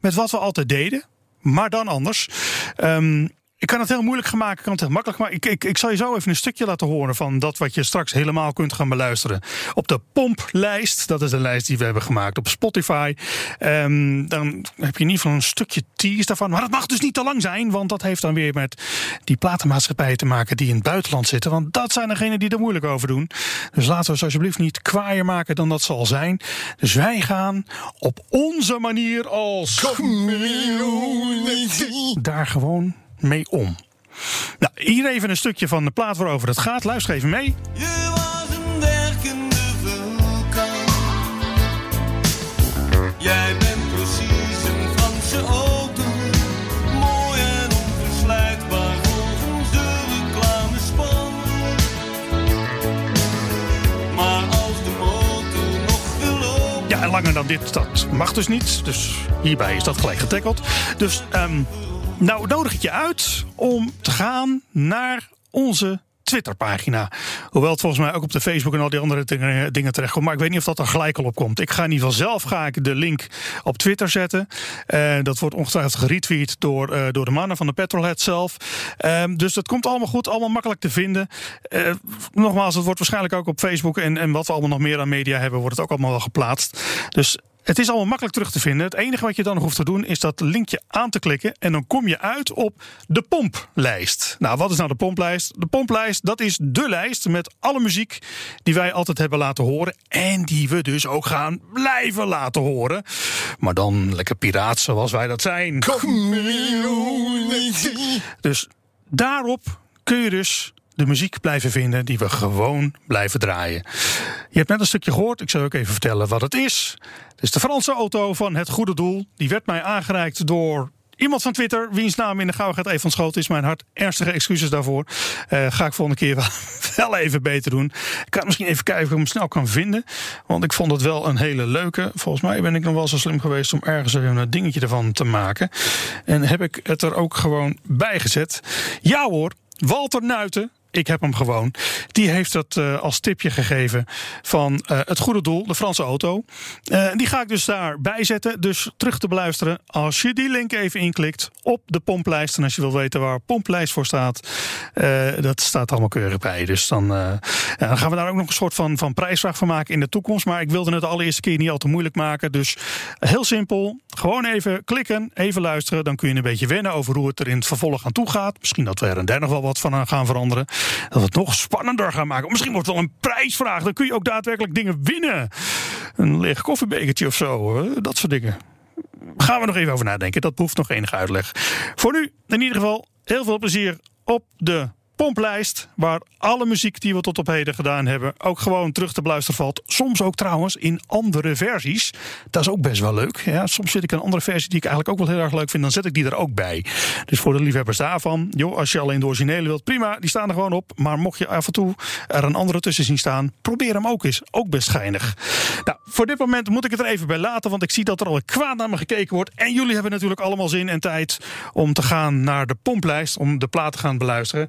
[SPEAKER 7] met wat we altijd deden. Maar dan anders. Ehm, ik kan het heel moeilijk gaan maken, ik kan het heel makkelijk maken. Ik, ik, ik zal je zo even een stukje laten horen van dat wat je straks helemaal kunt gaan beluisteren. Op de pomplijst, dat is de lijst die we hebben gemaakt op Spotify. Ehm, dan heb je in ieder geval een stukje tease daarvan. Maar dat mag dus niet te lang zijn, want dat heeft dan weer met die platenmaatschappijen te maken die in het buitenland zitten. Want dat zijn degenen die er moeilijk over doen. Dus laten we ons alsjeblieft niet kwaaier maken dan dat ze al zijn. Dus wij gaan op onze manier als daar gewoon mee om. Nou, hier even een stukje van de plaat waarover het gaat. Luister even mee.
[SPEAKER 6] Je was een werkende vulkaan. Jij bent precies een Franse auto. Mooi en onversluitbaar volgens de reclamespan. Maar als de motor nog wil lopen.
[SPEAKER 7] Ja, en langer dan dit, dat mag dus niet. Dus hierbij is dat gelijk getackled. Dus, ehm, nou nodig ik je uit om te gaan naar onze Twitterpagina. Hoewel het volgens mij ook op de Facebook en al die andere dingen- dingen terechtkomt. Maar ik weet niet of dat er gelijk al op komt. Ik ga in ieder geval zelf ga ik de link op Twitter zetten. Eh, dat wordt ongetwijfeld geretweet door, eh, door de mannen van de Petrolhead zelf. Ehm, dus dat komt allemaal goed, allemaal makkelijk te vinden. Eh, nogmaals, het wordt waarschijnlijk ook op Facebook en, en wat we allemaal nog meer aan media hebben, wordt het ook allemaal wel geplaatst. Dus het is allemaal makkelijk terug te vinden. Het enige wat je dan hoeft te doen is dat linkje aan te klikken. En dan kom je uit op de pomplijst. Nou, wat is nou de pomplijst? De pomplijst, dat is de lijst met alle muziek die wij altijd hebben laten horen. En die we dus ook gaan blijven laten horen. Maar dan lekker piraat zoals wij dat zijn. Dus daarop kun je dus de muziek blijven vinden die we gewoon blijven draaien. Je hebt net een stukje gehoord, ik zal je ook even vertellen wat het is. Het is de Franse auto van Het Goede Doel. Die werd mij aangereikt door iemand van Twitter... wiens naam in de gauwigheid even ontschoten is. Mijn hart, ernstige excuses daarvoor. Eh, ga ik volgende keer wel, wel even beter doen. Ik kan misschien even kijken of ik hem snel kan vinden. Want ik vond het wel een hele leuke. Volgens mij ben ik nog wel zo slim geweest... om ergens even een dingetje ervan te maken. En heb ik het er ook gewoon bij gezet. Ja hoor, Walter Nuiten. Ik heb hem gewoon. Die heeft dat eh, als tipje gegeven van eh, het goede doel, de Franse auto. Eh, die ga ik dus daarbij zetten. Dus terug te beluisteren als je die link even inklikt op de pomplijst. En als je wil weten waar pomplijst voor staat, eh, dat staat allemaal keurig bij. Dus dan, eh, ja, dan gaan we daar ook nog een soort van, van prijsvraag van maken in de toekomst. Maar ik wilde het de allereerste keer niet al te moeilijk maken. Dus heel simpel, gewoon even klikken, even luisteren. Dan kun je een beetje wennen over hoe het er in het vervolg aan toe gaat. Misschien dat we er en daar nog wel wat van aan gaan veranderen. Dat we het nog spannender gaan maken. Misschien wordt het wel een prijsvraag. Dan kun je ook daadwerkelijk dingen winnen. Een leeg koffiebekertje of zo. eh, Dat soort dingen. Gaan we nog even over nadenken. Dat behoeft nog enige uitleg. Voor nu in ieder geval heel veel plezier op de pomplijst. Waar alle muziek die we tot op heden gedaan hebben ook gewoon terug te beluisteren valt. Soms ook trouwens in andere versies. Dat is ook best wel leuk. Ja, soms zit ik een andere versie die ik eigenlijk ook wel heel erg leuk vind. Dan zet ik die er ook bij. Dus voor de liefhebbers daarvan. Joh, als je alleen de originele wilt, prima. Die staan er gewoon op. Maar mocht je af en toe er een andere tussen zien staan. Probeer hem ook eens. Ook best geinig. Nou, voor dit moment moet ik het er even bij laten. Want ik zie dat er al kwaad naar me gekeken wordt. En jullie hebben natuurlijk allemaal zin en tijd om te gaan naar de pomplijst. Om de plaat te gaan beluisteren.